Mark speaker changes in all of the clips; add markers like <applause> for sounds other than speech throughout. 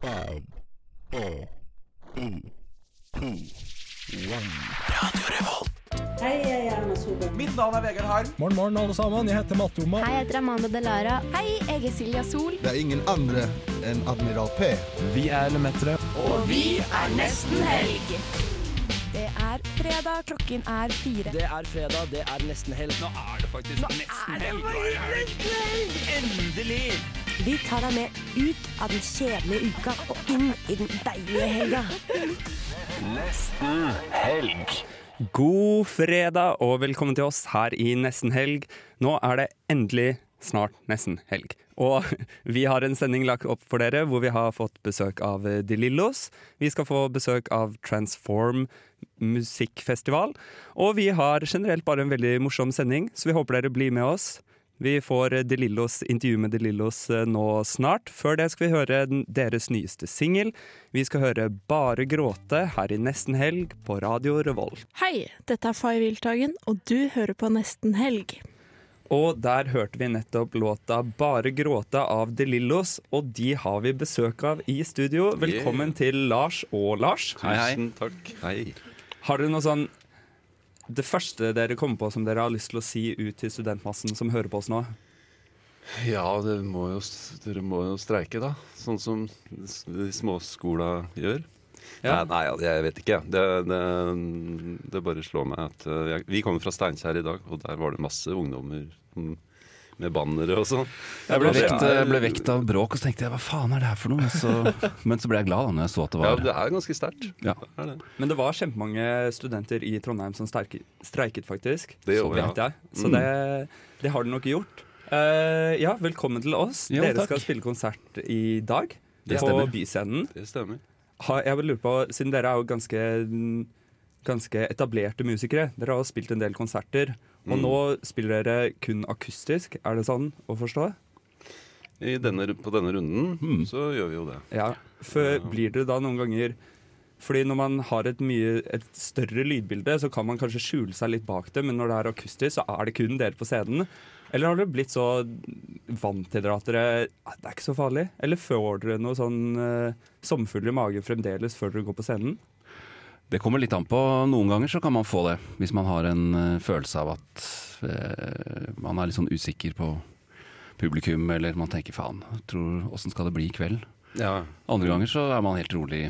Speaker 1: Five, four, three, two, one.
Speaker 2: Hei, jeg er Erna Solberg.
Speaker 3: Mitt navn er Vegard Harm.
Speaker 4: Morgen, morgen, alle sammen. Jeg heter Matte Oma.
Speaker 5: Hei, jeg heter Amanda Delara. Hei, jeg er Silja Sol.
Speaker 6: Det er ingen andre enn Admiral P.
Speaker 4: Vi er Lemetere.
Speaker 5: Det er fredag, klokken er fire.
Speaker 3: Det er fredag, det er nesten helg. Nå er det faktisk nesten helg. Endelig!
Speaker 7: Vi tar deg med ut av den kjedelige uka og inn i den deilige helga.
Speaker 8: God fredag og velkommen til oss her i Nesten Helg. Nå er det endelig snart nesten helg. Og <laughs> vi har en sending lagt opp for dere hvor vi har fått besøk av eh, De Lillos. Vi skal få besøk av Transform musikkfestival. Og vi har generelt bare en veldig morsom sending, så vi håper dere blir med oss. Vi får eh, De Lillos intervju med De Lillos eh, nå snart. Før det skal vi høre den- deres nyeste singel. Vi skal høre Bare gråte her i Nesten Helg på Radio Revolt.
Speaker 9: Hei, dette er Fay Wiltagen, og du hører på Nesten Helg.
Speaker 8: Og der hørte vi nettopp låta 'Bare gråte' av De Lillos, og de har vi besøk av i studio. Velkommen til Lars og Lars.
Speaker 10: Tusen takk. Hei.
Speaker 8: Har dere noe sånn Det første dere kommer på som dere har lyst til å si ut til studentmassen som hører på oss nå?
Speaker 10: Ja, dere må, jo, dere må jo streike, da. Sånn som s- de småskola gjør. Nei,
Speaker 8: Ja.
Speaker 10: nei, ja, jeg vet ikke. Det, det, det bare slår meg at eh, jeg, Vi kommer fra Steinkjer i dag, og der var det masse ungdommer mm, med bannere og sånn.
Speaker 8: Jeg
Speaker 10: ble vekt, eh,
Speaker 11: Jeg ble vekt av bråk, og så tenkte jeg hva faen er det her for noe?
Speaker 10: <laughs>
Speaker 11: Så, men så ble jeg glad da når jeg så at det
Speaker 10: Ja,
Speaker 11: var
Speaker 10: det er ganske sterkt.
Speaker 11: Ja.
Speaker 10: Det er det.
Speaker 8: Men det var kjempemange studenter i Trondheim som sterke- streiket, faktisk.
Speaker 10: Det
Speaker 8: så
Speaker 10: gjorde
Speaker 8: vet
Speaker 10: det, ja. Mm.
Speaker 8: jeg. Så det, det har de nok gjort. Eh, ja, velkommen til oss.
Speaker 11: Jo,
Speaker 8: dere
Speaker 11: takk.
Speaker 8: skal spille konsert i dag
Speaker 10: Det
Speaker 8: på
Speaker 10: stemmer.
Speaker 8: Byscenen.
Speaker 10: Det stemmer.
Speaker 8: har, jeg vil lure på, siden dere er jo ganske, ganske etablerte musikere, dere har jo spilt en del konserter, og
Speaker 10: Mm.
Speaker 8: nå spiller dere kun akustisk, er det sånn å forstå?
Speaker 10: I denne, på denne runden så gjør vi jo det.
Speaker 8: Ja. For blir det da noen ganger fordi når man har et, mye, et større lydbilde, så kan man kanskje skjule seg litt bak det, men når det er akustisk, så er det kun dere på scenen. Eller har dere blitt så vant til dere at dere "Ah, Det er ikke så farlig. Eller får dere noe sånn uh, sommerfugl i magen fremdeles før dere går på scenen?
Speaker 11: Det kommer litt an på. Noen ganger så kan man få det, hvis man har en eh, følelse av at eh, man er litt sånn usikker på publikum, eller man tenker faen, åssen skal det bli i kveld?
Speaker 10: Ja.
Speaker 11: Andre ganger så er man helt rolig.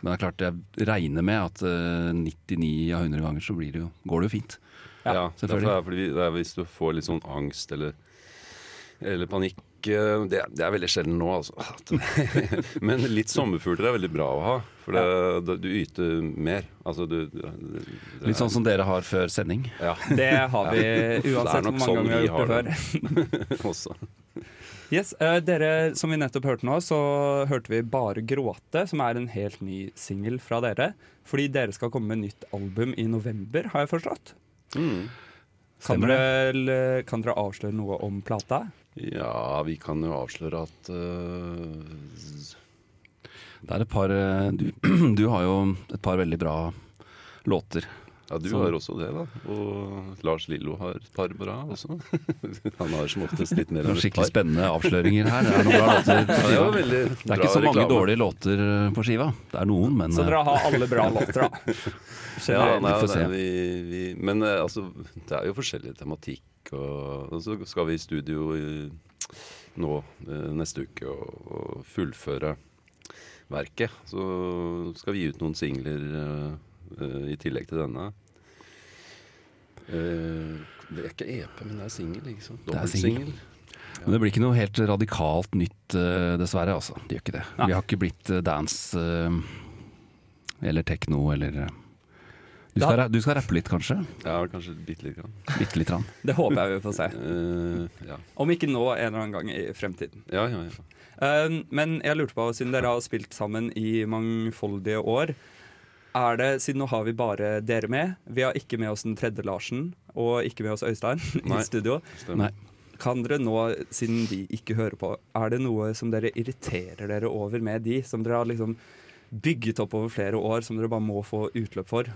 Speaker 11: Men det er klart, jeg regner med at eh, 99 av 100 ganger så blir det jo, går det jo fint.
Speaker 10: Ja,
Speaker 11: selvfølgelig.
Speaker 10: derfor er det fordi det er hvis du får litt sånn angst eller, eller panikk eh, det, det er veldig sjelden nå, altså. At- <laughs> Men litt sommerfugler er veldig bra å ha. For det, da- du yter mer. Altså du det, det-
Speaker 11: Litt sånn som dere har før sending.
Speaker 10: <laughs> Ja,
Speaker 8: Det har vi
Speaker 10: Det er
Speaker 8: uansett hvor
Speaker 10: nok
Speaker 8: mange
Speaker 10: sånn
Speaker 8: ganger vi har
Speaker 10: vi
Speaker 8: gjort det
Speaker 10: har
Speaker 8: før.
Speaker 10: <laughs> også.
Speaker 8: Yes, eh, dere, Som vi nettopp hørte nå, så hørte vi Bare gråte, som er en helt ny singel fra dere. Fordi dere skal komme med nytt album i november, har jeg forstått.
Speaker 10: Mm.
Speaker 8: Kan
Speaker 11: Stemmer
Speaker 8: dere, l- kan dere avsløre noe om plata?
Speaker 10: Ja, vi kan jo avsløre at eh,
Speaker 11: Det er et par eh, du, <clears throat> du har jo et par veldig bra låter.
Speaker 10: Ja, du
Speaker 11: Sånn.
Speaker 10: har også det, da. Og Lars Lillo har et par bra også. <laughs> Han har som oftest litt mer
Speaker 11: Det
Speaker 10: enn
Speaker 11: er
Speaker 10: et
Speaker 11: skikkelig
Speaker 10: par.
Speaker 11: spennende avsløringer her. Det er noen bra låter på
Speaker 10: <laughs> Ja, det
Speaker 11: skiva.
Speaker 10: var veldig
Speaker 11: Det er
Speaker 10: bra
Speaker 11: ikke så mange
Speaker 10: reklame.
Speaker 11: dårlige låter eh, på skiva. Det er noen, men eh,
Speaker 8: Så dere har alle
Speaker 10: <laughs>
Speaker 8: bra
Speaker 11: <laughs>
Speaker 8: låter, da.
Speaker 10: eh, Ja,
Speaker 11: Generelt, vi
Speaker 10: nei,
Speaker 11: får
Speaker 10: nei,
Speaker 11: se.
Speaker 10: vi, vi, men eh, altså, det er jo forskjellig tematikk. Og, og så skal vi i studio i- nå eh, neste uke og, og fullføre verket. Så skal vi gi ut noen singler eh, eh, i tillegg til denne. Eh, det er ikke EP, men det er singel, liksom.
Speaker 11: er
Speaker 10: Dobbeltsingel.
Speaker 11: Men det blir ikke noe helt radikalt nytt, eh, dessverre. altså. Det gjør ikke det.
Speaker 8: Nei.
Speaker 11: Vi har ikke blitt eh, dance eh, eller tekno eller eh. du skal, ra- du skal rappe litt, kanskje?
Speaker 10: Ja, kanskje bitte lite grann.
Speaker 11: Bitte lite grann.
Speaker 8: Sånn. Det håper jeg vi får se.
Speaker 10: Eh, ja.
Speaker 8: Om ikke nå, en eller annen gang i fremtiden.
Speaker 10: ja, ja, ja.
Speaker 8: Um, men jeg lurte på, siden dere har spilt sammen i mangfoldige år er det, Siden nå har vi bare dere med. Vi har ikke med oss den tredje Larsen og ikke med oss Øystein <laughs>
Speaker 10: Nei.
Speaker 8: i studio.
Speaker 10: Stemmer.
Speaker 11: Nei.
Speaker 8: Kan dere nå, siden de ikke hører på, er det noe som dere irriterer dere over med de? Som dere har liksom bygget opp over flere år, som dere bare må få utløp for?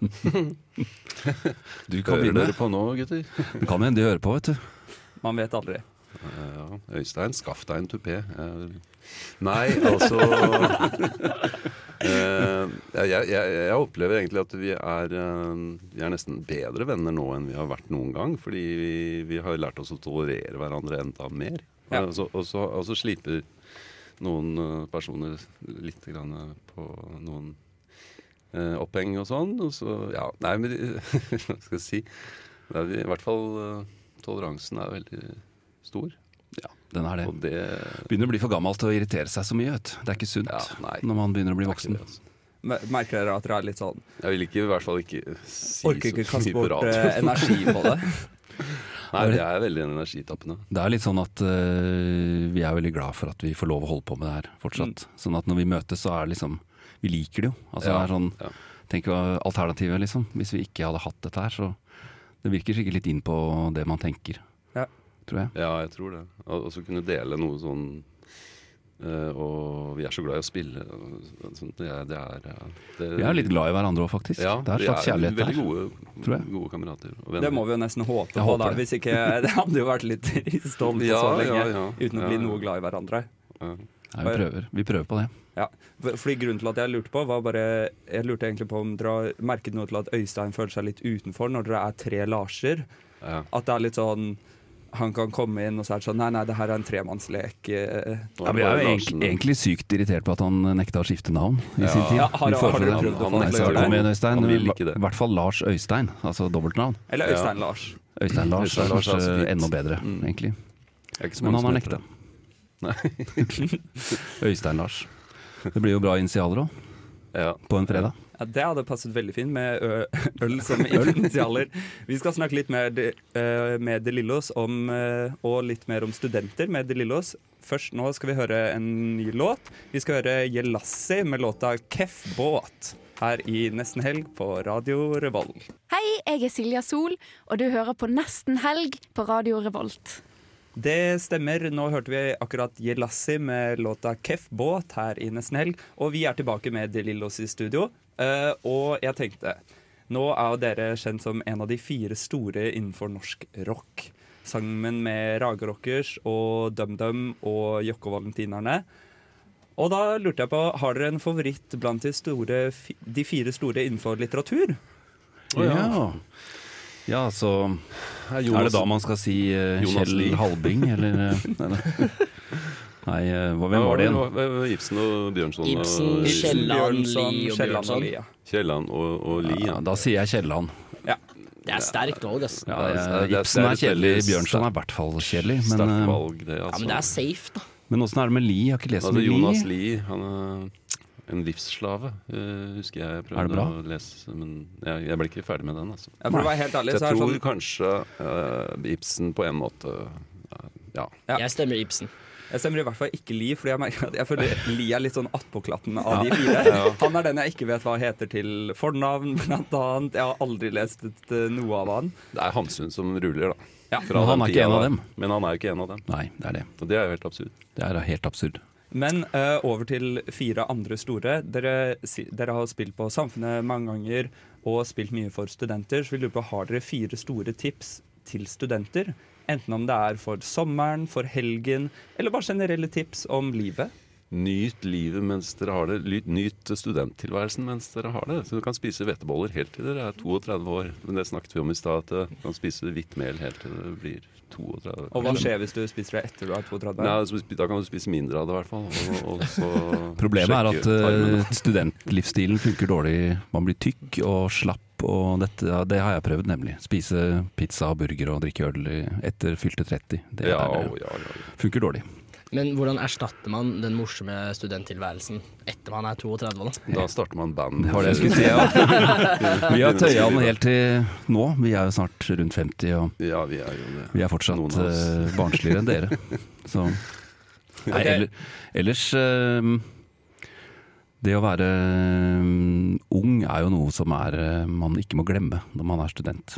Speaker 11: Du kan
Speaker 10: Hører
Speaker 11: begynne.
Speaker 10: dere på nå, gutter?
Speaker 11: Det kan hende de hører på, vet du.
Speaker 8: <laughs> Man vet aldri.
Speaker 10: Ja, Øystein, skaff deg en tupé. Eh, Nei, altså <laughs> eh, jeg, jeg, jeg opplever egentlig at vi er, eh, vi er nesten bedre venner nå enn vi har vært noen gang. Fordi vi, vi har lært oss å tolerere hverandre enda mer.
Speaker 8: Ja.
Speaker 10: Og, så, og, så, og så sliter noen eh, personer litt grann eh, på noen eh, oppheng og sånn. Og så, ja, nei, men <laughs> hva skal jeg si? Det er, vi- I hvert fall eh, toleransen er veldig stor.
Speaker 11: Den er det.
Speaker 10: Og det
Speaker 11: Begynner å bli for gammel til å irritere seg så mye. Vet. du. Det er ikke sunt når man begynner å bli voksen.
Speaker 10: altså.
Speaker 8: Mer- Merker dere at dere er litt sånn
Speaker 10: Jeg vil ikke, i hvert fall ikke si
Speaker 8: Orker
Speaker 10: så
Speaker 8: ikke
Speaker 10: mye
Speaker 8: kaste
Speaker 10: på
Speaker 8: bort
Speaker 10: radio.
Speaker 8: eh, energi på det?
Speaker 10: <laughs> Nei, jeg er veldig energitappende.
Speaker 11: Det er litt sånn at øh, vi er veldig glad for at vi får lov å holde på med det her fortsatt. Sånn at når vi møtes, så er det liksom Vi liker det jo. Altså,
Speaker 10: Mm.
Speaker 11: det
Speaker 10: Ja,
Speaker 11: er sånn, Tenk hva alternativet, liksom. Hvis vi ikke hadde hatt dette her, så Det virker sikkert litt inn på det man tenker.
Speaker 8: Ja.
Speaker 11: Tror jeg.
Speaker 10: Ja, jeg tror det. Og og så kunne dele noe sånn eh, og vi er så glad i å spille. og sånt. Det er, det er, ja, det-
Speaker 11: Vi er litt glad i hverandre òg, faktisk.
Speaker 10: Eh, Ja,
Speaker 11: det er en slags kjærlighet
Speaker 10: der.
Speaker 11: der.
Speaker 10: Veldig gode,
Speaker 11: tror jeg.
Speaker 10: gode kamerater og
Speaker 8: Det må vi jo nesten
Speaker 11: Jeg
Speaker 8: håpe på,
Speaker 11: håper
Speaker 8: da.
Speaker 11: det.
Speaker 8: Hvis ikke <laughs> Det hadde jo vært litt trist å holde på så
Speaker 10: Ja,
Speaker 8: lenge
Speaker 10: ja, ja.
Speaker 8: uten å
Speaker 10: Ja,
Speaker 8: bli
Speaker 10: ja.
Speaker 8: noe glad i hverandre.
Speaker 11: Nei, vi, prøver. vi prøver på det.
Speaker 8: Ja, for- fordi Grunnen til at jeg lurte på, var bare Jeg lurte egentlig på om dere har merket noe til at Øystein føler seg litt utenfor når dere er tre Larser.
Speaker 10: Ja.
Speaker 8: At det er litt sånn Han kan komme inn og så er det sånn Nei, nei, det her er en tremannslek. eh.
Speaker 11: Ja, vi er jo egentlig, egentlig sykt irritert på at han nekta å skifte navn i
Speaker 8: Ja.
Speaker 11: sin tid.
Speaker 8: Ja, har-
Speaker 11: Vi
Speaker 8: har du
Speaker 11: foreslår det.
Speaker 8: prøvd å få
Speaker 11: Nei,
Speaker 8: han til å
Speaker 11: så
Speaker 8: gjøre det?
Speaker 11: Kom igjen, Øystein.
Speaker 10: Han vil ikke
Speaker 11: I hvert fall Lars Øystein, altså dobbeltnavn. Eh,
Speaker 8: Eller Øystein Lars.
Speaker 11: Øystein Lars
Speaker 10: Øystein
Speaker 11: er
Speaker 10: Lars er
Speaker 11: kanskje
Speaker 10: altså fint.
Speaker 11: enda bedre, egentlig.
Speaker 10: Det er ikke så
Speaker 11: Men han
Speaker 10: mange
Speaker 11: har
Speaker 10: som
Speaker 11: nekta.
Speaker 10: heter det.
Speaker 11: <laughs> Øystein Lars. Det blir jo bra initialer òg,
Speaker 10: Ja.
Speaker 11: på en fredag.
Speaker 8: Ja, det hadde passet veldig fint med ø <laughs> øl som initialer. Vi skal snakke litt mer de, eh, med De Lillos om, eh, og litt mer om studenter med De Lillos. Først nå skal vi høre en ny låt. Vi skal høre Jelassi med låta 'Kef båt' her i Nesten Helg på Radio Revolt.
Speaker 5: Hei, jeg er Silja Sol, og du hører på Nesten helg på Radio Revolt.
Speaker 8: Det stemmer. Nå hørte vi akkurat Jelassi med låta 'Kef båt' her i Nesten Helg. Og vi er tilbake med De Lillos i studio. Eh, og jeg tenkte Nå er jo dere kjent som en av de fire store innenfor norsk rock. Sammen med Raga Rockers og DumDum og Jokke og Valentinerne. Og da lurte jeg på, har dere en favoritt blant de, store, fi- de fire store innenfor litteratur? Å, ja.
Speaker 11: ja. Ja, så Er det
Speaker 8: Jonas-
Speaker 11: da man skal si eh,
Speaker 10: Jonas
Speaker 11: Kjell
Speaker 10: Lie.
Speaker 11: Halbing, eller eh, nei, nei. Nei, eh, hva- hvem var det igjen?
Speaker 10: igjen? Ibsen og Bjørnson. og-
Speaker 8: Ibsen, Kielland, Bjørnson, Lie og Kielland og Bjørnson. Lie, ja.
Speaker 10: Kielland og, og Lie, ja.
Speaker 11: Da sier jeg Kielland.
Speaker 4: Det er sterkt valg, ass.
Speaker 11: Ja,
Speaker 10: Det er-
Speaker 11: eh,
Speaker 10: det er-
Speaker 11: Ibsen er
Speaker 10: det er et
Speaker 11: kjedelig,
Speaker 10: veldig
Speaker 11: Bjørnson er i hvert fall kjedelig. Men,
Speaker 10: sterkt
Speaker 11: eh,
Speaker 10: valg, det, altså.
Speaker 4: Ja, men det er safe, da.
Speaker 11: men åssen er det med Lie? Jeg har ikke lest
Speaker 10: Altså,
Speaker 11: noe
Speaker 10: Jonas
Speaker 11: Lie.
Speaker 10: Lie, han er en livsslave, eh, husker jeg jeg
Speaker 11: Er det
Speaker 10: prøvde
Speaker 11: bra?
Speaker 10: å lese. Men jeg, jeg ble ikke ferdig med den. Altså.
Speaker 8: Ja, for å være helt ærlig,
Speaker 10: jeg
Speaker 8: så er det
Speaker 10: tror
Speaker 8: sånn-
Speaker 10: kanskje eh, Ibsen på en måte eh, Ja.
Speaker 4: Jeg stemmer Ibsen.
Speaker 8: Jeg stemmer i hvert fall ikke Li, fordi jeg merker at jeg føler Li er litt sånn attpåklatten av
Speaker 10: Ja.
Speaker 8: de fire.
Speaker 10: <laughs> Ja.
Speaker 8: Han er den jeg ikke vet hva heter til fornavn, blant annet. Jeg har aldri lest et, eh, noe av han.
Speaker 10: Det er Hamsun som ruller, da. Fra
Speaker 11: Men han
Speaker 10: den
Speaker 11: er ikke
Speaker 10: tida
Speaker 11: en av
Speaker 10: der.
Speaker 11: dem.
Speaker 10: Men han er jo ikke en av dem.
Speaker 11: Nei, det er det.
Speaker 10: Og det er jo helt absurd.
Speaker 11: Det er da helt absurd.
Speaker 8: Men eh, over til fire andre store. Dere, si, dere har spilt på Samfunnet mange ganger og spilt mye for studenter, så vi lurer på har dere fire store tips til studenter? Enten om det er for sommeren, for helgen, eller bare generelle tips om livet.
Speaker 10: Nyt livet mens dere har det. Ly- Nyt studenttilværelsen mens dere har det. Så du kan spise hveteboller helt til dere er 32 år. Men det snakket vi om i stad, at eh, du kan spise hvitt mel helt til du blir 32.
Speaker 8: Og hva skjer hvis du spiser det etter du er 32?
Speaker 10: Nei, altså, så spi- da kan du spise mindre av det, i hvert fall. Og, og så
Speaker 11: Problemet er at
Speaker 10: sjekke ut armene.
Speaker 11: eh, <laughs> studentlivsstilen funker dårlig. Man blir tykk og slapp, og dette, ja, det har jeg prøvd, nemlig. Spise pizza og burger og drikke øl i- etter fylte 30. Det
Speaker 10: Ja,
Speaker 11: er,
Speaker 10: å, ja, ja, ja.
Speaker 11: funker dårlig.
Speaker 4: Men hvordan erstatter man den morsomme studenttilværelsen etter man er 32? da?
Speaker 10: Da starter man band.
Speaker 11: Det var det jeg skulle si,
Speaker 10: <laughs>
Speaker 11: ja. <laughs> Vi har tøya den helt til nå. Vi er jo snart rundt 50, og
Speaker 10: Ja, vi er jo det.
Speaker 11: vi er fortsatt
Speaker 10: Noen av oss.
Speaker 11: eh, barnsligere enn
Speaker 10: <laughs>
Speaker 11: dere. Så Nei,
Speaker 8: Ok.
Speaker 11: eller, ellers eh, Det å være eh, ung er jo noe som er, eh, man ikke må glemme når man er student.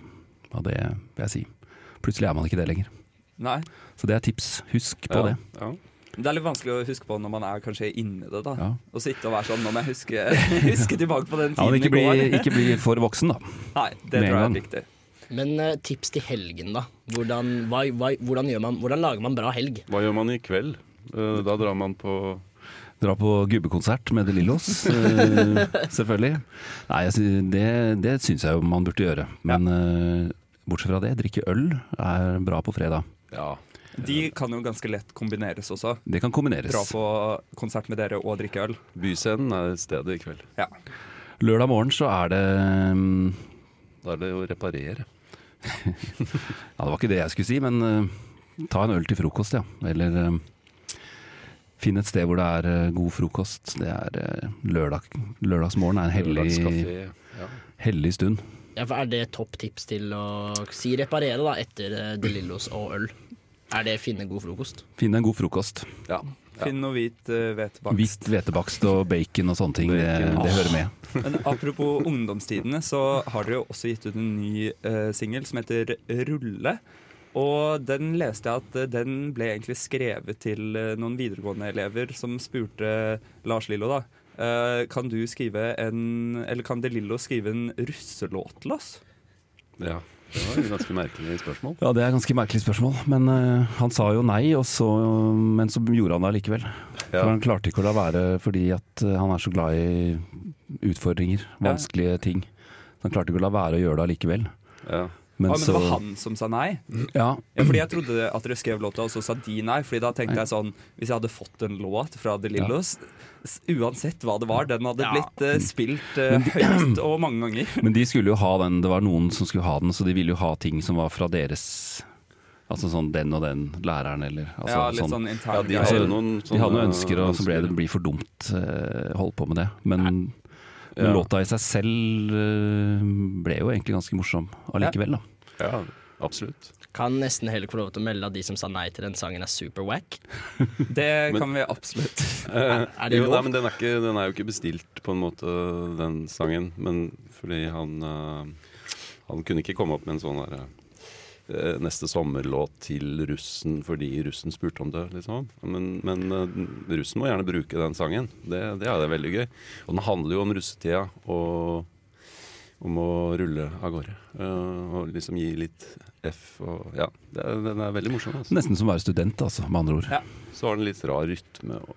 Speaker 11: Og det vil jeg si. Plutselig er man ikke det lenger.
Speaker 8: Nei.
Speaker 11: Så det er tips. Husk på
Speaker 8: Ja,
Speaker 11: det.
Speaker 8: Det er litt vanskelig å huske på når man er kanskje inni det. da
Speaker 11: Ja.
Speaker 8: Å sitte og være sånn Nå må jeg huske, <laughs> huske tilbake på den
Speaker 11: Ja, men
Speaker 8: tiden
Speaker 11: ikke
Speaker 8: i
Speaker 11: bli,
Speaker 10: <laughs>
Speaker 8: går.
Speaker 11: ikke bli for voksen, da.
Speaker 8: Nei, det
Speaker 11: Med
Speaker 8: tror jeg
Speaker 11: en
Speaker 8: er
Speaker 11: gang.
Speaker 8: viktig.
Speaker 4: Men eh, tips til helgen, da. Hvordan, hva, hva, hvordan, gjør man, hvordan lager man bra helg?
Speaker 10: Hva gjør man i kveld? Eh, Da drar man på
Speaker 11: Dra på gubbekonsert med De
Speaker 10: <laughs>
Speaker 11: Lillos, eh, selvfølgelig. Nei, jeg sy- det, det syns jeg jo man burde gjøre. Men eh, bortsett fra det, drikke øl er bra på fredag.
Speaker 8: De kan jo ganske lett kombineres også.
Speaker 11: Det kan kombineres.
Speaker 8: Dra på konsert med dere og drikke øl.
Speaker 10: Byscenen er stedet i kveld.
Speaker 8: Ja.
Speaker 11: Lørdag morgen så er det mm,
Speaker 10: Da er det å reparere.
Speaker 11: <laughs> Ja, det var ikke det jeg skulle si, men eh, ta en øl til frokost, ja. Eller eh, finn et sted hvor det er eh, god frokost. Det er eh, lørdag. Lørdagsmorgen er en hellig,
Speaker 4: Lørdagskafé, ja.
Speaker 11: hellig stund.
Speaker 4: Ja, for er det topp tips til å si reparere, da, etter eh, De Lillos og øl? Er det finne god frokost?
Speaker 11: Finn en god frokost.
Speaker 10: Ja.
Speaker 8: Finn noe hvit eh, hvetebakst.
Speaker 11: Hvitt hvetebakst og bacon og sånne ting, det, det hører med.
Speaker 8: <laughs> Men apropos ungdomstidene, så har dere jo også gitt ut en ny eh, singel som heter Rulle. Og den leste jeg at eh, den ble egentlig skrevet til eh, noen videregående-elever som spurte Lars Lillo, da. eh, kan du skrive en Eller kan De Lillo skrive en russelåt til oss?
Speaker 10: Ja, det var et ganske merkelig spørsmål.
Speaker 11: Ja, det er et ganske merkelig spørsmål, men eh, han sa jo nei, og så, men så gjorde han det allikevel. For han klarte ikke å la være fordi at eh, han er så glad i utfordringer,
Speaker 8: Ja.
Speaker 11: vanskelige ting. Så han klarte ikke å la være å gjøre det allikevel.
Speaker 8: Men, ah, men det var han som sa nei?
Speaker 11: Ja.
Speaker 8: Fordi jeg trodde at dere skrev låta, og så sa de nei. Fordi da tenkte jeg sånn Hvis jeg hadde fått en låt fra De Lillos, s- uansett hva det var, den hadde blitt eh, spilt eh, høyt og mange ganger.
Speaker 11: Men de skulle jo ha den, det var noen som skulle ha den, så de ville jo ha ting som var fra deres Altså sånn den og den læreren, eller altså,
Speaker 8: Ja, litt sånn intern-
Speaker 11: Ja, de,
Speaker 8: Ja,
Speaker 11: altså,
Speaker 8: eller noen
Speaker 11: de hadde
Speaker 8: sånne
Speaker 11: noen ønsker, og så ble
Speaker 8: ønsker.
Speaker 11: det blir for dumt eh, holdt på med det. Men, men
Speaker 10: Ja.
Speaker 11: låta i seg selv eh, ble jo egentlig ganske morsom allikevel, da.
Speaker 10: Ja, absolutt.
Speaker 4: Kan nesten heller få lov til å melde at de som sa nei til den sangen, er super whack.
Speaker 8: <laughs> Det
Speaker 10: Men-
Speaker 8: kan vi absolutt.
Speaker 10: <laughs> Eh,
Speaker 4: Er det
Speaker 10: jo,
Speaker 4: lov?
Speaker 10: nei, men den, er ikke, den er jo ikke bestilt, på en måte, den sangen. Men fordi han eh, Han kunne ikke komme opp med en sånn derre eh, Neste sommerlåt til russen fordi russen spurte om det, liksom. Men, men eh, russen må gjerne bruke den sangen. Det, det er det veldig gøy. Og den handler jo om russetida og om å rulle av gårde. Eh, og liksom gi litt F og Ja, det, er- den er veldig morsom. Altså.
Speaker 11: Nesten som å være student, altså, med andre ord.
Speaker 10: Så har den litt rar rytme. Og,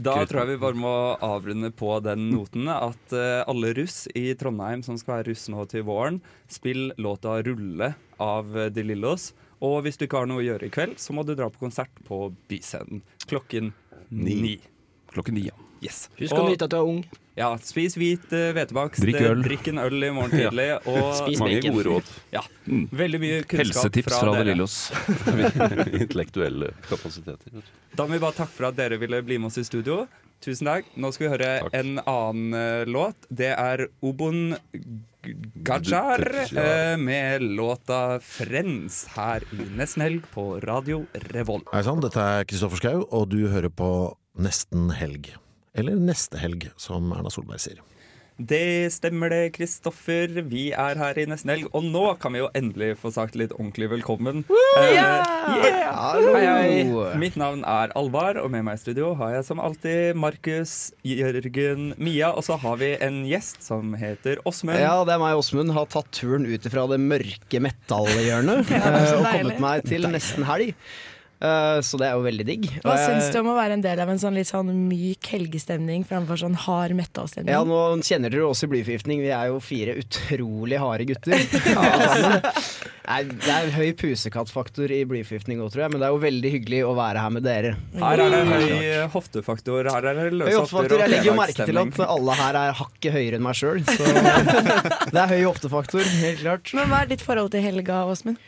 Speaker 8: Da tror jeg vi bare må avrunde på den noten at eh, alle russ i Trondheim som skal være russ nå til våren, spill låta 'Rulle' av eh, De Lillos. Og hvis du ikke har noe å gjøre i kveld, så må du dra på konsert på Byscenen klokken
Speaker 11: Ni.
Speaker 8: ni.
Speaker 11: Klokken ni, ja.
Speaker 8: Yes.
Speaker 4: Husk å
Speaker 8: Og-
Speaker 4: nyte at du er ung.
Speaker 8: Ja, spis hvit eh, hvetebakst.
Speaker 11: Drikk
Speaker 8: eh,
Speaker 11: øl.
Speaker 8: Drikk en øl i morgen
Speaker 11: <laughs>
Speaker 8: tidlig.
Speaker 11: Ja.
Speaker 4: <laughs>
Speaker 8: Og
Speaker 11: Spis Mange bacon. gode råd. Mm.
Speaker 8: Ja. Veldig mye kunnskap
Speaker 11: Helsetips fra
Speaker 8: fra
Speaker 11: De
Speaker 8: dere.
Speaker 11: Lillos.
Speaker 10: <laughs> Intellektuelle kapasiteter.
Speaker 8: <laughs> Da må vi bare takke for at dere ville bli med oss i studio. Tusen takk. Nå skal vi høre en annen eh, låt. Det er Obon Gajar eh, med låta 'Friends' her i Nesten Helg på Radio Revolt.
Speaker 12: Hei sann, dette er Kristoffer Schau, og du hører på Nesten helg. Eller Neste helg, som Erna Solberg sier.
Speaker 8: Det stemmer det, Kristoffer. Vi er her i Nesten Helg, og nå kan vi jo endelig få sagt litt ordentlig velkommen. Eh, yeah! Hei, hei. Mitt navn er Alvar, og med meg i studio har jeg som alltid Markus, Jørgen, Mia, og så har vi en gjest som heter Åsmund.
Speaker 13: Ja, det er meg, Åsmund. Har tatt turen ut ifra det mørke metallhjørnet
Speaker 9: <laughs> Ja, det er
Speaker 13: eh,
Speaker 9: så
Speaker 13: og
Speaker 9: deilig.
Speaker 13: kommet meg til nesten helg. Eh, Så det er jo veldig digg. Eh, Og
Speaker 9: Hva
Speaker 13: jeg-
Speaker 9: syns du om å være en del av en sånn litt sånn myk helgestemning framfor sånn hard metallstemning?
Speaker 13: Ja, nå kjenner dere oss i blyforgiftning. Vi er jo fire utrolig harde gutter.
Speaker 9: <laughs>
Speaker 13: Nei, det er høy pusekattfaktor i blyforgiftning òg, tror jeg, men det er jo veldig hyggelig å være her med dere.
Speaker 8: Her er det høy hoftefaktor. Her er det løse
Speaker 13: Høy hoftefaktor. Jeg legger jo merke til
Speaker 8: fredagsstemning.
Speaker 13: at alle her er hakket høyere enn meg sjøl,
Speaker 9: <laughs>
Speaker 13: så det er høy hoftefaktor, helt klart.
Speaker 9: Men hva er ditt forhold til helga, Åsmund?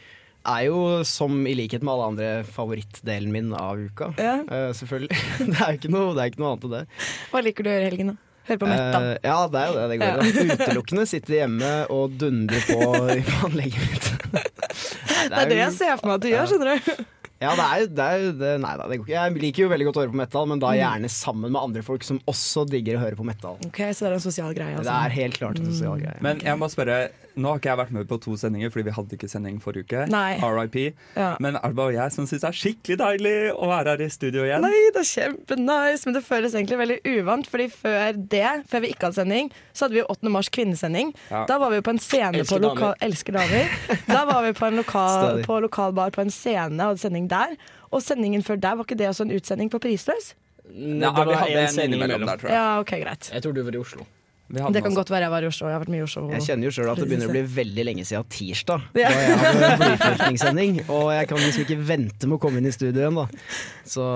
Speaker 13: er jo, som i likhet med alle andre, favorittdelen min av uka. Eh, selvfølgelig. <laughs> Det er jo ikke noe, det er ikke noe annet enn det.
Speaker 9: Hva liker du å gjøre i helgen? da? Høre på metal?
Speaker 13: Eh, ja, det er jo det. det går i
Speaker 9: Ja.
Speaker 13: det. Utelukkende sitte hjemme og
Speaker 9: <laughs>
Speaker 13: dundre på i anlegget mitt. Nei,
Speaker 9: det er det jeg ser for meg at du gjør, skjønner du.
Speaker 13: Ja, det er jo, det er jo det, Nei da, det går ikke. Jeg liker jo veldig godt å høre på metal, men da
Speaker 9: Mm.
Speaker 13: gjerne sammen med andre folk som også digger å høre på metal.
Speaker 9: Ok, Så det er en sosial greie? Altså.
Speaker 13: Det er helt klart en sosial greie.
Speaker 14: Men jeg må spørre, nå har ikke jeg vært med på to sendinger fordi vi hadde ikke sending forrige uke.
Speaker 9: Nei.
Speaker 14: RIP.
Speaker 9: Ja.
Speaker 14: Men er det bare jeg som syns det er skikkelig deilig å være her i studio igjen?
Speaker 9: Nei, det er kjempenice, men det føles egentlig veldig uvant. Fordi før det, før vi ikke hadde sending, så hadde vi jo 8. mars kvinnesending.
Speaker 14: Ja.
Speaker 9: Da var vi jo på en scene
Speaker 14: Elsker
Speaker 9: på lokal...
Speaker 14: damer.
Speaker 9: Elsker damer. Da var vi på en lokal,
Speaker 14: Stadig.
Speaker 9: på lokal bar på en scene og hadde sending der. Og sendingen før der, var ikke det også en utsending på Prisløs?
Speaker 14: Nei,
Speaker 4: det var
Speaker 14: vi hadde
Speaker 4: en
Speaker 14: en
Speaker 4: sending
Speaker 14: innimellom
Speaker 4: imellom.
Speaker 14: der, tror jeg.
Speaker 9: Ja, ok, greit.
Speaker 4: Jeg tror du var i Oslo.
Speaker 9: Det
Speaker 13: altså.
Speaker 9: kan godt være jeg var i Oslo. Jeg har vært mye i Oslo.
Speaker 13: Jeg kjenner jo sjøl at det begynner å bli veldig lenge siden tirsdag.
Speaker 9: Ja.
Speaker 13: Da jeg hadde blyforskningssending, og jeg kan liksom ikke vente med å komme inn i studio igjen, da. Så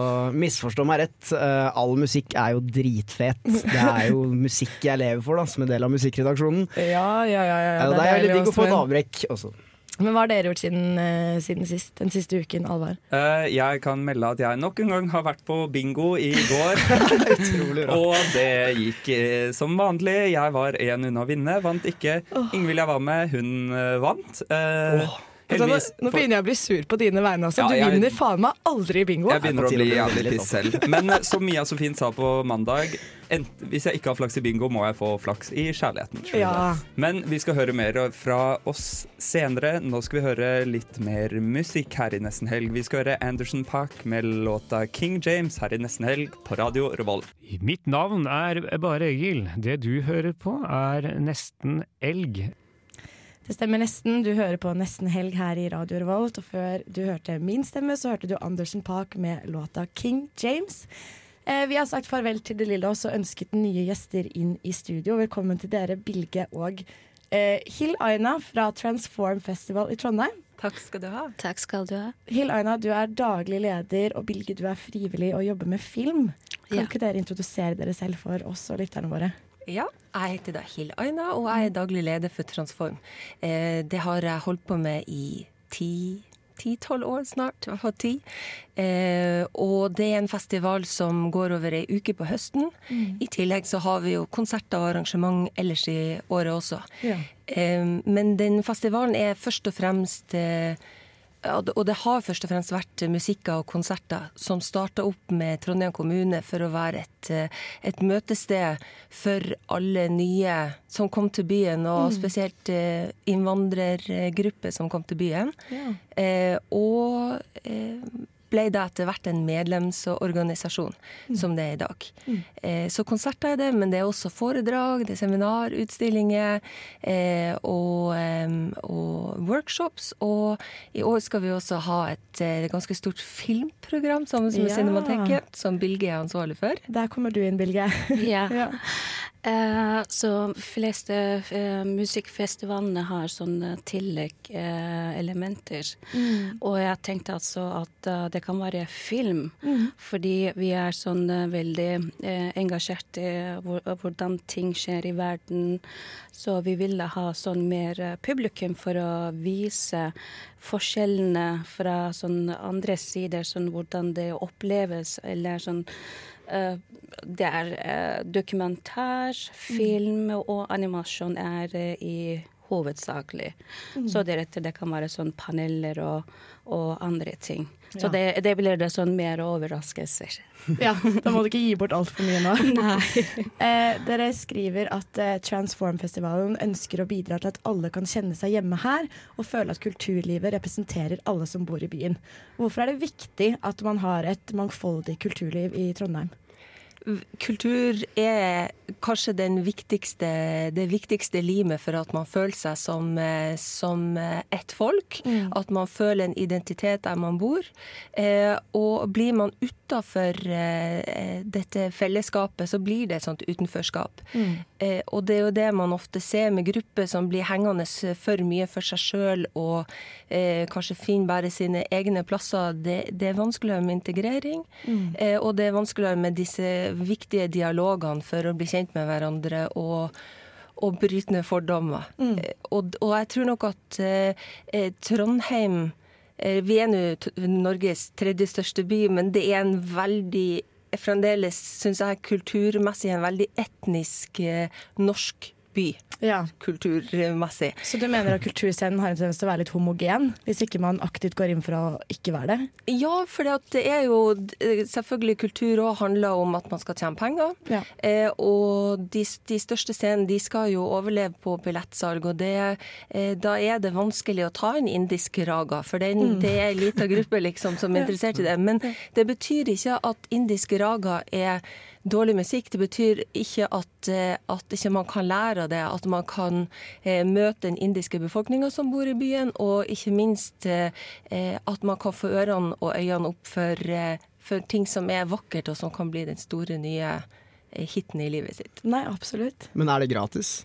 Speaker 13: misforstå meg rett, eh, all musikk er jo dritfet. Det er jo musikk jeg lever for, da, som en del av musikkredaksjonen.
Speaker 9: Ja, ja, ja, ja,
Speaker 13: Eh, det er veldig
Speaker 9: deilig
Speaker 13: digg å
Speaker 9: også,
Speaker 13: få et
Speaker 9: men-
Speaker 13: avbrekk også.
Speaker 9: Men hva har dere gjort siden, eh, siden sist, den siste uken, Alvar?
Speaker 14: Eh, jeg kan melde at jeg nok en gang har vært på bingo i
Speaker 9: <laughs>
Speaker 14: går. og det gikk eh, som vanlig. Jeg var én unna å vinne, vant ikke. Ingvild jeg var med, hun eh, vant. Eh,
Speaker 9: Vet du hva,
Speaker 14: heldigvis-
Speaker 9: nå, nå begynner jeg å bli sur på dine vegne. Altså.
Speaker 14: Ja,
Speaker 9: du
Speaker 14: jeg-
Speaker 9: vinner faen meg aldri i bingo.
Speaker 14: Jeg begynner å bli jævlig piss selv. Men eh, som Mia Sofien sa på mandag, ent- hvis jeg ikke har flaks i bingo, må jeg få flaks i kjærligheten.
Speaker 9: Ja.
Speaker 14: Men vi skal høre mer fra oss senere. Nå skal vi høre litt mer musikk her i Nesten Helg. Vi skal høre Anderson Park med låta King James her i Nesten Helg på radio Revolv.
Speaker 15: Mitt navn er Bare Egil. Det du hører på, er nesten elg.
Speaker 9: Det stemmer nesten. Du hører på Nesten helg her i Radio Revolt. Og før du hørte min stemme, så hørte du Andersen Park med låta King James. Eh, vi har sagt farvel til De Lillos og ønsket nye gjester inn i studio. Velkommen til dere, Bilge og eh, Hill Aina fra Transform Festival i Trondheim.
Speaker 16: Takk skal du ha. Takk skal du ha.
Speaker 9: Hill Aina, du er daglig leder, og Bilge, du er frivillig og jobber med film. Kan
Speaker 16: Ja.
Speaker 9: ikke dere introdusere dere selv for oss og lytterne våre?
Speaker 16: Ja, jeg heter da Hill Aina, og jeg er daglig leder for Transform. Eh, det har jeg holdt på med i ti ti-tolv år snart, i hvert fall ti. Eh, og det er en festival som går over ei uke på høsten.
Speaker 17: Mm.
Speaker 16: I tillegg så har vi jo konserter og arrangement ellers i året også.
Speaker 17: Ja.
Speaker 16: Eh, Men den festivalen er først og fremst eh, Og det- og det har først og fremst vært musikker og konserter som starta opp med Trondheim kommune for å være et, eh, et møtested for alle nye som kom til byen, og
Speaker 17: Mm.
Speaker 16: spesielt eh, innvandrergrupper som kom til byen.
Speaker 17: Ja.
Speaker 16: Eh, og eh, ble da etter hvert en medlemsorganisasjon, som det er i dag.
Speaker 17: Mm.
Speaker 16: Eh, så konserter er det, men det er også foredrag, det er seminar, utstillinger eh, og, em, og workshops. Og i år skal vi også ha et eh, ganske stort filmprogram sammen med
Speaker 9: Ja.
Speaker 16: Cinemateket, som Bilge er ansvarlig for.
Speaker 9: Der kommer du inn, Bilge.
Speaker 17: <laughs> Ja. Eh, så fleste eh, musikkfestivalene har sånne tilleggselementer.
Speaker 9: Mm.
Speaker 17: Og jeg tenkte altså at eh, det kan være film,
Speaker 9: Mhm.
Speaker 17: fordi vi er sånn eh, veldig eh, engasjert i hvor, hvordan ting skjer i verden. Så vi ville ha sånn mer eh, publikum for å vise forskjellene fra sånn andre sider, sånn hvordan det oppleves, eller sånn Eh, det er eh, dokumentar, film og animasjon er eh, i hovedsakelig.
Speaker 9: Mm.
Speaker 17: Så deretter det kan være sånn paneler og, og andre ting.
Speaker 9: Ja.
Speaker 17: Så det, det blir det sånn mer overraskelser.
Speaker 9: <laughs> Ja, da må du ikke gi bort altfor mye
Speaker 16: <laughs>
Speaker 9: nå. Eh, dere skriver at eh, Transform-festivalen ønsker å bidra til at alle kan kjenne seg hjemme her, og føle at kulturlivet representerer alle som bor i byen. Hvorfor er det viktig at man har et mangfoldig kulturliv i Trondheim?
Speaker 16: kultur er kanskje den viktigste, det viktigste limet for at man føler seg som, eh, som eh, ett folk. At man føler en identitet der man bor. Eh, og blir man utafor eh, dette fellesskapet, så blir det et sånt utenforskap.
Speaker 17: <laughs> Mm.
Speaker 16: Eh, og det er jo det man ofte ser med grupper som blir hengende for mye for seg sjøl og eh, kanskje finner bare sine egne plasser. Det, det er vanskeligere med integrering.
Speaker 17: Mm.
Speaker 16: Eh, og det er vanskeligere med disse viktige dialogene for å bli kjent med hverandre og, og bryte ned fordommer. Eh, og, og jeg tror nok at eh, eh, Trondheim eh, Vi er nå t- Norges tredje største by, men det er en veldig Fremdeles syns jeg kulturmessig en veldig etnisk eh, norsk by,
Speaker 9: Ja.
Speaker 16: kulturmessig.
Speaker 9: Så du mener at kulturscenen har en tendens til å være litt homogen, hvis ikke man aktivt går inn for å ikke være det?
Speaker 16: Ja, for det, at det er jo eh, selvfølgelig kultur òg handler om at man skal tjene penger. Eh, og de, de største scenene de skal jo overleve på billettsalg, og det, eh, da er det vanskelig å ta en indisk raga. For den,
Speaker 18: Mm.
Speaker 16: det er en liten gruppe liksom, som er interessert i det. Men det betyr ikke at indisk raga er dårlig musikk. Det betyr ikke at, eh, at ikke man kan lære av det, at man kan eh, møte den indiske befolkninga som bor i byen, og ikke minst eh, eh, at man kan få ørene og øynene opp for, eh, for ting som er vakkert, og som kan bli den store nye eh, hiten i livet sitt.
Speaker 9: Nei, absolutt.
Speaker 13: Men er det gratis?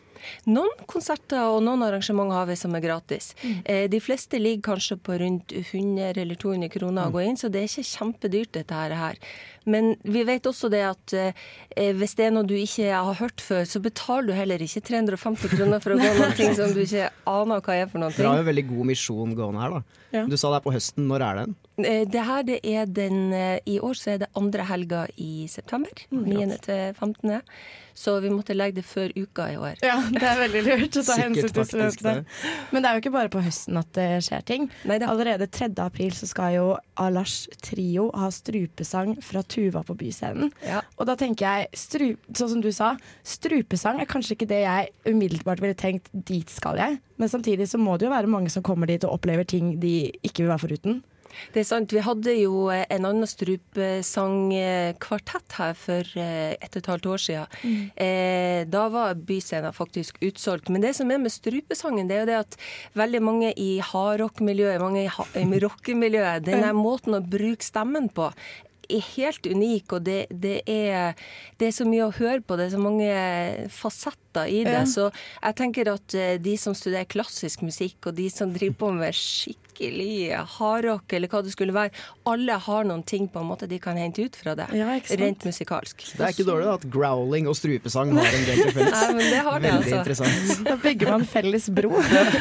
Speaker 16: Noen konserter og noen arrangementer har vi som er gratis.
Speaker 9: Mm.
Speaker 16: Eh, De fleste ligger kanskje på rundt 100 eller 200
Speaker 9: Mm.
Speaker 16: kroner å gå inn, så det er ikke kjempedyrt dette her- her. Men vi vet også det at eh, hvis det er noe du ikke har hørt før, så betaler du heller ikke 350 kroner
Speaker 9: <laughs>
Speaker 16: for å gå noen ting som du ikke aner hva er for noen
Speaker 13: Dere har jo
Speaker 16: ting.
Speaker 13: en veldig god misjon gående her, da. Du sa det er på høsten, når er den?
Speaker 16: Eh, Det her det er den eh, I år så er det andre helga i september.
Speaker 9: Mm,
Speaker 16: 9. til 15. Så vi måtte legge det før uka i år.
Speaker 9: Ja, det er veldig lurt å ta
Speaker 16: <laughs> Sikkert
Speaker 9: hensyn til
Speaker 16: faktisk
Speaker 9: studentene. Men det er jo ikke bare på høsten at det skjer ting. Allerede 3. april så skal jo Alash Trio ha strupesang fra Tuva på Byscenen. Og da tenker jeg, stru, sånn som du sa, strupesang er kanskje ikke det jeg umiddelbart ville tenkt dit skal jeg. Men samtidig så må det jo være mange som kommer dit og opplever ting de ikke vil være foruten.
Speaker 16: Det er sant. Vi hadde jo eh, en annen strupesangkvartett her for eh, ett og et halvt år siden.
Speaker 18: Mm.
Speaker 16: Eh, Da var byscenen faktisk utsolgt. Men det som er med strupesangen, det er jo det at veldig mange i hardrock-miljøet, mange i
Speaker 13: <laughs>
Speaker 16: ha- i rockemiljøet, den der måten å bruke stemmen på er helt unik, og det, det, er, det er så mye å høre på. Det er så mange fasetter i det.
Speaker 18: Ja.
Speaker 16: Så jeg tenker at eh, de som studerer klassisk musikk, og de som driver på med skikkelig hardrock, eller hva det skulle være, alle har noen ting på en måte de kan hente ut fra det,
Speaker 13: Ja, ikke sant?
Speaker 16: rent musikalsk.
Speaker 13: Det er ikke dårlig da, at growling og strupesang har en del til felles.
Speaker 16: <laughs> Nei, men det har det,
Speaker 13: Veldig
Speaker 16: altså.
Speaker 13: interessant.
Speaker 9: Da bygger man felles bro.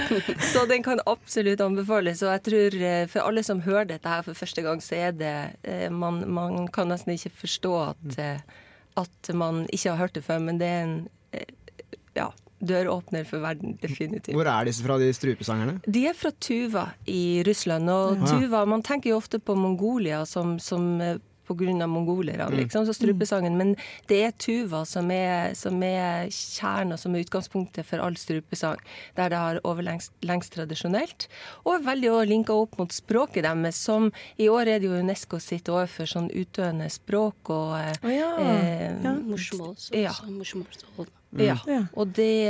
Speaker 16: <laughs> Så den kan absolutt anbefales. Og jeg tror eh, for alle som hører dette her for første gang, så er det eh, Man, man kan nesten ikke forstå
Speaker 13: Mm.
Speaker 16: at, eh, at man ikke har hørt det før, men det er en eh, ja, døråpner for verden, definitivt.
Speaker 13: Hvor er disse fra, de strupesangerne?
Speaker 16: De er fra Tuva i Russland. Og
Speaker 13: Ja.
Speaker 16: Tuva, man tenker jo ofte på Mongolia som, som eh, på grunn av mongolerne,
Speaker 13: Mm.
Speaker 16: liksom, så strupesangen. Men det er Tuva som er, som er kjernen og som er utgangspunktet for all strupesang. Der det har overlengst lengst tradisjonelt. Og er veldig også linka opp mot språket deres, som i år er det jo UNESCO sitt år for sånn utdøende språk og eh, eh,
Speaker 17: Morsmål. Så,
Speaker 16: Ja.
Speaker 17: så morsmålsmål.
Speaker 9: Mm.
Speaker 16: ja. Og, det,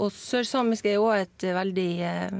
Speaker 16: og sørsamisk er jo et veldig eh,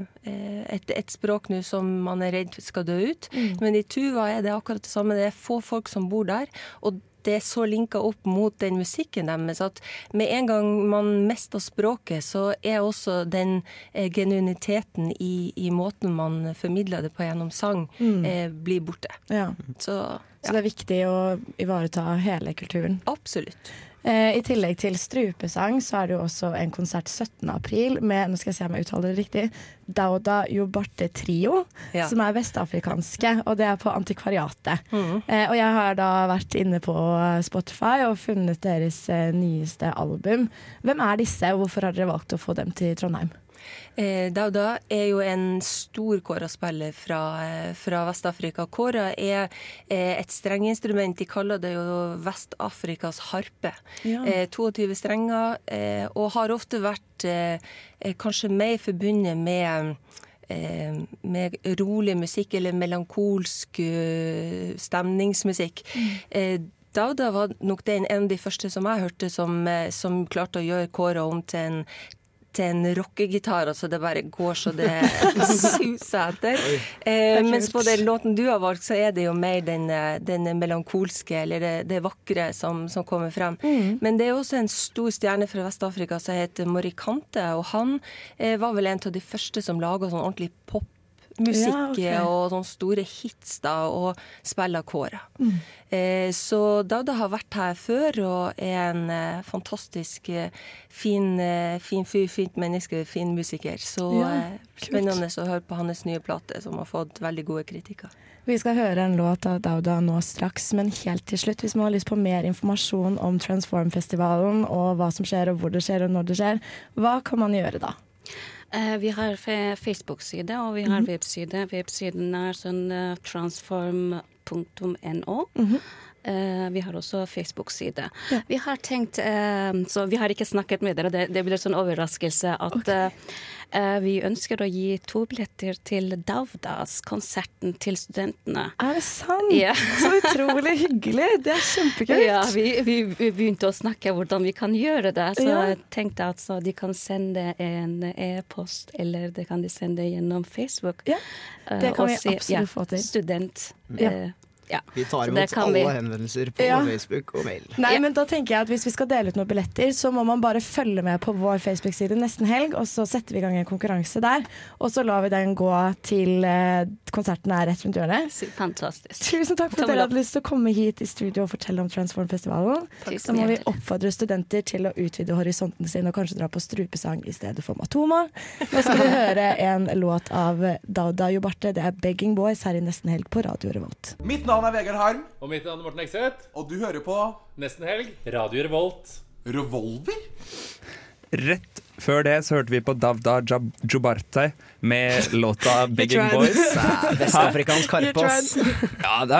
Speaker 16: et, et språk nå som man er redd skal dø ut.
Speaker 18: Mm.
Speaker 16: Men i Tuva er det akkurat det samme. Det er få folk som bor der. og det er så linka opp mot den musikken deres at med en gang man mister språket, så er også den eh, genuiniteten i, i måten man formidler det på gjennom sang,
Speaker 9: Mm.
Speaker 16: eh, blir borte.
Speaker 9: Ja.
Speaker 16: Så
Speaker 9: Så det er viktig å ivareta hele kulturen.
Speaker 16: Absolutt.
Speaker 9: Eh, I tillegg til strupesang så er det jo også en konsert 17. april med nå skal jeg se om jeg uttaler det riktig, Dauda Jobarte Trio,
Speaker 18: Ja.
Speaker 9: som er vestafrikanske. Og det er på Antikvariatet. Eh, og jeg har da vært inne på eh, Spotify og funnet deres eh, nyeste album. Hvem er disse, og hvorfor har dere valgt å få dem til Trondheim?
Speaker 16: Eh, Dauda er jo en stor kåraspiller fra, eh, fra Vest-Afrika. Kåra er eh, et strengeinstrument. De kaller det jo Vest-Afrikas harpe.
Speaker 18: Ja.
Speaker 16: Eh, 22 strenger, eh, og har ofte vært eh, eh, kanskje mer forbundet med eh, med rolig musikk eller melankolsk eh, stemningsmusikk. Eh, Dauda var nok den en av de første som jeg hørte som, eh, som klarte å gjøre kåra om til en til en rockegitar, altså det bare går så det suser etter. Eh,
Speaker 18: kult.
Speaker 16: mens på den låten du har valgt, så er det jo mer den, eh, den melankolske, eller det, det vakre, som, som kommer frem.
Speaker 18: Mm.
Speaker 16: Men det er også en stor stjerne fra Vest-Afrika som heter Morikante, og han eh, var vel en av de første som laga sånn ordentlig pop Musikk
Speaker 9: Ja, ok.
Speaker 16: og sånne store hits da, og spiller kåra.
Speaker 9: Mm.
Speaker 16: Eh, så Dagda har vært her før og er en eh, fantastisk eh, fin, eh, fin fyr, fint menneske, fin musiker. Så
Speaker 9: Ja,
Speaker 16: eh,
Speaker 9: kult.
Speaker 16: spennende å høre på hans nye plate, som har fått veldig gode kritikker.
Speaker 9: Vi skal høre en låt av Dauda nå straks, men helt til slutt, hvis man har lyst på mer informasjon om Transformfestivalen og hva som skjer og hvor det skjer og når det skjer, hva kan man gjøre da?
Speaker 17: Eh, vi har fe- Facebook-side og vi har
Speaker 9: Mhm.
Speaker 17: webside. Websiden er sånn eh, transform.no.
Speaker 13: Mhm.
Speaker 17: Eh, vi har også Facebook-side. Vi har tenkt, eh, så vi har ikke snakket med dere, det, det blir sånn overraskelse at eh, eh, vi ønsker å gi to billetter til Davdas-konserten til studentene.
Speaker 9: Er det sant?
Speaker 17: Ja.
Speaker 9: <laughs> Så utrolig hyggelig! Det er kjempekult!
Speaker 17: <laughs> Ja, vi, vi, vi begynte å snakke hvordan vi kan gjøre det. Så
Speaker 9: Ja.
Speaker 17: jeg tenkte at så de kan sende en e-post, eller det kan de sende gjennom Facebook.
Speaker 9: det
Speaker 17: Eh,
Speaker 9: kan
Speaker 17: og
Speaker 9: vi absolutt få til.
Speaker 17: Student.
Speaker 13: Ja.
Speaker 17: eh, ja.
Speaker 13: Vi tar
Speaker 17: Så det
Speaker 13: imot
Speaker 17: kan
Speaker 13: alle
Speaker 17: vi.
Speaker 13: henvendelser på
Speaker 9: Ja.
Speaker 13: Facebook og mail.
Speaker 9: Nei, men da tenker jeg at Hvis vi skal dele ut noen billetter, så må man bare følge med på vår Facebook-side nesten helg, og så setter vi i gang en konkurranse der. Og så lar vi den gå til eh, konserten er rett rundt hjørnet.
Speaker 17: Fantastisk.
Speaker 9: Tusen takk for at
Speaker 17: Tommel
Speaker 9: dere
Speaker 17: opp.
Speaker 9: hadde lyst til å komme hit i studio og fortelle om Transform-festivalen.
Speaker 17: Takk
Speaker 9: Så
Speaker 17: skal
Speaker 9: må
Speaker 17: du
Speaker 9: vi oppfordre studenter til å utvide horisonten sin og kanskje dra på strupesang i stedet for Matoma. Nå skal vi høre en låt av Dauda Jobarte. Det er 'Begging Boys' her i Nesten Helg på Radio Revolt.
Speaker 18: Mitt navn er Vegard Harm.
Speaker 19: Og mitt navn er Morten Ekseth.
Speaker 18: Og du hører på
Speaker 19: Nesten helg. Radio Revolt.
Speaker 18: Revolver?
Speaker 14: Rett før det så hørte vi på Davda Jab Jubarte med
Speaker 13: <laughs>
Speaker 14: låta 'Begging
Speaker 13: tried.
Speaker 14: Boys'.
Speaker 13: Ja, vestafrikansk harpe, You tried. <laughs> ass.
Speaker 14: Ja, da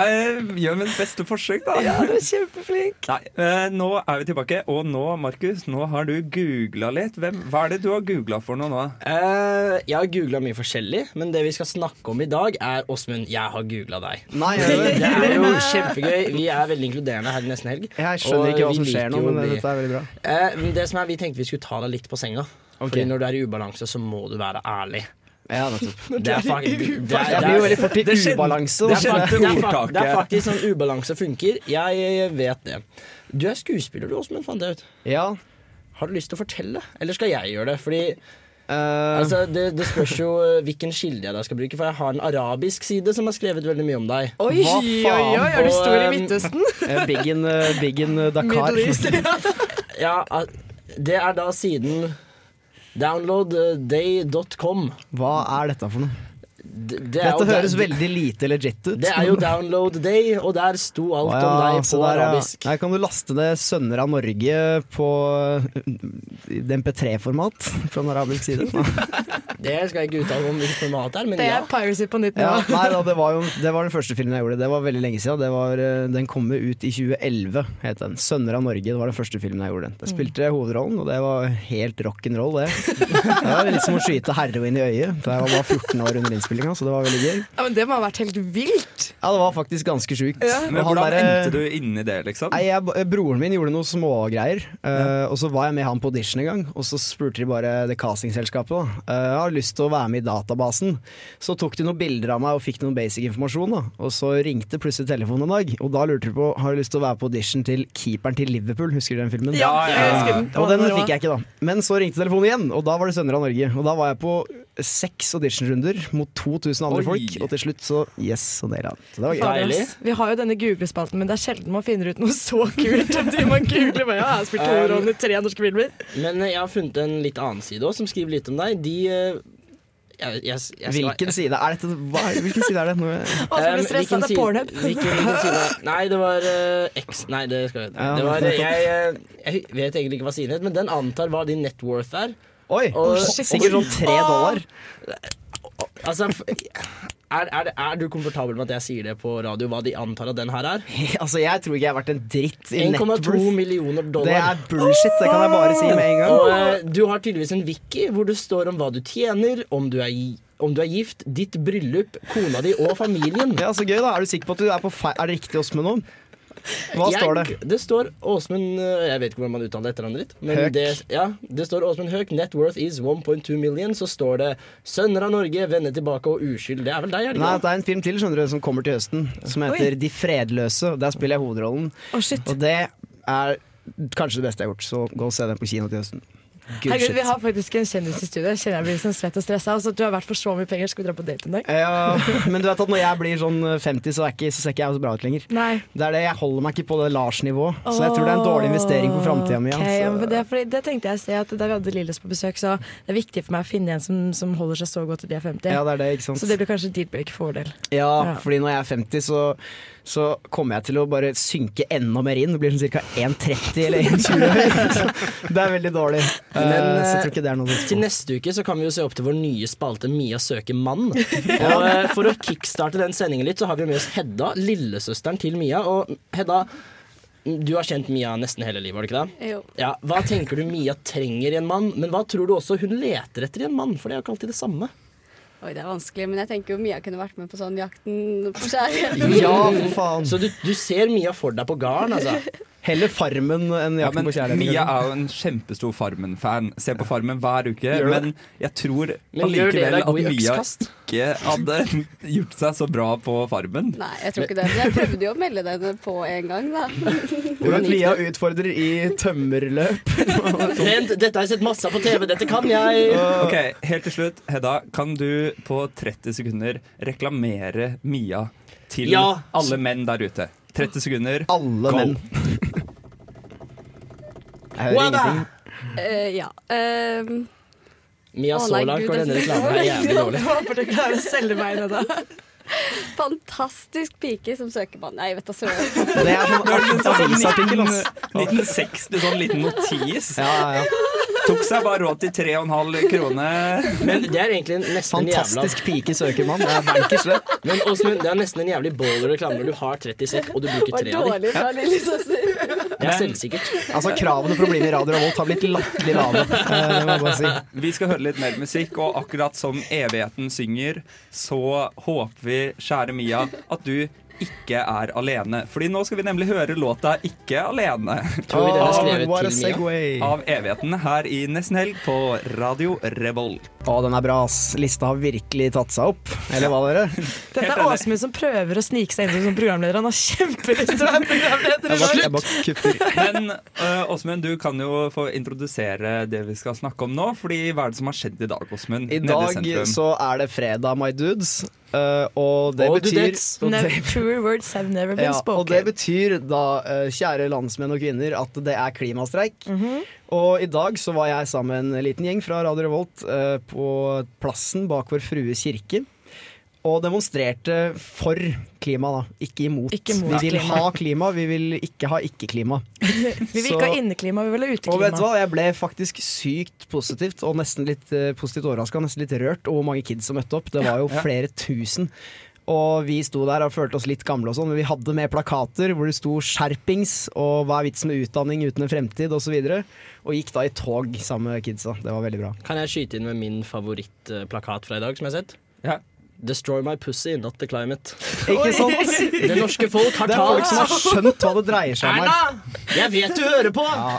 Speaker 14: gjør mitt beste forsøk, da.
Speaker 9: Ja, du er kjempeflink.
Speaker 14: Nei, eh, nå er vi tilbake, og nå, Markus, nå har du googla litt. Hvem, hva er det du har googla for noe nå?
Speaker 4: Eh, jeg har googla mye forskjellig, men det vi skal snakke om i dag, er Åsmund, jeg har googla deg. <laughs>
Speaker 13: Nei,
Speaker 4: det,
Speaker 13: er det det?
Speaker 4: er jo kjempegøy. Vi er veldig inkluderende her i Nesten Helg.
Speaker 13: Jeg skjønner ikke hva som skjer nå, men dette er veldig bra.
Speaker 4: Eh, det som er, Vi tenkte vi skulle ta deg litt på senga. Fordi når du er i ubalanse, så må du være ærlig.
Speaker 13: Ja, nettopp.
Speaker 4: <laughs> Det er fakt- det er- det er-
Speaker 13: Jeg blir jo veldig fort i
Speaker 4: det skjøn-
Speaker 13: ubalanse. altså.
Speaker 4: Det er,
Speaker 13: da.
Speaker 4: fakt- det, er fakt- det er faktisk sånn ubalanse funker. Jeg vet det. Du er skuespiller du, Åsmund, fant jeg ut.
Speaker 13: Ja.
Speaker 4: Har du lyst til å fortelle, eller skal jeg gjøre det? Fordi
Speaker 13: Eh.
Speaker 4: altså, det, det spørs jo eh, hvilken kilde jeg da skal bruke, for jeg har en arabisk side som har skrevet veldig mye om deg. ehm,
Speaker 13: Oi, Hva faen? oi, oi, er du stor i Midtøsten? <laughs> Eh, Big in, eh, big in eh, Dakar.
Speaker 4: Middle
Speaker 13: <laughs>
Speaker 4: East, ja, al- det er da siden eh, downloadday.com.
Speaker 13: Hva er dette for noe?
Speaker 4: Det, det er jo
Speaker 13: Dette
Speaker 4: da-
Speaker 13: høres veldig lite legit ut.
Speaker 4: Det er jo
Speaker 13: <laughs>
Speaker 4: Download Day, og der sto alt
Speaker 13: Å ja,
Speaker 4: om deg
Speaker 13: så
Speaker 4: på
Speaker 13: der, ja.
Speaker 4: arabisk.
Speaker 13: Her kan du laste ned 'Sønner av Norge' på MP3-format fra den arabiske
Speaker 4: <laughs>
Speaker 13: siden.
Speaker 4: Det skal jeg ikke uttale om hvilket format det er, men
Speaker 9: Det
Speaker 4: ja.
Speaker 9: er piracy på nytt nå.
Speaker 13: Ja, nei da, det var jo det var den første filmen jeg gjorde. Det var veldig lenge siden. Det var, eh, den kom jo ut i 2011, het den. 'Sønner av Norge' det var den første filmen jeg gjorde.
Speaker 17: Mm.
Speaker 13: Jeg spilte jeg hovedrollen, og det var helt rock'n'roll, det. <laughs> Det var litt som å skyte heroin i øyet. Da jeg var bare 14 år under innspillinga, så det var veldig gøy.
Speaker 9: <laughs> Ja, men Det må ha vært helt vilt!
Speaker 13: Ja, det var faktisk ganske sjukt. Og
Speaker 14: Men
Speaker 13: han
Speaker 14: hvordan
Speaker 13: derre-
Speaker 14: endte du inni det, liksom?
Speaker 13: Nei, jeg, eh, Broren min gjorde noen smågreier, eh, og så var jeg med han på audition en gang. Og så spurte de bare det castingselskapet da. Eh, jeg har lyst til å være med i databasen. Så tok de noen bilder av meg og fikk noen basic informasjon. da Og så ringte plutselig telefonen en dag, og da lurte de på har du lyst til å være på audition til keeperen til Liverpool. Husker du den filmen?
Speaker 14: Ja, Ja, jeg husker den.
Speaker 13: Og den fikk jeg ikke, da. Men så ringte telefonen igjen, og da var det Sønner av Norge. Og da var jeg på seks auditionrunder mot 2000 andre
Speaker 9: Oi.
Speaker 13: folk, og til slutt så yes, så naila han. Så det var gøy.
Speaker 9: Fader, ass. Vi har jo denne googlespalten, men det er sjelden man finner ut noe så kult. om de man googler med. Ja, jeg har spilt hovedrollen i tre norske filmer.
Speaker 4: Eh, Men eh, jeg har funnet en litt annen side også, som skriver litt om deg. De eh, jeg, jeg, jeg skal-
Speaker 13: Hvilken side er dette? Hva, er- hvilken side er det? Nå,
Speaker 4: Um,
Speaker 9: Åsmund ble stresset,
Speaker 4: hvilken
Speaker 9: det er
Speaker 4: side-
Speaker 9: Pornhub.
Speaker 4: Hvilken, hvilken
Speaker 13: <laughs>
Speaker 4: side? Nei, det var eh, X Nei, det skal jeg
Speaker 13: Ja,
Speaker 4: det var,
Speaker 13: nettopp.
Speaker 4: jeg, eh, jeg vet egentlig ikke hva siden het, men den antar hva din net worth er.
Speaker 13: Oi! sikkert sånn tre dollar.
Speaker 4: Altså, f- er, er, det- er du komfortabel med at jeg sier det på radio, hva de antar at den her er?
Speaker 13: <laughs> altså, jeg tror ikke jeg er verdt en dritt i
Speaker 4: 1,2
Speaker 13: networth.
Speaker 4: millioner dollar.
Speaker 13: Det er bullshit, det kan jeg bare si med en gang.
Speaker 4: Og, eh, du har tydeligvis en wiki hvor det står om hva du tjener, om du er, gi- om du er gift, ditt bryllup, kona di eh, og familien.
Speaker 13: Ja, så gøy da. Er du sikker på at du er på feil Er det riktig Åsmund nå? Hva
Speaker 4: Jeg-
Speaker 13: står det?
Speaker 4: Det står Åsmund eh, Jeg vet ikke hvordan man uttaler etternavnet ditt. Men
Speaker 13: Høek.
Speaker 4: Det, ja, det står Åsmund Høek. Net worth is 1.2 million. Så står det 'Sønner av Norge, vende tilbake og uskyld'. Det er vel deg, er det
Speaker 13: Nei,
Speaker 4: ikke?
Speaker 13: det er en film til skjønner du, som kommer til høsten, som heter
Speaker 4: Oi.
Speaker 13: De fredløse. Der spiller jeg hovedrollen. Og det er kanskje det beste jeg har gjort, så gå og se den på kino til høsten. Good
Speaker 9: Herregud,
Speaker 13: shit.
Speaker 9: vi har faktisk en kjendis i studio. Jeg Kjenner jeg blir sånn svett og stressa. Altså, du har vært for så mye penger. Skal vi dra på date en dag?
Speaker 13: Ja, men du vet at når jeg blir sånn 50, så, er ikke, så ser ikke jeg så bra ut lenger.
Speaker 9: Nei.
Speaker 13: Det er det, Jeg holder meg ikke på det Lars-nivået, så jeg tror det er en dårlig investering for altså. framtida mi.
Speaker 9: Ok, ja, men det, er fordi, det tenkte jeg i sted, at da vi hadde Lillos på besøk, så det er viktig for meg å finne en som, som holder seg så godt til de er 50.
Speaker 13: Ja, det er det, ikke sant?
Speaker 9: Så det blir kanskje deal-break-fordel.
Speaker 13: Ja,
Speaker 9: Ja.
Speaker 13: fordi når jeg er 50, så, så kommer jeg til å bare synke enda mer inn. Det blir sånn ca. 1,30 eller 1,20
Speaker 9: <laughs>
Speaker 13: høy. Så Det er <laughs> veldig dårlig.
Speaker 4: Men,
Speaker 13: Eh, så
Speaker 4: eh,
Speaker 13: jeg tror ikke det er noe å
Speaker 4: Til neste uke så kan vi jo se opp til vår nye spalte Mia søker
Speaker 13: <laughs>
Speaker 4: mann. Og eh, For å kickstarte den sendingen litt, så har vi med oss Hedda, lillesøsteren til Mia. Og Hedda, du har kjent Mia nesten hele livet, har du ikke det?
Speaker 17: Jo.
Speaker 4: Ja, Hva tenker du Mia trenger i en mann, men hva tror du også hun leter etter i en mann? For det er jo ikke alltid det samme.
Speaker 17: Oi, det er vanskelig, men jeg tenker jo Mia kunne vært med på sånn Jakten på kjærligheten.
Speaker 4: Ja, for faen. Så du, du ser Mia for deg på garn, altså.
Speaker 13: Heller Farmen enn
Speaker 8: Ja, men
Speaker 13: Jakten på kjærligheten. liksom.
Speaker 8: Mia
Speaker 13: kanskje.
Speaker 8: er jo en kjempestor Farmen-fan. Ser på Farmen hver uke.
Speaker 13: Gjør det?
Speaker 8: Men jeg tror
Speaker 13: Men gjør dere deg
Speaker 8: allikevel at
Speaker 13: god i
Speaker 8: Mia
Speaker 13: øksekast?
Speaker 8: ikke hadde
Speaker 14: <laughs>
Speaker 8: gjort seg så bra på Farmen.
Speaker 17: Nei, jeg tror ikke det. Men jeg prøvde jo å melde den på en gang, da.
Speaker 13: Hvordan Mia utfordrer i tømmerløp.
Speaker 4: Vent, dette har jeg sett masse av på TV, dette kan <laughs> jeg.
Speaker 8: Ok, Helt til slutt, Hedda. Kan du på 30 sekunder reklamere Mia til
Speaker 4: Ja.
Speaker 8: alle menn der ute? 30 sekunder.
Speaker 13: Alle
Speaker 4: <laughs>
Speaker 8: menn.
Speaker 13: Jeg hører ingenting.
Speaker 17: Eh, ja. Ehm,
Speaker 4: Mia,
Speaker 17: å,
Speaker 4: så
Speaker 17: nei,
Speaker 4: langt
Speaker 17: Gud,
Speaker 4: går denne
Speaker 17: jeg-
Speaker 4: reklamen her
Speaker 17: <laughs>
Speaker 4: jævlig dårlig.
Speaker 9: Jeg håper du klarer å selge meg inn i det.
Speaker 17: Fantastisk pike som søker mann. Nei, vet du søren.
Speaker 8: Det er <laughs> sånn
Speaker 17: avisartikkel, ass.
Speaker 8: 1960, sånn liten notis.
Speaker 13: Ja,
Speaker 8: Tok seg bare råd til 3,5 kroner.
Speaker 4: Men det er egentlig nesten en
Speaker 13: Fantastisk
Speaker 4: jævla
Speaker 13: pike søker mann. Det er bankers, det.
Speaker 4: Men Åsmund, det er nesten en jævlig baller-reklame når du har 30 sekk, og du bruker tre av dem. <laughs> Det er selvsikkert.
Speaker 13: Altså, kravene for å bli med i Radio Revolt har blitt latterlig <laughs> lave. Eh, Det må jeg bare si.
Speaker 8: Vi skal høre litt mer musikk, og akkurat som evigheten synger, så håper vi, kjære Mia, at du ikke er alene. Fordi nå skal vi nemlig høre låta 'Ikke alene'
Speaker 13: Tror vi den er skrevet Åh, what a til Mia? segue.
Speaker 8: av evigheten her i Nesten Helg på Radio Revolt.
Speaker 13: Å, den er bra, ass. Lista har virkelig tatt seg opp. Eller hva, dere?
Speaker 9: Dette er Åsmund som prøver å snike seg inn som programleder. Han har kjempelyst til å være programleder. i dag.
Speaker 8: Men eh, Åsmund, du kan jo få introdusere det vi skal snakke om nå. Fordi hva er det som har skjedd i dag, Åsmund?
Speaker 13: I
Speaker 8: nede
Speaker 13: dag
Speaker 8: sentrum?
Speaker 13: så er det fredag, my dudes. Eh, og det
Speaker 8: Og
Speaker 13: betyr
Speaker 8: dudettes.
Speaker 13: og
Speaker 9: Never,
Speaker 13: det-
Speaker 9: truer words have never been
Speaker 13: ja, og
Speaker 9: spoken. <laughs>
Speaker 13: det betyr da, eh, kjære landsmenn og kvinner, at det er klimastreik.
Speaker 9: Mhm.
Speaker 13: Og i dag så var jeg sammen med en liten gjeng fra Radio Revolt eh, på plassen bak Vår Frue kirke. Og demonstrerte for klima, da. Ikke imot.
Speaker 9: Ikke imot
Speaker 13: vi vil
Speaker 9: klima.
Speaker 13: ha klima, vi vil ikke ha ikke-klima.
Speaker 9: Vi vil
Speaker 13: Så-
Speaker 9: ikke ha inneklima, vi vil ha
Speaker 13: Og vet du hva,
Speaker 9: uteklima.
Speaker 13: jeg ble faktisk sykt positivt og nesten litt eh, positivt overraska, nesten litt rørt over hvor mange kids som møtte opp. Det var jo
Speaker 9: Ja.
Speaker 13: flere tusen. Og vi sto der og følte oss litt gamle og sånn, men vi hadde med plakater hvor det sto 'skjerpings' og 'hva er vitsen med utdanning uten en fremtid', osv. Og, så videre. og gikk da i tog sammen med kidsa. Det var veldig bra.
Speaker 4: Kan jeg skyte inn med min favorittplakat fra i dag, som jeg har sett?
Speaker 8: Ja.
Speaker 4: Destroy my pussy, not the climate.
Speaker 13: Ikke sant?
Speaker 4: Det norske folk har
Speaker 13: Det er folk som har
Speaker 4: talt.
Speaker 13: skjønt hva det dreier seg om her.
Speaker 4: Erna! Jeg vet du hører på!
Speaker 13: Ja.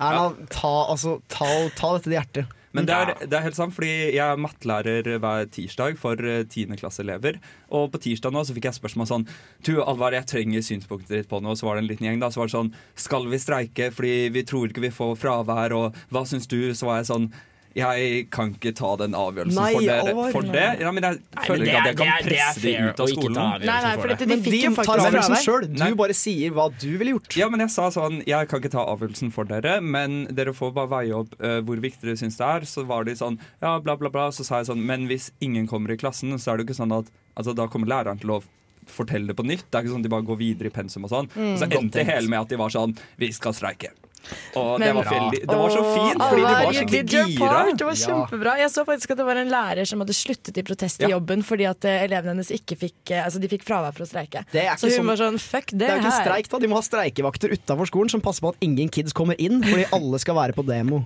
Speaker 13: Erna, ta, altså, ta, ta dette til hjertet.
Speaker 8: Men det er, det er helt sant, fordi jeg er mattelærer hver tirsdag for eh, tiendeklasseelever. Og på tirsdag nå så fikk jeg spørsmål sånn Du, Alvar, jeg trenger synspunktet ditt på noe. Så var det en liten gjeng, da. Så var det sånn Skal vi streike fordi vi tror ikke vi får fravær, og hva syns du? Så var jeg sånn jeg kan ikke ta den avgjørelsen
Speaker 13: Nei,
Speaker 8: for dere.
Speaker 13: Alvar.
Speaker 8: For det? Ja, men jeg
Speaker 13: men
Speaker 8: føler
Speaker 13: det
Speaker 8: ikke
Speaker 13: er-
Speaker 8: at jeg kan
Speaker 13: det er- det er
Speaker 8: presse de
Speaker 13: fair
Speaker 8: ut av
Speaker 13: å ikke ta
Speaker 8: skolen.
Speaker 13: avgjørelsen Nei, nei, for for det. dette- de
Speaker 8: Men
Speaker 13: fikk jo faktisk
Speaker 8: tar avgjørelsen
Speaker 13: fravær.
Speaker 8: selv.
Speaker 13: Du bare sier hva du ville gjort.
Speaker 8: Ja, men jeg sa sånn Jeg kan ikke ta avgjørelsen for dere, men dere får bare veie opp eh, hvor viktig dere syns det er. Så var de sånn ja, bla, bla, bla. Så sa jeg sånn Men hvis ingen kommer i klassen, så er det jo ikke sånn at Altså, da kommer læreren til å fortelle det på nytt. Det er ikke sånn at de bare går videre i pensum og sånn.
Speaker 9: Mm.
Speaker 8: Og så
Speaker 9: Godt
Speaker 8: endte det
Speaker 9: tenkt.
Speaker 8: hele med at de var sånn Vi skal streike. Og
Speaker 9: Men-
Speaker 8: det var, veldig, det var så fint, fordi de
Speaker 9: Alvar,
Speaker 8: var
Speaker 9: you
Speaker 8: skikkelig
Speaker 9: did your
Speaker 8: gira.
Speaker 9: part. Det var kjempebra. Jeg så faktisk at det var en lærer som hadde sluttet i protest i
Speaker 8: Ja.
Speaker 9: jobben fordi at eh, elevene hennes ikke fikk eh, Altså, de fikk fravær for å streike.
Speaker 13: Det er ikke
Speaker 9: Så hun
Speaker 13: sånn-
Speaker 9: var sånn fuck
Speaker 13: Det
Speaker 9: det,
Speaker 13: er jo ikke
Speaker 9: her. <laughs>
Speaker 13: streik, da. De må ha streikevakter utafor skolen som passer på at ingen kids kommer inn, fordi alle skal være på demo.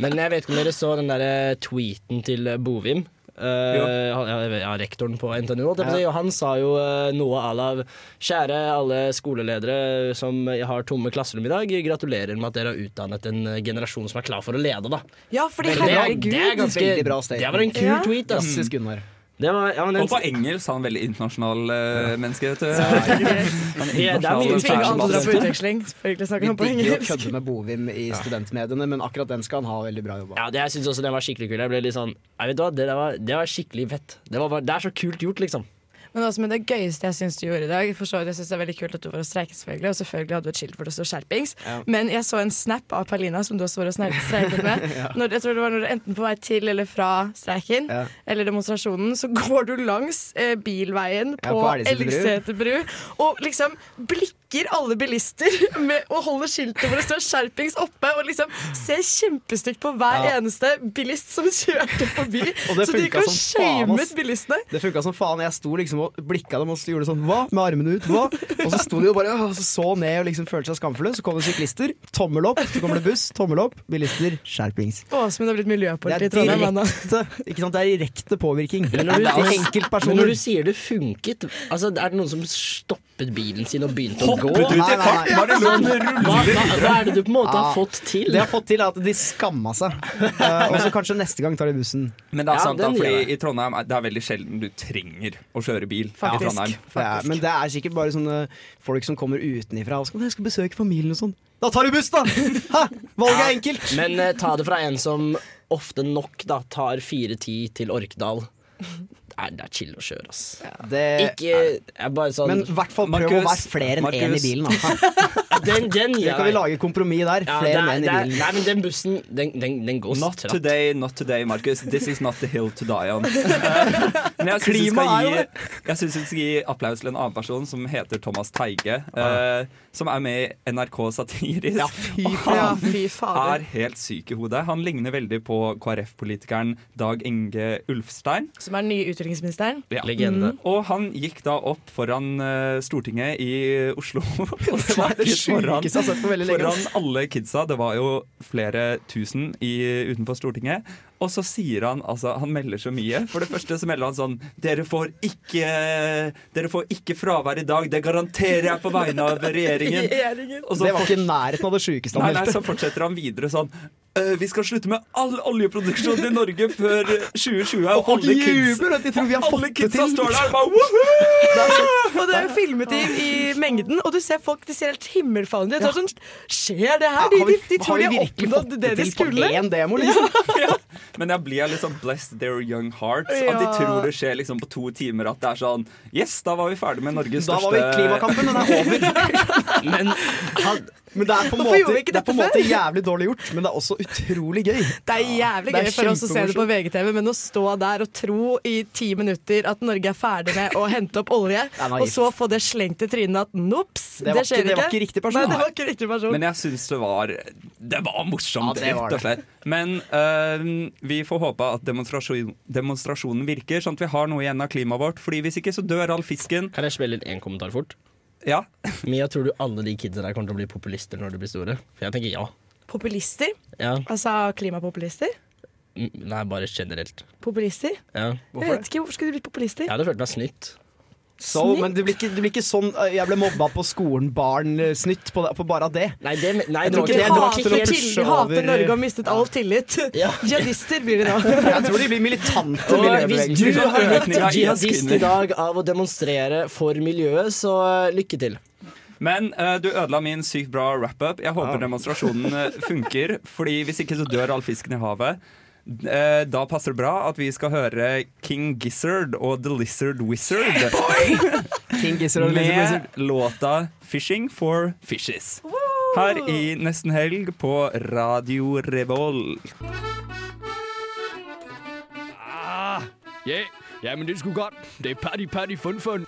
Speaker 4: Men jeg vet ikke om dere så den der tweeten til Bovim. Eh, han, ja, jeg vet- ja, rektoren på NTNU. holdt jeg på å si,
Speaker 13: Ja.
Speaker 4: og Han sa jo eh, noe à la Kjære alle skoleledere som har tomme klasserom i dag. Gratulerer med at dere har utdannet en eh, generasjon som er klar for å lede, da.
Speaker 9: Ja, fordi
Speaker 4: Men det er-
Speaker 9: herregud.
Speaker 4: det er ganske-
Speaker 13: Veldig bra statement.
Speaker 4: Det var en kul
Speaker 9: Ja.
Speaker 4: tweet. ass.
Speaker 13: Klassisk Gunnar. Det var, ja, men den-
Speaker 8: Og på engelsk er han veldig internasjonal eh, menneske, vet
Speaker 9: <laughs>
Speaker 8: du.
Speaker 13: Så-
Speaker 8: Han er
Speaker 13: Ja, det er mye tvil.
Speaker 8: internasjonal fan.
Speaker 13: alle drar på
Speaker 9: utveksling. Selvfølgelig
Speaker 13: Vi
Speaker 9: snakker han på
Speaker 13: digger å
Speaker 9: engelsk.
Speaker 13: kødde med Bovim i studentmediene, men akkurat den skal han ha veldig bra jobba.
Speaker 4: Ja, det, Jeg syns også den var skikkelig kul. Jeg ble litt sånn jeg vet du hva, det, der var, det var skikkelig fett. Det, var, bare- det er så kult gjort, liksom.
Speaker 9: Men også med det gøyeste jeg syns du gjorde i dag. For så, vidt, jeg synes det er veldig kult at du var og streiket, selvfølgelig. Og selvfølgelig hadde du et skilt hvor det sto 'skjerpings'.
Speaker 4: Ja.
Speaker 9: Men jeg så en snap av Palina som du også var og snar-
Speaker 13: <laughs>
Speaker 9: streiket med.
Speaker 4: Ja.
Speaker 9: når, jeg tror det var når du enten på vei til eller fra streiken
Speaker 4: Ja.
Speaker 9: eller demonstrasjonen, så går du langs eh, bilveien
Speaker 4: Ja,
Speaker 9: på,
Speaker 4: på Elgeseter
Speaker 9: Elgseter bru
Speaker 4: bru.
Speaker 9: og liksom blikker alle bilister <laughs> med, og holder skiltet hvor det står 'skjerpings' oppe, og liksom ser kjempestygt på hver
Speaker 13: Ja.
Speaker 9: eneste bilist som kjørte forbi.
Speaker 13: <laughs> Og det
Speaker 9: så de gikk
Speaker 13: funka som
Speaker 9: og
Speaker 13: faen, ass.
Speaker 9: shamet bilistene.
Speaker 13: Det funka som faen. Jeg sto liksom og blikka dem og så gjorde sånn hva? Med armene ut, hva? Og så sto de og bare og så, så ned og liksom følte seg skamfulle. Så kom det syklister, tommel opp. Så kommer det buss, tommel opp. Bilister, skjerpings.
Speaker 9: Åsmund har blitt
Speaker 13: Det
Speaker 9: miljøpoliti
Speaker 13: er
Speaker 9: i Trondheim. han da.
Speaker 13: direkte, ikke sant? Det er direkte påvirkning.
Speaker 4: Men når,
Speaker 13: Det er
Speaker 4: du, men
Speaker 13: enkeltpersoner.
Speaker 4: når du sier det funket altså, Er det noen som stoppet bilen sin og begynte å gå?
Speaker 13: Hoppet ut i
Speaker 4: Nei, nei,
Speaker 13: fart?
Speaker 4: nei.
Speaker 13: Var det noen
Speaker 4: Sånn,
Speaker 13: ruller
Speaker 4: hva, hva, hva er det du på en måte
Speaker 13: Ja.
Speaker 4: har fått til?
Speaker 13: Det jeg har fått til, er at de skamma seg. Eh, og så kanskje neste gang tar de bussen.
Speaker 8: Men det er
Speaker 13: Ja,
Speaker 8: sant, da,
Speaker 13: den gjør jeg.
Speaker 8: fordi i Trondheim er det er veldig sjelden du trenger å kjøre bil. i Trondheim.
Speaker 13: Det er, men det er sikkert bare sånne folk som kommer utenifra og skal, jeg skal besøke familien og sånn. Da tar du buss,
Speaker 4: <laughs>
Speaker 13: da! Hæ? Valget er enkelt.
Speaker 4: Men eh, ta det fra en som ofte nok da, tar 4.10 til Orkdal. Det er, det er chill å kjøre, ass.
Speaker 13: Det
Speaker 4: Ikke jeg bare sånn
Speaker 13: Men i hvert fall prøv å være flere enn én i
Speaker 4: <laughs>
Speaker 13: bilen. Da.
Speaker 4: Den, den
Speaker 13: Da
Speaker 4: gir
Speaker 13: kan vi
Speaker 4: jeg meg.
Speaker 13: lage kompromiss der.
Speaker 4: Ja,
Speaker 13: flere
Speaker 4: det er-
Speaker 13: enn én
Speaker 4: det
Speaker 13: i
Speaker 4: er-
Speaker 13: bilen.
Speaker 4: Nei, men den bussen, den, den, den går
Speaker 8: Not
Speaker 4: stratt.
Speaker 8: today, not today, Markus. This is not the hill to die on. Men jeg syns vi
Speaker 4: Klima
Speaker 8: skal
Speaker 4: er jo
Speaker 8: gi, jeg synes vi skal gi applaus til en annen person som heter Thomas Teige. eh, som er med i NRK Satirisk.
Speaker 9: Ja, fy faen. Ja, fy fader.
Speaker 8: er helt syk i hodet. Han ligner veldig på KrF-politikeren Dag Inge Ulfstein.
Speaker 9: Som er den nye utviklingsministeren.
Speaker 8: Ja.
Speaker 9: Legende.
Speaker 8: Mm. Og han gikk da opp foran eh, Stortinget i Oslo. <laughs> og snakket
Speaker 13: det sjukeste jeg har sett på veldig lenge,
Speaker 8: foran
Speaker 13: ass.
Speaker 8: alle kidsa. Det var jo flere tusen i, utenfor Stortinget. Og så sier han altså Han melder så mye. For det første så melder han sånn Dere får ikke Dere får ikke fravær i dag. Det garanterer jeg på vegne av <laughs> regjeringen. Og så
Speaker 13: Det var
Speaker 8: fort-
Speaker 13: ikke i nærheten av det sjukeste
Speaker 8: Nei,
Speaker 13: han
Speaker 8: nei, så
Speaker 13: meldte.
Speaker 8: fortsetter han videre sånn «Eh, Vi skal slutte med all oljeproduksjon i Norge før eh, 2020. Og
Speaker 13: folk
Speaker 8: alle kids
Speaker 13: jubler at de tror vi har
Speaker 8: og
Speaker 13: fått
Speaker 8: alle
Speaker 13: det
Speaker 8: kidsa
Speaker 13: til.
Speaker 8: står der og bare «Woohoo!»
Speaker 9: Og det er jo filmet i, i mengden, og du ser folk de ser helt himmelfallende ut. Det er Sånn, Skjer det her? De,
Speaker 13: Har
Speaker 9: de,
Speaker 13: vi,
Speaker 9: de tror
Speaker 13: har
Speaker 9: de
Speaker 13: vi
Speaker 9: har
Speaker 13: virkelig fått
Speaker 9: oppnådd det de
Speaker 13: til på
Speaker 9: skulle.
Speaker 13: én demo,
Speaker 8: <laughs>
Speaker 13: liksom?
Speaker 8: Men jeg blir litt sånn blessed their young hearts. At de
Speaker 9: Ja.
Speaker 8: tror det skjer liksom på to timer. At det er sånn Yes, da var vi ferdig med Norges
Speaker 13: Da var
Speaker 8: største
Speaker 13: vi i
Speaker 8: <laughs>
Speaker 13: klimakampen, den er over.
Speaker 4: Men, han,
Speaker 13: men det er på en
Speaker 9: Hvorfor gjorde
Speaker 13: måte,
Speaker 9: vi ikke
Speaker 13: det er på en
Speaker 9: dette
Speaker 13: måte
Speaker 9: før?
Speaker 13: jævlig dårlig gjort, men det er også utrolig gøy.
Speaker 9: Det er jævlig
Speaker 13: Det er
Speaker 9: gøy for oss å se det på
Speaker 13: kjempemorsomt.
Speaker 9: VGTV, men å stå der og tro i ti minutter at Norge er ferdig med å hente opp olje,
Speaker 8: er naivt.
Speaker 9: og så få det slengt i trynet at nops,
Speaker 8: Det
Speaker 9: det,
Speaker 8: var ikke-
Speaker 9: skjer
Speaker 8: det
Speaker 9: ikke.
Speaker 8: var ikke riktig person.
Speaker 9: Nei, det var ikke riktig person.
Speaker 8: Men jeg syns det var Det var morsomt, Ja, det var rett og slett. Men øhm, vi får håpe at demonstrasjon, demonstrasjonen virker, sånn at vi har noe igjen av klimaet vårt. Fordi hvis ikke, så dør all fisken.
Speaker 4: Kan jeg spille inn én kommentar fort?
Speaker 8: Ja.
Speaker 4: Mia, tror du alle de kidsa der kommer til å bli populister når de blir store? For jeg tenker ja.
Speaker 9: Populister?
Speaker 4: ja.
Speaker 9: Altså klimapopulister?
Speaker 4: Mm, Nei, bare generelt.
Speaker 9: Populister?
Speaker 4: Ja.
Speaker 9: jeg vet ikke, hvorfor skulle de blitt populister?
Speaker 4: Jeg hadde følt meg snytt.
Speaker 13: Så, men det blir, ikke, det blir ikke sånn eh, jeg ble mobba på skolen, barn, eh, snytt på, på bare det.
Speaker 4: Nei, det, nei,
Speaker 13: Jeg tror
Speaker 9: De
Speaker 13: ikke det er nok
Speaker 9: hater,
Speaker 13: til å
Speaker 9: til,
Speaker 13: pushe
Speaker 9: de hater
Speaker 13: over eh,
Speaker 9: Norge og har mistet all tillit. Jihadister blir de nå.
Speaker 13: Jeg tror de blir militante
Speaker 4: Og hvis du
Speaker 13: miljøbevegelser.
Speaker 4: har blitt
Speaker 8: Økning av
Speaker 4: jihadist
Speaker 8: IS-kvinner.
Speaker 4: i dag av å demonstrere for miljøet, så eh, lykke til.
Speaker 8: Men øh, du ødela min sykt bra wrap-up. Jeg håper demonstrasjonen øh, funker. Fordi hvis ikke, så dør all fisken i havet. Eh, Da passer det bra at vi skal høre King Gizzard og The Lizard Wizard. <laughs>
Speaker 13: King Gizzard og The Lizard
Speaker 8: Med
Speaker 13: Wizard.
Speaker 8: låta 'Fishing for Fishes'. Her i Nesten Helg på Radio Revolt.
Speaker 1: Ah, ja, ja, men det skulle godt. Det er party, party, fun, fun.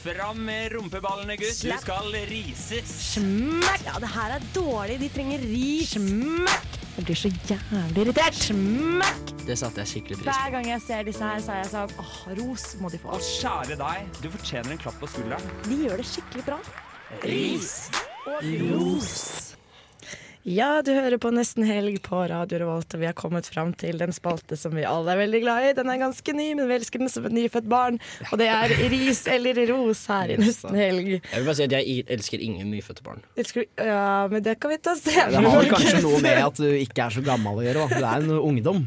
Speaker 8: Fram med rumpeballene, gutt. Du skal rises.
Speaker 7: Smekk! Ja, det her er dårlig. De trenger ris. Smekk! Jeg blir så jævlig irritert. Smekk!
Speaker 4: Det satte jeg skikkelig pris
Speaker 7: Hver gang jeg ser disse her, så er jeg sånn åh, ros må de få.
Speaker 8: Og kjære deg, du fortjener en klapp på skulderen.
Speaker 7: De gjør det skikkelig bra.
Speaker 8: Ris
Speaker 7: og
Speaker 8: ros.
Speaker 9: Ja, du hører på Nesten Helg på Radio Revolt, og vi har kommet fram til den spalte som vi alle er veldig glad i. Den er ganske ny, men vi elsker den som et nyfødt barn. Og det er ris eller ros her i Nesten Helg.
Speaker 4: Jeg vil bare si at jeg i- elsker ingen nyfødte barn.
Speaker 9: Elsker du Ja, men det kan vi ta
Speaker 13: Det har vel
Speaker 9: senere.
Speaker 13: kanskje noe med at du ikke er så gammel å gjøre, da. Du er en ungdom.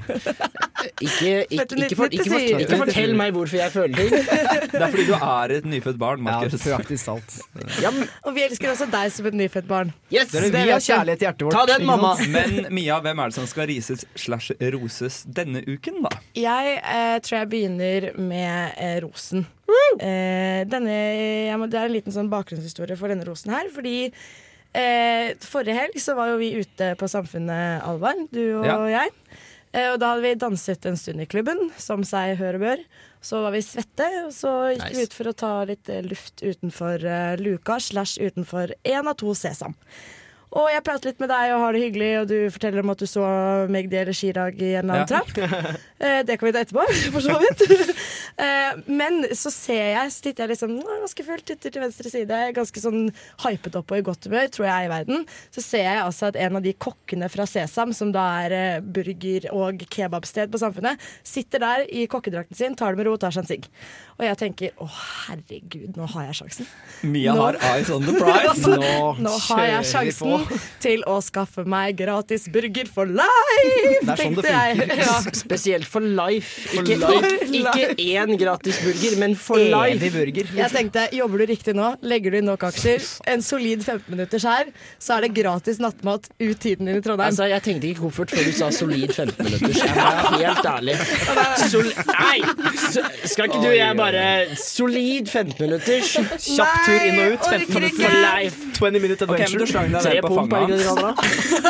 Speaker 4: Ikke,
Speaker 9: ikke-
Speaker 13: ikke for- ikke for- ikke fortell meg
Speaker 4: hvorfor jeg føler ting.
Speaker 8: Det er fordi du er et nyfødt barn, Markus.
Speaker 13: Ja, praktisk talt.
Speaker 9: Og vi elsker også deg som et nyfødt barn.
Speaker 13: Yes! Dere, vi
Speaker 9: Det
Speaker 13: har
Speaker 9: vet jeg.
Speaker 13: kjærlighet i hjertet vårt.
Speaker 9: Ta den, mamma!
Speaker 8: Men Mia, hvem er det som skal rises slash roses denne uken, da?
Speaker 9: Jeg eh, tror jeg begynner med eh, rosen. Eh, denne, jeg må, det er en liten sånn bakgrunnshistorie for denne rosen her. Fordi eh, forrige helg så var jo vi ute på Samfunnet, Alvar, du og
Speaker 2: Ja.
Speaker 9: jeg. Eh, og da hadde vi danset en stund i klubben, som seg hør og bør. Så var vi svette, og så gikk vi
Speaker 2: Nice.
Speaker 9: ut for å ta litt eh, luft utenfor eh, luka slash utenfor én av to sesam. Og jeg prater litt med deg og har det hyggelig, og du forteller om at du så Magdi eller Chirag i en eller annen <laughs> trapp. Eh, Det kan vi ta etterpå, <laughs> for så vidt. <laughs> Eh, Men så ser jeg, så titter jeg liksom nå er det ganske fullt, titter til venstre side, ganske sånn hypet opp og i godt humør, tror jeg er i verden. Så ser jeg altså at en av de kokkene fra Sesam, som da er eh, burger- og kebabsted på Samfunnet, sitter der i kokkedrakten sin, tar det med ro og tar seg en sigg. Og jeg tenker å herregud, nå har jeg sjansen.
Speaker 8: Mia
Speaker 9: Nå-
Speaker 8: har eyes on the prize.
Speaker 9: <laughs> Nå, har jeg sjansen til å skaffe meg gratis burger for life!
Speaker 4: Det er sånn det
Speaker 9: tenkte jeg.
Speaker 4: funker.
Speaker 9: Ja.
Speaker 4: S- Spesielt for life.
Speaker 9: For
Speaker 4: Ikke,
Speaker 9: life.
Speaker 4: ikke én gratis burger, men for
Speaker 9: Evig
Speaker 4: life.
Speaker 13: burger.
Speaker 4: liksom.
Speaker 9: Jeg tenkte, jobber du riktig nå, legger du inn nok aksjer, en solid 15 minutters her, så er det gratis nattmat ut tiden din i Trondheim.
Speaker 4: Altså, jeg tenkte ikke koffert før du sa solid 15 minutter. Så jeg var helt ærlig. Sol Nei! S- Skal ikke du og jeg bare Solid 15 minutter. Kjapp tur inn og ut. 15 minutter for life.
Speaker 13: 20 minute
Speaker 8: Ok, men
Speaker 13: adventure.
Speaker 8: du slang deg ned på fanget hans.
Speaker 9: <laughs>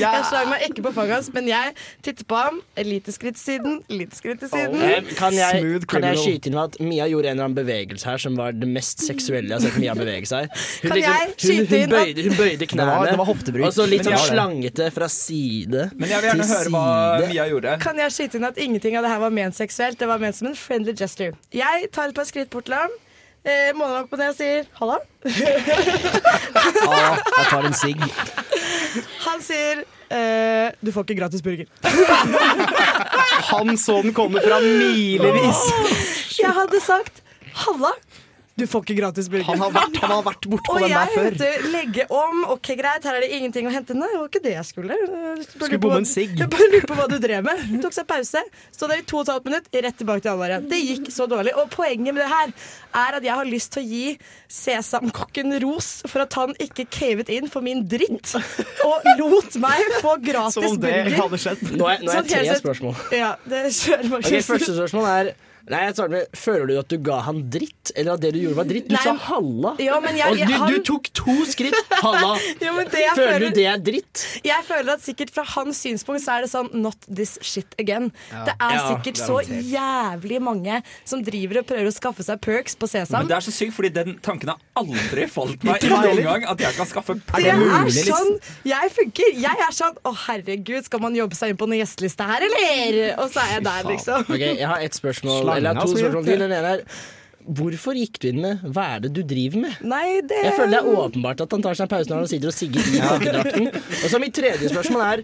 Speaker 9: Jeg slang meg ikke på fanget hans, men jeg titter på ham. Et lite skritt til siden, lite skritt til siden.
Speaker 4: Eh, Kan jeg,
Speaker 13: Smooth
Speaker 4: kan jeg
Speaker 13: criminal.
Speaker 4: skyte inn med at Mia gjorde en eller annen bevegelse her som var det mest seksuelle jeg har sett Mia bevege seg?
Speaker 9: Kan jeg
Speaker 4: hun,
Speaker 9: skyte inn
Speaker 4: hun,
Speaker 9: at-
Speaker 4: bøyde, hun bøyde
Speaker 13: Det var-
Speaker 4: knærne,
Speaker 13: det var hoftebruk.
Speaker 4: og så litt
Speaker 13: Men
Speaker 4: sånn
Speaker 13: jeg har
Speaker 4: slangete fra side
Speaker 8: Men jeg vil gjerne
Speaker 4: til
Speaker 8: høre hva
Speaker 4: side.
Speaker 8: Mia gjorde.
Speaker 9: Kan jeg skyte inn at ingenting av det her var ment seksuelt? Det var ment som en friendly gesture. Jeg tar et par skritt bort til ham, eh, måler meg på det og sier 'halla'.
Speaker 13: <laughs> Ja, jeg tar en sigg.
Speaker 9: Han sier eh, 'du får ikke gratis
Speaker 13: <laughs>
Speaker 9: burger'.
Speaker 13: Han så den komme fra milevis.
Speaker 9: Jeg hadde sagt 'halla'. Du får ikke gratis burger.
Speaker 13: Han har vært, han har vært bort på
Speaker 9: Og
Speaker 13: den
Speaker 9: jeg
Speaker 13: der før.
Speaker 9: måtte legge om. Ok, greit, her er det ingenting å hente. Nei, det var ikke det jeg skulle. Eh, Jeg
Speaker 13: Skulle bomme en sigg.
Speaker 9: Jeg <laughs> bare lurer på hva du drev med. Hun tok seg pause, stå der i to og et halvt minutt, rett tilbake til Alvar igjen. Det gikk så dårlig. Og poenget med det her er at jeg har lyst til å gi Sesamkokken ros for at han ikke cavet inn for min dritt og lot meg få gratis
Speaker 13: Som om det
Speaker 9: burger.
Speaker 13: hadde skjedd.
Speaker 4: Nå er- nå er jeg
Speaker 9: Sånn helt
Speaker 4: tre
Speaker 9: sett-
Speaker 4: spørsmål.
Speaker 9: Ja, det kjører <laughs> Markus.
Speaker 4: Ok, Første spørsmål er Nei, jeg starter med Føler du at du ga han dritt, eller at det du gjorde, var dritt? Du
Speaker 9: Nei,
Speaker 4: sa halla.
Speaker 9: ja, men jeg-
Speaker 4: og du,
Speaker 9: han-
Speaker 4: du tok to skritt. Halla.
Speaker 9: <laughs> Ja, men det
Speaker 4: føler,
Speaker 9: jeg føler-
Speaker 4: du det er dritt?
Speaker 9: Jeg føler at sikkert fra hans synspunkt så er det sånn Not this shit again.
Speaker 8: Ja.
Speaker 9: Det er
Speaker 8: Ja,
Speaker 9: sikkert så
Speaker 8: garantert.
Speaker 9: jævlig mange som driver og prøver å skaffe seg perks på
Speaker 8: Men
Speaker 9: Sesam.
Speaker 8: det er så sykt, fordi den tanken har aldri falt meg
Speaker 9: Ikke
Speaker 8: i noen
Speaker 9: heller.
Speaker 8: gang at jeg kan skaffe
Speaker 9: Det er
Speaker 8: liksom?
Speaker 13: liksom?
Speaker 9: sånn jeg funker. Jeg er sånn Å, herregud, skal man jobbe seg inn på noen gjesteliste her, eller? Og så er jeg der, liksom.
Speaker 4: Ok, Jeg har ett spørsmål,
Speaker 9: Slangen,
Speaker 4: eller jeg har to
Speaker 9: altså,
Speaker 4: spørsmål
Speaker 9: ja.
Speaker 4: til. Den ene er Hvorfor gikk du inn med 'hva er det du driver med'?
Speaker 9: Nei, det
Speaker 4: Jeg føler det er åpenbart at han tar seg en pause når han sitter og
Speaker 13: <laughs>
Speaker 4: sigger i kakkedrakten. Og så mitt tredje spørsmål er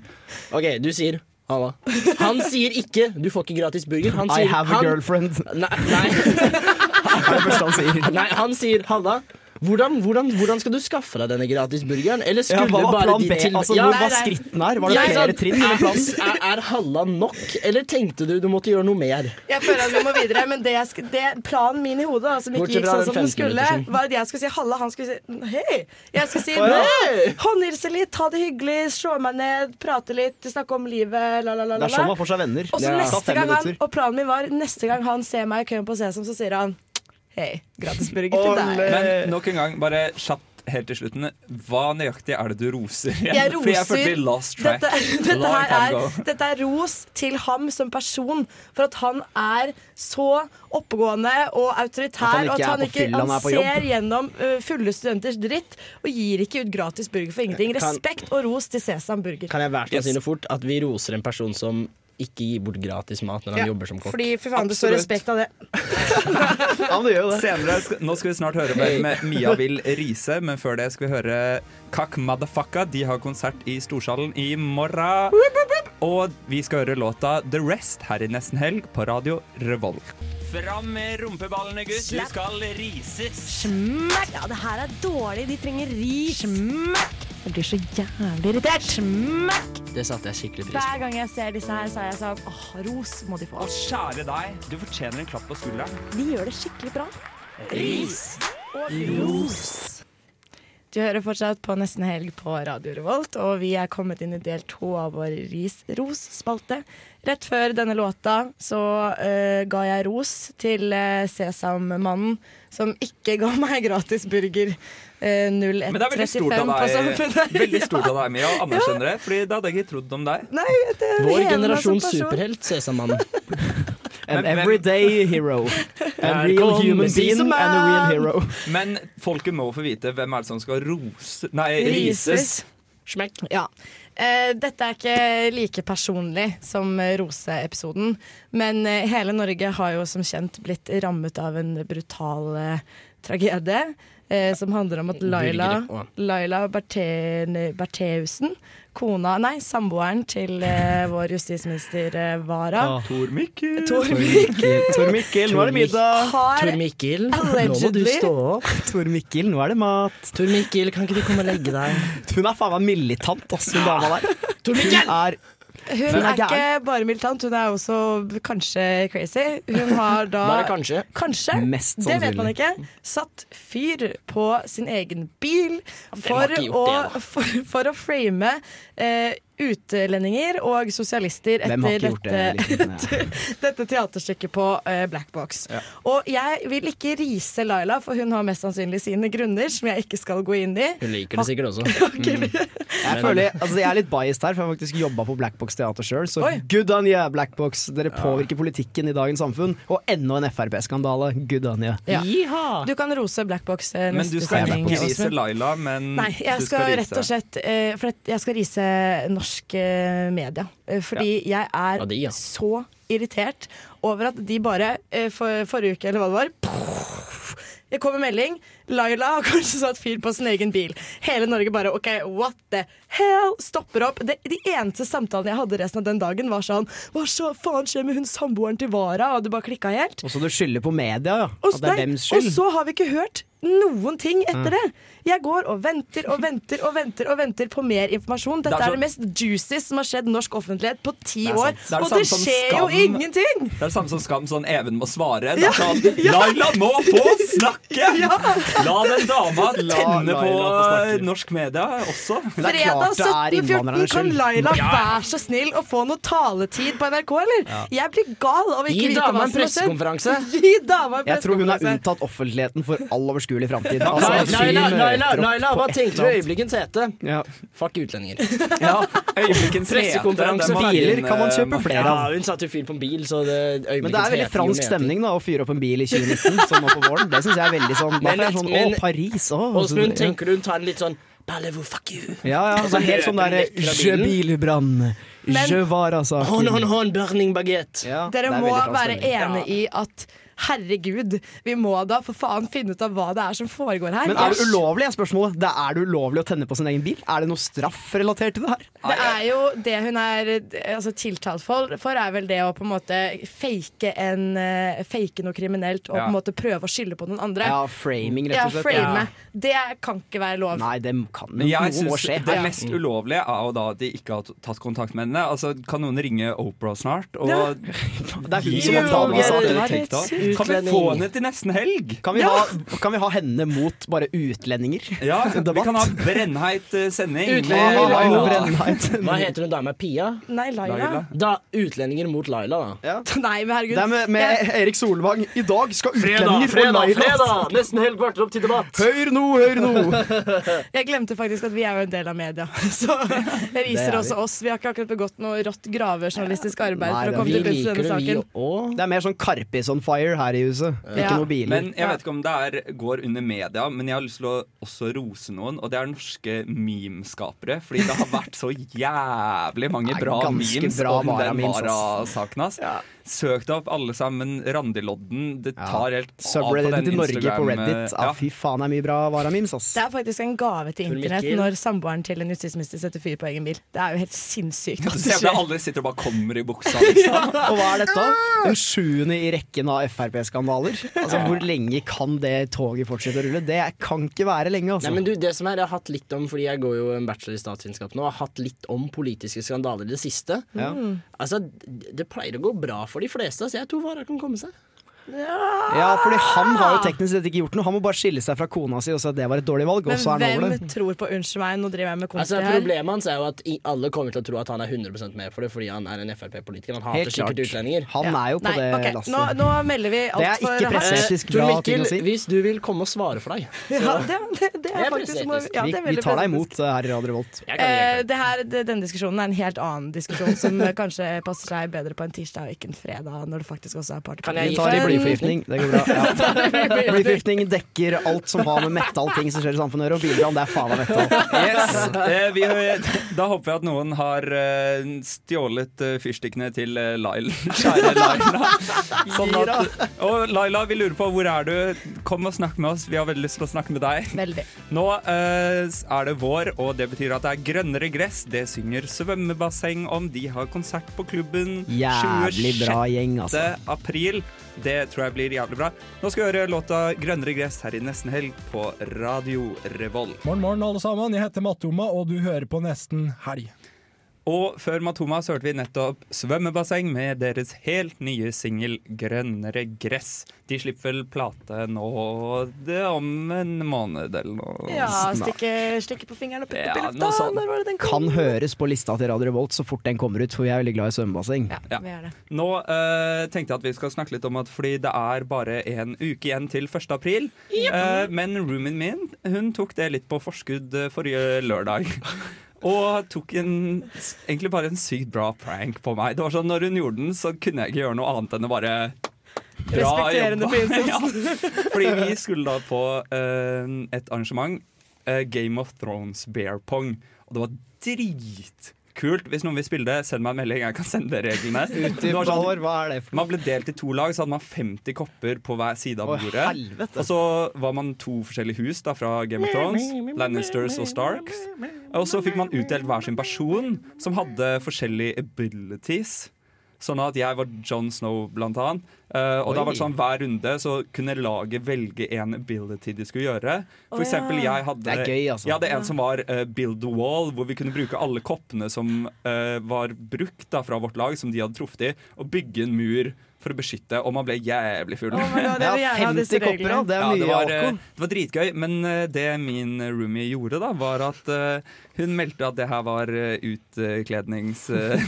Speaker 4: OK, du sier halla. Han sier ikke 'du får ikke gratis burger'. Han
Speaker 13: I
Speaker 4: sier
Speaker 13: have a
Speaker 4: han,
Speaker 13: girlfriend.
Speaker 4: Nei, nei. <laughs> Nei, han sier Halla. Hvordan, hvordan, hvordan skal du skaffe deg denne gratis burgeren? Eller
Speaker 13: Ja,
Speaker 4: skulle
Speaker 13: hva var
Speaker 4: bare
Speaker 13: plan
Speaker 4: de
Speaker 13: B?
Speaker 4: til...
Speaker 13: Altså, hvor var skritten her? Var det
Speaker 4: Jeg
Speaker 13: flere
Speaker 4: sa,
Speaker 13: trinn eller plan?
Speaker 4: Er, er Halla nok, eller tenkte du du måtte gjøre noe mer?
Speaker 9: Jeg føler at vi må videre, men det jeg sk- det, planen min i hodet, da, som ikke
Speaker 4: Bortsett
Speaker 9: gikk sånn
Speaker 4: fra den
Speaker 9: som den
Speaker 4: 15
Speaker 9: skulle,
Speaker 4: minuttersen.
Speaker 9: var at jeg skulle si halla, han skulle si hei. Jeg skulle si
Speaker 4: Å, ja.
Speaker 9: «Nei!» håndhilse litt, ha det hyggelig, slå meg ned, prate litt, snakke om livet, la, la, la. la,
Speaker 13: Det er sånn
Speaker 9: la.
Speaker 13: man får seg venner.
Speaker 9: Og så neste gang han, og planen min var neste gang han ser meg i køen på Sesam, så sier han hei, gratis burger til deg.
Speaker 8: Men nok en gang, bare kjapt helt til slutten. Hva nøyaktig er det du roser igjen?
Speaker 9: Jeg
Speaker 8: Fordi jeg
Speaker 9: roser
Speaker 8: følte vi lost track.
Speaker 9: dette, <laughs> dette,
Speaker 8: Long
Speaker 9: her
Speaker 8: time
Speaker 9: er,
Speaker 8: ago.
Speaker 9: dette er ros til ham som person for at han er så oppegående og
Speaker 13: At han
Speaker 9: autoritær.
Speaker 13: ikke
Speaker 9: Og at
Speaker 13: er
Speaker 9: han
Speaker 13: på
Speaker 9: ikke
Speaker 13: fylla, han
Speaker 9: han
Speaker 13: er på jobb.
Speaker 9: ser gjennom ø, fulle studenters dritt og gir ikke ut gratis burger for ingenting.
Speaker 4: Kan-
Speaker 9: Respekt og ros til Sesam Burger.
Speaker 4: Kan jeg være så snill og fort at vi roser en person som ikke gi bort gratis mat når han
Speaker 9: Ja,
Speaker 4: jobber som kokk.
Speaker 9: Fordi for faen, det står
Speaker 4: Absolutt.
Speaker 9: respekt av det.
Speaker 8: Senere, sk- nå skal vi snart høre mer med Mia Vil Riise, men før det skal vi høre Kakk Madafakka. De har konsert i Storsalen i morgen. Og vi skal høre låta The Rest her i nesten helg på radio Revolt. Fram med rumpeballene,
Speaker 7: gutt. Du
Speaker 8: skal rises.
Speaker 7: Smekk! Ja, det her er dårlig. De trenger ris. Smekk! Jeg blir så jævlig irritert. Smekk!
Speaker 4: Det satte jeg skikkelig pris
Speaker 9: Hver gang jeg ser disse her, så er jeg sånn åh, ros må de få.
Speaker 8: Kjære deg, du fortjener en klapp på skulderen.
Speaker 9: De gjør det skikkelig bra.
Speaker 8: Ris.
Speaker 9: Du hører fortsatt på Nesten Helg på Radio Revolt, og vi er kommet inn i del to av vår ris-ros-spalte. Rett før denne låta så eh, ga jeg ros til eh, Sesammannen, som ikke ga meg gratis burger eh,
Speaker 8: Men det er
Speaker 9: 0135
Speaker 8: veldig stort av
Speaker 4: altså,
Speaker 9: på
Speaker 8: deg,
Speaker 9: Samfunnet.
Speaker 8: veldig stort av deg Mia,
Speaker 4: <laughs>
Speaker 8: å anerkjenne det. Fordi det hadde jeg ikke trodd om deg.
Speaker 9: Nei, det hever
Speaker 4: Vår
Speaker 9: meg som
Speaker 4: generasjons
Speaker 9: person.
Speaker 4: superhelt,
Speaker 13: <laughs>
Speaker 4: Sesammannen.
Speaker 8: An
Speaker 13: everyday hero.
Speaker 8: <laughs>
Speaker 13: A real human being and a real hero.
Speaker 8: Men folket må få vite hvem er det som skal rose Nei, rises.
Speaker 9: Rises. Smekk. Ja. Eh, dette er ikke like personlig som eh, Rose-episoden, men eh, hele Norge har jo som kjent blitt rammet av en brutal eh, tragedie. Eh, som handler om at Laila,
Speaker 4: Burgere, å.
Speaker 9: Laila Berthe- Bertheussen, kona Nei, samboeren til eh, vår justisminister eh, Wara.
Speaker 4: Å.
Speaker 8: Ah, Tor Mikkel.
Speaker 9: Tor Mikkel.
Speaker 13: Tor Mikkel, nå er det middag.
Speaker 9: Har-
Speaker 4: Tor Mikkel, nå må du
Speaker 13: Allegedly.
Speaker 4: stå opp.
Speaker 13: Tor Mikkel, nå er det mat.
Speaker 4: Tor Mikkel, kan ikke du komme og legge deg?
Speaker 13: <laughs> Hun er faen meg militant, ass, hun dama
Speaker 4: <laughs>
Speaker 13: der. Tor Mikkel! Hun er,
Speaker 9: Hun
Speaker 13: Hun
Speaker 9: er
Speaker 13: er
Speaker 9: ikke
Speaker 13: gæren.
Speaker 9: bare militant, hun er også kanskje crazy. Hun har da
Speaker 4: Bare kanskje.
Speaker 9: Kanskje.
Speaker 4: Mest
Speaker 9: det vet man
Speaker 4: sannsynlig.
Speaker 9: ikke. Satt fyr på sin egen bil
Speaker 4: har
Speaker 9: for
Speaker 4: ikke
Speaker 9: å,
Speaker 4: gjort
Speaker 9: <laughs> for, for å frame eh, utlendinger og sosialister
Speaker 13: Hvem har ikke
Speaker 9: etter
Speaker 13: gjort
Speaker 9: dette, <laughs>
Speaker 13: det,
Speaker 9: etter dette teaterstykket på eh, Black Box. Og jeg vil ikke rise Laila, for hun har mest sannsynlig sine grunner, som jeg ikke skal gå inn i.
Speaker 4: Hun liker det sikkert også.
Speaker 13: jeg, føler, altså, jeg er litt biased her, for jeg har faktisk jobba på Blackbox teater sjøl. Så good on you, Blackbox. Dere påvirker politikken i dagens samfunn. Og enda en Frp-skandale. Good on you.
Speaker 9: Ja. Du kan rose Black Box eh,
Speaker 8: Men du
Speaker 9: neste
Speaker 8: skal
Speaker 9: sending.
Speaker 8: ikke
Speaker 9: Åsmund.
Speaker 8: rise Laila, men
Speaker 9: Nei, jeg
Speaker 8: Mm, du
Speaker 9: skal, rett og slett eh, For at jeg skal rise norsk eh, media. Eh, fordi jeg er
Speaker 8: Av de, ja.
Speaker 9: så irritert over at de bare eh, for, Forrige uke, eller hva det var poff, Det kom en melding. Laila har kanskje satt fyr på sin egen bil. Hele Norge bare OK, what the hell? Stopper opp. Det, de eneste samtalene jeg hadde resten av den dagen, var sånn Hva så faen skjer med hun samboeren til Vara? Og det bare klikka helt.
Speaker 13: Og så du skylder på media, ja.
Speaker 9: Og,
Speaker 13: At det er
Speaker 9: nei,
Speaker 13: dems
Speaker 9: og
Speaker 13: skyld.
Speaker 9: så har vi ikke hørt noen ting etter
Speaker 13: Mm.
Speaker 9: det. Jeg går og venter og venter og venter og venter på mer informasjon. Dette er,
Speaker 8: Det er så-
Speaker 9: det mest juicy som har skjedd norsk offentlighet på ti
Speaker 8: Det er
Speaker 9: år.
Speaker 8: sant. Det er det
Speaker 9: og det
Speaker 8: samme som
Speaker 9: skjer
Speaker 8: Skam.
Speaker 9: jo ingenting!
Speaker 8: Det er det samme som Skam, sånn Even må svare. Det
Speaker 9: <laughs> Ja,
Speaker 8: er sånn, Laila må få snakke!
Speaker 9: <laughs>
Speaker 8: La den dama La tenne Laila på få snakke. norsk media også.
Speaker 9: Fredag 17.14 kan Laila være så snill å få noe taletid på NRK, eller?
Speaker 13: Ja.
Speaker 9: Jeg blir gal av ikke
Speaker 13: Gi
Speaker 9: vite
Speaker 13: dama en
Speaker 9: hva som har skjedd.
Speaker 13: pressekonferanse.
Speaker 9: <laughs> Gi dama en
Speaker 13: Jeg tror hun er
Speaker 9: pressekonferanse.
Speaker 13: unntatt offentligheten for all overskuelig framtid.
Speaker 4: Laila,
Speaker 13: Altså,
Speaker 4: Laila,
Speaker 13: hun
Speaker 4: Laila,
Speaker 13: møter opp
Speaker 4: Laila,
Speaker 13: på
Speaker 4: hva
Speaker 13: et
Speaker 4: tenkte du
Speaker 13: eller
Speaker 4: i
Speaker 13: annet.
Speaker 4: øyeblikket hete?
Speaker 13: Ja.
Speaker 4: Fuck utlendinger.
Speaker 8: Øyeblikkens
Speaker 4: Pressekonferanse.
Speaker 13: hete, den må være Biler kan man din, kjøpe eh, flere av.
Speaker 4: Ja, hun satte jo fyr på en bil, så det
Speaker 13: Men det er veldig fransk stemning da å fyre opp en bil i 2019, sånn nå på våren. Det syns jeg er veldig sånn.
Speaker 4: Men-
Speaker 13: Derfor er det sånn Å,
Speaker 4: men-
Speaker 13: Paris, å.
Speaker 4: Åsmund, tenker du hun tar en litt sånn Parlez-vous, fuck you?
Speaker 13: Ja, ja.
Speaker 4: Og
Speaker 13: Det er helt
Speaker 4: løper
Speaker 13: sånn derre
Speaker 4: vekk fra
Speaker 13: Je
Speaker 4: bilen.
Speaker 13: bilbrann,
Speaker 4: Men-
Speaker 13: je altså. vara-sak.
Speaker 4: Hånd, hånd, hånd, burning baguette.
Speaker 9: Dere må være enige i at herregud, vi må da for faen finne ut av hva det er som foregår her.
Speaker 13: Men er det ulovlig, er spørsmålet. Det er det ulovlig å tenne på sin egen bil? Er det noe straff relatert til det her?
Speaker 9: Det er jo det hun er eh, altså, tiltalt for, for, er vel det å på en måte fake, en, eh, fake noe kriminelt og
Speaker 13: Ja.
Speaker 9: på en måte prøve å skylde på noen andre.
Speaker 13: Ja, framing, rett og slett.
Speaker 9: Ja, frame. Det kan ikke være lov.
Speaker 13: Nei, det kan
Speaker 8: Men jeg
Speaker 13: Noe må
Speaker 8: synes
Speaker 13: skje. Mm.
Speaker 8: Det
Speaker 13: Ja.
Speaker 8: mest ulovlige er jo da at de ikke har tatt kontakt med henne. Altså, Kan noen ringe Oprah snart? Og
Speaker 13: Ja.
Speaker 8: Det
Speaker 13: er hun som har tatt med seg alt det du tenkte av.
Speaker 8: Kan vi få henne til nesten helg?
Speaker 13: Kan vi, ha, kan vi ha henne mot bare utlendinger?
Speaker 8: Ja, vi
Speaker 13: <laughs> Debatt.
Speaker 8: kan ha brennheit eh, sending.
Speaker 4: Utlendinger
Speaker 13: Hva- hva-
Speaker 4: Hva heter hun dama? Pia?
Speaker 9: Nei, Laila.
Speaker 4: Da, utlendinger mot Laila, da.
Speaker 9: <laughs> Nei, men herregud.
Speaker 13: Det er med, med
Speaker 9: Jeg-
Speaker 13: Erik Solvang. I dag skal
Speaker 4: Fredag,
Speaker 13: utlendinger få
Speaker 4: fredag,
Speaker 13: Laila.
Speaker 4: fredag! Nesten helt kvarter opp til debatt.
Speaker 13: Hør nå, hør
Speaker 4: <laughs>
Speaker 13: nå!
Speaker 9: Jeg glemte faktisk at vi er jo en del av media. <laughs> Så
Speaker 13: <laughs>
Speaker 9: jeg
Speaker 13: Det er
Speaker 9: riser
Speaker 13: vi.
Speaker 9: også oss. Vi har ikke akkurat begått noe rått gravejournalistisk arbeid for å
Speaker 13: det er-
Speaker 9: komme til bunns i denne saken.
Speaker 13: Det er mer sånn Karpis on fire. culture her i huset. Ikke noe biler.
Speaker 8: Men jeg vet ikke om det er, går under media, men jeg har lyst til å også rose noen, og det er norske memeskapere. Fordi det har vært så jævlig mange Det er bra ganske memes bra om den
Speaker 13: altså.
Speaker 8: Vara-memes, ass. Vara-saken hans. Søk deg opp, alle sammen. Randelodden. Det tar helt av på
Speaker 13: Subredditen
Speaker 8: den
Speaker 13: til Norge på
Speaker 8: Instagram. eh,
Speaker 13: Reddit. Ah,
Speaker 8: Ja.
Speaker 13: fy faen, det er mye bra varamims, ass.
Speaker 9: Det er faktisk en gave til
Speaker 13: Tor
Speaker 9: internett
Speaker 13: Mikkel.
Speaker 9: når samboeren til en justisminister setter fyr på egen bil. Det er jo helt sinnssykt. at det
Speaker 8: Så Se for deg
Speaker 9: skjer.
Speaker 8: alle sitter og bare kommer i buksa. Liksom.
Speaker 13: Og hva er dette? Den sjuende i rekken av Frp-skandaler. Altså, Hvor lenge kan det toget fortsette å rulle? Det kan ikke være lenge, altså.
Speaker 4: Nei, men du, det som er, Jeg har hatt litt om, fordi jeg går jo en bachelor i statsvitenskap nå, og har hatt litt om politiske skandaler i det siste.
Speaker 13: Ja.
Speaker 4: Altså, d- Det pleier å gå bra for de fleste. Altså, jeg tror Vara kan komme seg.
Speaker 13: Ja, fordi han
Speaker 8: Ah!
Speaker 13: har jo teknisk sett ikke gjort noe. Han må bare skille seg fra kona si og si at det var et dårlig valg, og så er han
Speaker 9: Men
Speaker 13: over
Speaker 9: hvem
Speaker 13: det.
Speaker 9: <laughs> tror på 'unnskyld meg, nå driver jeg med
Speaker 4: Altså,
Speaker 9: konsti her'?
Speaker 4: Problemet hans er jo at i- alle kommer til å tro at han er 100 med for det fordi han er en Frp-politiker. Han hater
Speaker 13: Helt klart.
Speaker 4: sikkert utlendinger.
Speaker 13: Han er jo på
Speaker 9: Nei,
Speaker 13: det
Speaker 9: ok,
Speaker 13: lasset.
Speaker 9: Nå, nå melder vi alt for hardt.
Speaker 13: presseetisk
Speaker 4: Eh, Tor
Speaker 13: bra
Speaker 4: Mikkel,
Speaker 13: ting å si.
Speaker 4: Hvis du vil komme og svare for deg.
Speaker 9: <laughs>
Speaker 4: så-
Speaker 9: Ja, det, det, det
Speaker 4: Det
Speaker 9: er
Speaker 4: er
Speaker 9: faktisk
Speaker 4: presseetisk.
Speaker 9: noe- ja,
Speaker 13: vi,
Speaker 9: det
Speaker 13: vi
Speaker 9: er veldig
Speaker 13: tar deg
Speaker 9: presseetisk.
Speaker 13: imot eh, her i Radio Revolt.
Speaker 9: Eh, det her, det, denne diskusjonen er en helt annen diskusjon, som kanskje passer seg bedre på en tirsdag og ikke en fredag, når det faktisk også er party.
Speaker 13: Kan jeg gi tar i blyforgiftning. Det
Speaker 8: <laughs>
Speaker 13: <laughs> går bra. Ja. Blyforgiftning dekker alt som har med metallting som skjer i samfunnet å gjøre, og bilbrann det er faen av metall.
Speaker 8: Yes. <laughs> Eh, vi, da håper jeg at noen har eh, stjålet eh, fyrstikkene til eh, Lail. <laughs> Kjære Laila. Sånn at, og Laila, vi lurer på hvor er du? Kom og snakk med oss. Vi har veldig lyst til å snakke med deg. Nå eh, er det vår, og det betyr at det er grønnere gress. Det synger svømmebasseng om. De har konsert på klubben
Speaker 13: Jævlig bra gjeng, altså.
Speaker 8: 26. april. Det tror jeg blir jævlig bra. Nå skal vi høre låta 'Grønnere gress' her i nesten helg på Radio Revolt.
Speaker 20: Morgen, morgen, alle sammen. Jeg heter Mattoma, og du hører på Nesten Helg.
Speaker 8: Og før Matoma så hørte vi nettopp Svømmebasseng med deres helt nye singel 'Grønnere gress'. De slipper vel plate nå det er om en måned eller noe.
Speaker 9: Ja,
Speaker 8: snart.
Speaker 9: stikke, stikke på fingeren og putte opp i
Speaker 8: Ja,
Speaker 9: lufta.
Speaker 8: noe sånt.
Speaker 9: Når var det den kom?
Speaker 13: Kan høres på lista til Radio Revolt så fort den kommer ut, for vi er veldig glad i svømmebasseng.
Speaker 8: Ja. Nå eh, tenkte jeg at vi skal snakke litt om at fordi det er bare en uke igjen til 1. april. Eh, men roomien min hun tok det litt på forskudd eh, forrige lørdag. <laughs> Og tok en, egentlig bare en sykt bra prank på meg. Det var sånn, Når hun gjorde den, så kunne jeg ikke gjøre noe annet enn å bare Bra
Speaker 9: Respekterende
Speaker 8: <laughs> jobba.
Speaker 9: på innsatsen.
Speaker 8: Fordi
Speaker 9: <laughs>
Speaker 8: vi skulle da på eh, et arrangement. eh, Game of Thrones Bear Pong. Og det var dritkult. Hvis noen vil spille det, send meg en melding. Jeg kan sende
Speaker 13: <laughs>
Speaker 8: dere reglene.
Speaker 13: Utdyp,
Speaker 8: Det var sånn
Speaker 13: Halvor, hva er det for
Speaker 8: Man ble delt i to lag, så hadde man 50 kopper på hver side av
Speaker 13: Å,
Speaker 8: bordet.
Speaker 13: helvete.
Speaker 8: Og så var man to forskjellige hus da, fra Game of Thrones. Lannisters og Starks. Og så fikk man utdelt hver sin person, som hadde forskjellige abilities. Sånn at jeg var John Snow, blant annet. Eh, og
Speaker 2: Oi.
Speaker 8: da var det sånn hver runde så kunne laget velge en ability de skulle gjøre. For
Speaker 2: Å,
Speaker 8: eksempel,
Speaker 2: ja.
Speaker 8: jeg hadde,
Speaker 2: Det er gøy, altså.
Speaker 8: jeg hadde
Speaker 2: Ja.
Speaker 8: en som var eh, build a wall, hvor vi kunne bruke alle koppene som eh, var brukt da, fra vårt lag, som de hadde truffet i, og bygge en mur for å beskytte, og man ble jævlig full.
Speaker 9: my God, jeg vil <laughs> Ja, gjerne ha 50 disse kopper, reglene. ja. Det er
Speaker 8: Ja,
Speaker 9: mye
Speaker 8: var, eh,
Speaker 9: alkohol.
Speaker 8: det var dritgøy, men eh, det min roomie gjorde da, var at eh, hun meldte at det her var eh, utklednings... eh,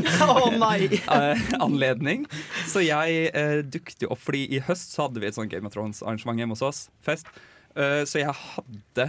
Speaker 9: <laughs>
Speaker 8: <laughs> eh, anledning. Så jeg eh, dukte jo opp, fordi i høst så hadde vi et sånt Game of Thrones-arrangement hjemme hos oss. Fest. Eh, så jeg hadde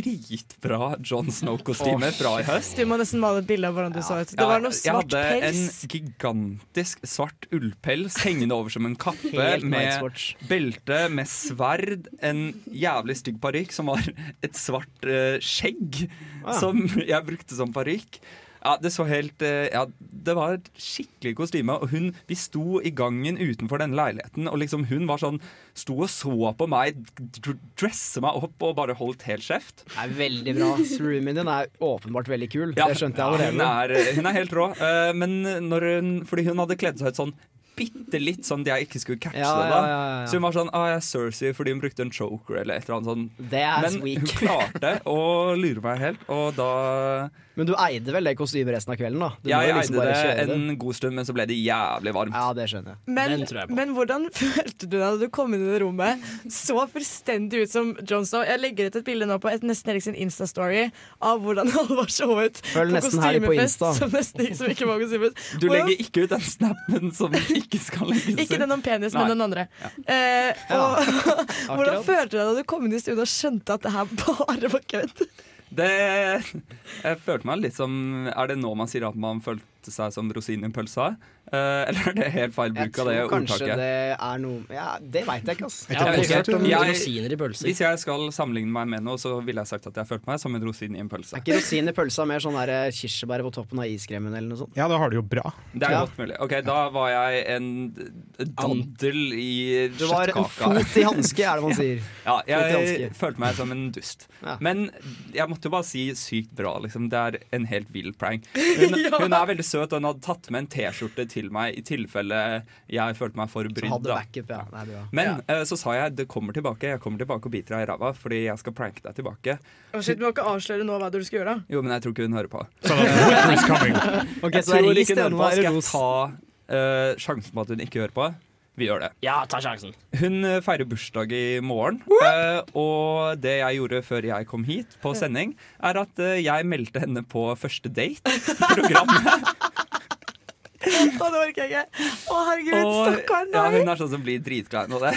Speaker 8: dritbra John Snow-kostyme
Speaker 9: Åh,
Speaker 8: fra i høst.
Speaker 9: Du må nesten male et bilde av hvordan du så ut. Det var noe
Speaker 8: jeg
Speaker 9: svart
Speaker 8: hadde
Speaker 9: pels.
Speaker 8: en gigantisk svart
Speaker 9: <laughs>
Speaker 8: ullpels hengende over som en kappe,
Speaker 13: Helt Night's
Speaker 8: med
Speaker 13: Watch.
Speaker 8: belte, med sverd, en jævlig stygg parykk som var et svart eh, skjegg,
Speaker 2: Ah.
Speaker 8: som jeg brukte som parykk. Ja, det så helt eh, Ja, det var et skikkelig kostyme. Og hun Vi sto i gangen utenfor denne leiligheten, og liksom hun var sånn Sto og så på meg, dr- dresse meg opp og bare holdt helt kjeft.
Speaker 13: Det er veldig bra. ass. Roomien din er åpenbart veldig kul.
Speaker 8: Ja,
Speaker 13: det skjønte
Speaker 8: ja,
Speaker 13: jeg allerede.
Speaker 8: Hun er, hun er helt rå. Eh, men når hun, fordi hun hadde kledd seg ut sånn bitte litt, sånn at jeg ikke skulle catche
Speaker 13: Ja,
Speaker 8: det. da
Speaker 13: ja, ja, ja.
Speaker 8: Så hun var sånn ah, 'Jeg er Cersei fordi hun brukte en choker', eller et eller annet sånt.
Speaker 13: Det er
Speaker 8: men
Speaker 13: <laughs> sweet.
Speaker 8: hun klarte å lure meg helt, og da
Speaker 13: Men du eide vel det kostymet resten av kvelden, da? Du må
Speaker 8: Jeg
Speaker 13: jo liksom
Speaker 8: eide
Speaker 13: bare
Speaker 8: det
Speaker 13: kjøre det.
Speaker 8: en god stund, men så ble det jævlig varmt.
Speaker 13: Ja, det skjønner jeg.
Speaker 9: Men, men hvordan <laughs> følte du deg da du kom inn i det rommet? Så fullstendig ut som John Snow. Jeg legger ut et bilde nå på et nesten Erik sin Insta-story av hvordan <laughs> Halvor så ut
Speaker 8: Følg Nesten Helg på
Speaker 9: kostymefest,
Speaker 8: Insta.
Speaker 9: Som nesten, som ikke var kostymefest.
Speaker 8: Du
Speaker 9: Og jeg-
Speaker 8: legger ikke ut den snappen som ikke skal legges
Speaker 9: <laughs>
Speaker 8: ut.
Speaker 9: Ikke den om penis,
Speaker 8: Nei.
Speaker 9: men den andre. Eh, og, <laughs> hvordan
Speaker 8: Akkurat.
Speaker 9: følte du deg da du kom inn i studio og skjønte at det her bare var kødd?
Speaker 8: Det Jeg følte meg litt som Er det nå man sier at man følte sette seg som rosinen i pølsa? Eh, eller er det helt feil bruk av det
Speaker 13: tror kanskje
Speaker 8: ordtaket?
Speaker 13: det er noe Ja, det veit jeg ikke, altså.
Speaker 8: Ja, hvis jeg- jeg-
Speaker 4: rosiner i pølser.
Speaker 8: Hvis jeg skal sammenligne meg med noe, så ville jeg sagt at jeg følte meg som en rosin i en pølse.
Speaker 13: Er ikke rosin i pølsa mer sånn der, eh, kirsebær på toppen av iskremen eller noe sånt?
Speaker 21: Ja, da har du jo bra.
Speaker 8: Det er
Speaker 13: Ja.
Speaker 8: godt mulig. Ok, Da var jeg en daddel i
Speaker 13: Du var en
Speaker 8: kjøttkaka.
Speaker 13: fot i hanske, er det man sier.
Speaker 8: <laughs> Ja,
Speaker 13: Fot i
Speaker 8: jeg
Speaker 13: hanske.
Speaker 8: følte meg som en dust. Men jeg måtte jo bare si sykt bra, liksom. Det er en helt vill
Speaker 13: <laughs>
Speaker 8: prank. Hun,
Speaker 3: Ja.
Speaker 8: hun er veldig søt, og hun hadde tatt med en T-skjorte til meg i tilfelle jeg følte meg for brydd.
Speaker 13: Så hadde
Speaker 8: da.
Speaker 13: backup, ja. Nei, det var.
Speaker 8: Men eh, så sa jeg det kommer tilbake, jeg kommer tilbake og biter deg i ræva fordi jeg skal pranke deg tilbake.
Speaker 9: Å, shit, du må ikke avsløre nå hva du skal gjøre.
Speaker 8: Jo, men jeg tror ikke hun hører på. <laughs>
Speaker 9: Ok,
Speaker 8: jeg
Speaker 9: så det er
Speaker 8: tror
Speaker 9: ris
Speaker 8: ikke hun hører
Speaker 9: det, nå
Speaker 8: på.
Speaker 9: er
Speaker 8: Skal
Speaker 9: det
Speaker 8: jeg
Speaker 9: ros.
Speaker 8: ta eh, sjansen på at hun ikke hører på? Vi gjør det.
Speaker 4: Ja, ta sjansen.
Speaker 8: Hun eh, feirer bursdag i morgen, eh, og det jeg gjorde før jeg kom hit på sending, er at eh, jeg meldte henne på første date.
Speaker 9: <laughs> Å, det orker jeg ikke. Å, herregud, stakkaren.
Speaker 8: ja, hun er sånn som blir dritklein av det.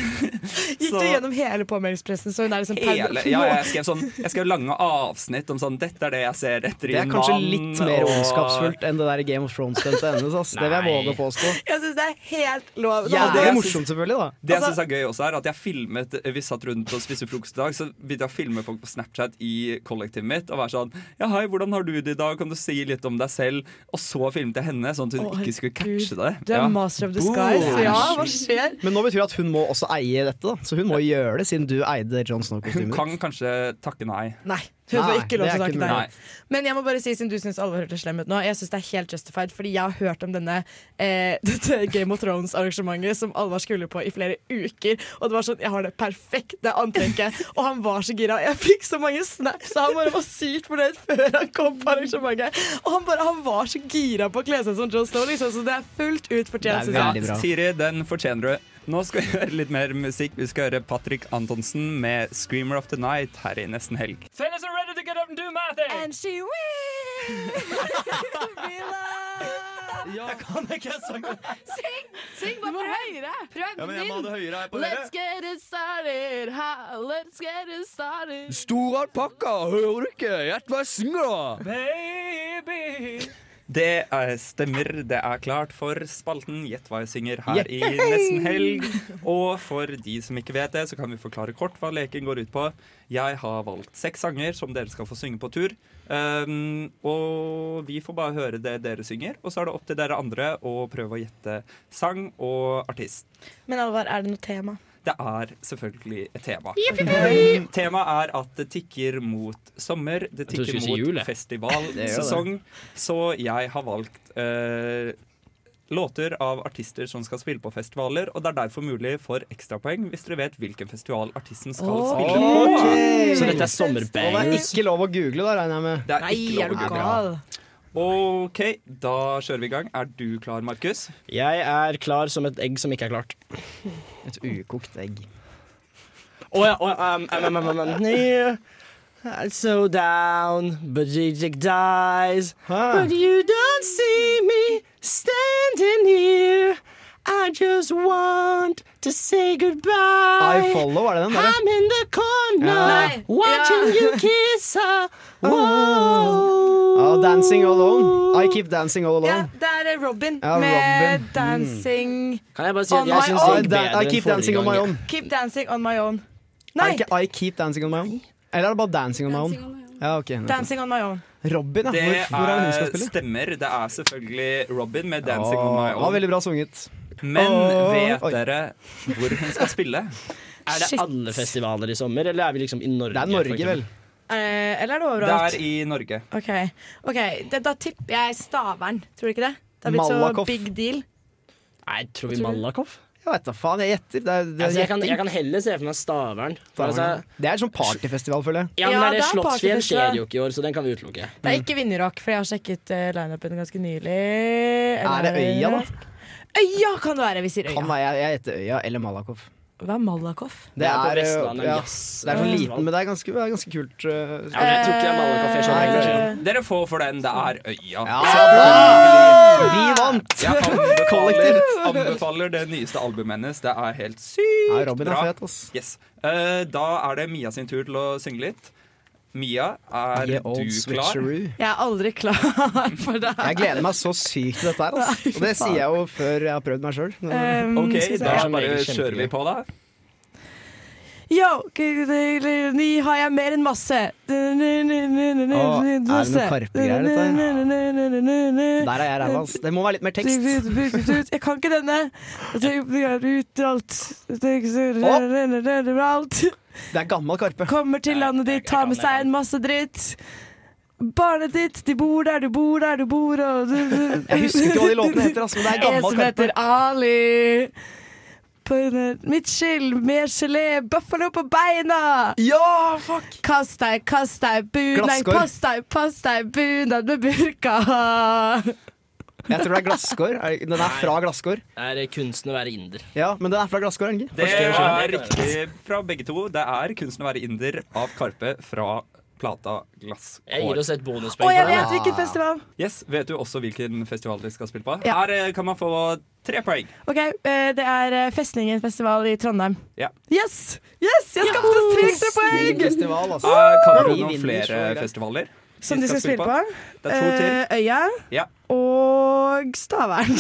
Speaker 9: Gikk du gjennom hele påmeldingspressen, så hun er liksom per-
Speaker 8: Hele, ja, jeg, skrev sånn, jeg skrev lange avsnitt om sånn Dette er det jeg ser etter i
Speaker 13: Det er
Speaker 8: en mann.
Speaker 13: kanskje litt mer
Speaker 8: og-
Speaker 13: ondskapsfullt enn det der Game of Thrones-stuntet hennes. Ass. Det vil jeg våge å påstå.
Speaker 9: <laughs> Jeg syns det er helt
Speaker 13: Ja,
Speaker 9: lov.
Speaker 13: det
Speaker 8: jeg
Speaker 13: er
Speaker 8: synes-
Speaker 13: morsomt, selvfølgelig, da. Altså,
Speaker 8: Det jeg
Speaker 9: Altså-
Speaker 8: synes er gøy også er at jeg filmet Vi satt rundt og spiste frokost i dag, så begynte jeg å filme folk på Snapchat i kollektivet mitt og være sånn Ja, hei, hvordan har du det i dag? Kan du si litt om deg selv? Og så filmet jeg henne, sånn at hun
Speaker 9: Å,
Speaker 8: ikke skulle catche det.
Speaker 9: Du er
Speaker 8: Ja.
Speaker 9: master of disguise.
Speaker 8: Boom.
Speaker 9: Ja, hva skjer?
Speaker 13: Men nå betyr det at hun må også eie dette, da. Så hun må gjøre det, siden du eide John
Speaker 8: Hun
Speaker 13: Snow-kostymet.
Speaker 8: kan kanskje takke nei.
Speaker 9: Nei, hun får ikke lov til å takke nei.
Speaker 8: nei.
Speaker 9: Men jeg må bare si, siden du syns alle hørtes slem ut nå, jeg syns det er helt justified, fordi jeg har hørt om denne eh, <laughs> dette Game of Thrones-arrangementet som Alvar skulle på i flere uker, og det var sånn Jeg har det perfekte antrekket, og han var så gira. Jeg fikk så mange snaps, og han bare var sykt fornøyd før han kom på arrangementet. Og han bare Han var så gira på å kle seg som John Snow, liksom, så det er fullt ut fortjent. synes jeg.
Speaker 8: Ja, Siri, den fortjener du. Nå skal vi høre litt mer musikk. Vi skal høre Patrick Antonsen med 'Screamer of the Night' her i Nesten Helg.
Speaker 3: Fellas are ready to get up and do eh? my thing. And she <laughs> will be loved. Jeg kan ikke sangen.
Speaker 9: Syng! Syng, bare prøv! Prøv
Speaker 3: Ja, men jeg må ha det høyere her på dere.
Speaker 9: Let's get it started, ha. Let's get it started.
Speaker 22: Stor alpakka, hører du ikke? Gjett hva jeg synger, da!
Speaker 9: Baby.
Speaker 8: Det eh, stemmer, det er klart for spalten Gjett hva jeg synger her
Speaker 3: Yeah.
Speaker 8: i Nesten Helg. Og for de som ikke vet det, så kan vi forklare kort hva leken går ut på. Jeg har valgt seks sanger som dere skal få synge på tur. Um, og vi får bare høre det dere synger, og så er det opp til dere andre å prøve å gjette sang og artist.
Speaker 23: Men Alvar, er det noe tema?
Speaker 8: Det er selvfølgelig et tema.
Speaker 23: Jipp, jipp, jipp.
Speaker 8: Temaet er at det tikker mot sommer, det
Speaker 4: Jeg trodde du
Speaker 8: tikker
Speaker 4: skulle si
Speaker 8: mot
Speaker 4: jul, jeg. Det gjør
Speaker 8: festivalsesong. Så jeg har valgt eh, låter av artister som skal spille på festivaler, og det er derfor mulig for ekstrapoeng hvis dere vet hvilken festival artisten skal
Speaker 13: Åh.
Speaker 8: spille på.
Speaker 13: Ok.
Speaker 8: Så dette er
Speaker 13: Og det er
Speaker 8: sommerbangers.
Speaker 13: ikke lov å google, da, regner jeg med.
Speaker 8: Det er ikke lov å google. OK, da kjører vi i gang. Er du klar, Markus?
Speaker 4: Jeg er klar som et egg som ikke er klart.
Speaker 13: Et ukokt egg.
Speaker 4: Å ja, å ja, um, um, um, um, um, yeah. I'm so down, but Jijik dies.
Speaker 3: But you don't see me standing here. I just want to say goodbye.
Speaker 13: I follow, er det den der?
Speaker 3: I'm in the corner
Speaker 13: Ja. Nei.
Speaker 3: watching you kiss her. Wow.
Speaker 13: Ja, dancing all alone. I keep dancing all alone.
Speaker 9: Det er eh, Robin
Speaker 13: Ja,
Speaker 9: med
Speaker 13: Robin. Mm.
Speaker 9: dancing
Speaker 4: Kan jeg bare
Speaker 13: si at
Speaker 9: on
Speaker 13: jeg
Speaker 9: my
Speaker 13: synes
Speaker 9: own.
Speaker 13: det gikk bedre I keep enn dancing on forrige my gang. own.
Speaker 9: Keep dancing on my own.
Speaker 13: Nei. Er det ikke I keep dancing on my own? Eller er det bare dancing on my own? Ja, ok.
Speaker 9: Dancing on my own.
Speaker 13: Robin, ja.
Speaker 8: Det
Speaker 13: Hvor, hvor er det hun skal
Speaker 8: er,
Speaker 13: spille?
Speaker 8: stemmer. Det er selvfølgelig Robin med 'Dancing on
Speaker 13: Åh,
Speaker 8: My
Speaker 13: det var
Speaker 8: Own'.
Speaker 13: veldig bra sunget.
Speaker 8: Men
Speaker 13: Åh,
Speaker 8: vet
Speaker 13: oi.
Speaker 8: dere hvor hun skal <laughs> spille?
Speaker 4: Er det alle festivaler i sommer, eller er vi liksom i Norge? Det er
Speaker 8: Norge, vel.
Speaker 9: Eh, eller er det
Speaker 8: Det
Speaker 9: overalt?
Speaker 8: er i Norge.
Speaker 9: OK, ok, det, da tipper jeg Stavern. Tror du ikke det? Det har blitt
Speaker 13: Malakoff.
Speaker 9: så big deal.
Speaker 4: Nei, tror vi
Speaker 13: Tror du?
Speaker 4: Malakoff?
Speaker 13: Jeg vet da faen, jeg gjetter. Det er, det er
Speaker 4: Altså, jeg, kan,
Speaker 13: gjetting.
Speaker 4: jeg kan heller se for meg Stavern. For altså,
Speaker 13: det er sånn partyfestival, føler jeg.
Speaker 4: ja, men
Speaker 9: Ja,
Speaker 4: er det
Speaker 9: det er
Speaker 4: Slottsfjell
Speaker 9: partyfestival.
Speaker 4: skjer jo ikke i år, så den kan vi utelukke.
Speaker 9: Det er ikke Vinjerock, for jeg har sjekket uh, lineupen ganske nylig.
Speaker 13: Er det Øya, da?
Speaker 9: Øya kan det være. Vi sier Øya.
Speaker 13: Kan være, jeg, jeg gjetter Øya eller Malakoff.
Speaker 9: Hva er Malakoff?
Speaker 13: Det er, eh,
Speaker 4: på Vestlandet,
Speaker 13: ja,
Speaker 4: yes.
Speaker 13: det er sånn liten, men det er ganske, det er ganske kult. uh, Nei. Sånn.
Speaker 8: Dere får for den. Det er Øya.
Speaker 13: bra! Vi vant!
Speaker 8: Jeg anbefaler,
Speaker 13: Kollektivt.
Speaker 8: anbefaler det nyeste albumet hennes. Det er helt sykt
Speaker 13: Nei, Robin er
Speaker 8: bra.
Speaker 13: fet,
Speaker 8: yes. Eh, da er det Mia sin tur til å synge litt. Mia, er
Speaker 13: Ye old
Speaker 8: du klar?
Speaker 13: switcheroo.
Speaker 9: Jeg er aldri klar <laughs> for det her.
Speaker 13: Jeg gleder meg så sykt til dette her.
Speaker 8: <laughs>
Speaker 13: Altså. Og det sier jeg jo før jeg har prøvd meg sjøl.
Speaker 9: Um,
Speaker 8: OK,
Speaker 9: skal vi se.
Speaker 8: da
Speaker 9: Det er som
Speaker 8: bare
Speaker 13: regel
Speaker 8: kjører vi på, da.
Speaker 9: Yo, ni har jeg mer enn masse. er det
Speaker 13: Karpe-greier,
Speaker 9: dette?
Speaker 13: Der er jeg ræva, altså. Det må være litt mer tekst.
Speaker 9: Jeg kan ikke denne. Ut alt. alt.
Speaker 13: Det er gammel Karpe.
Speaker 9: Kommer til landet ditt, tar med seg en masse dritt. Barnet ditt, de bor der du bor, der du bor og
Speaker 13: Jeg husker ikke hva de låtene heter, altså, men det er
Speaker 9: En
Speaker 13: gammel
Speaker 9: som
Speaker 13: Karpe.
Speaker 9: heter Ali. På en- Mitt skill, mer gelé, buffalo på beina!
Speaker 13: Ja, fuck!
Speaker 9: Kast deg, kast deg, bunad. Nei,
Speaker 13: Glasskår.
Speaker 9: pass deg, pass deg, bunad med burka.
Speaker 13: <laughs>
Speaker 9: <laughs>
Speaker 13: Jeg tror det er glasskår. Er- Den er fra glasskår.
Speaker 4: Er det kunsten å være inder?
Speaker 13: Ja, men den er fra glasskår, er den ikke?
Speaker 8: Det
Speaker 13: Første jeg skjønner.
Speaker 8: er riktig fra begge to. Det er 'Kunsten å være inder' av Karpe fra plata Glasskår.
Speaker 4: Jeg gir oss et bonuspoeng.
Speaker 9: Og jeg vet hvilken festival.
Speaker 8: Yes, Vet du også hvilken festival de skal spille på?
Speaker 9: Ja.
Speaker 8: Her eh, kan man få tre poeng.
Speaker 9: Ok, eh, Det er eh, Festningen festival i Trondheim.
Speaker 8: Ja.
Speaker 9: Yes! yes, Jeg skapte tre ekstra poeng!
Speaker 8: Eh, Kan du
Speaker 9: Woo!
Speaker 8: noen flere festivaler?
Speaker 9: Som de skal spille på?
Speaker 8: Det er to til.
Speaker 9: Eh, Øya
Speaker 8: Ja.
Speaker 9: og Stavern.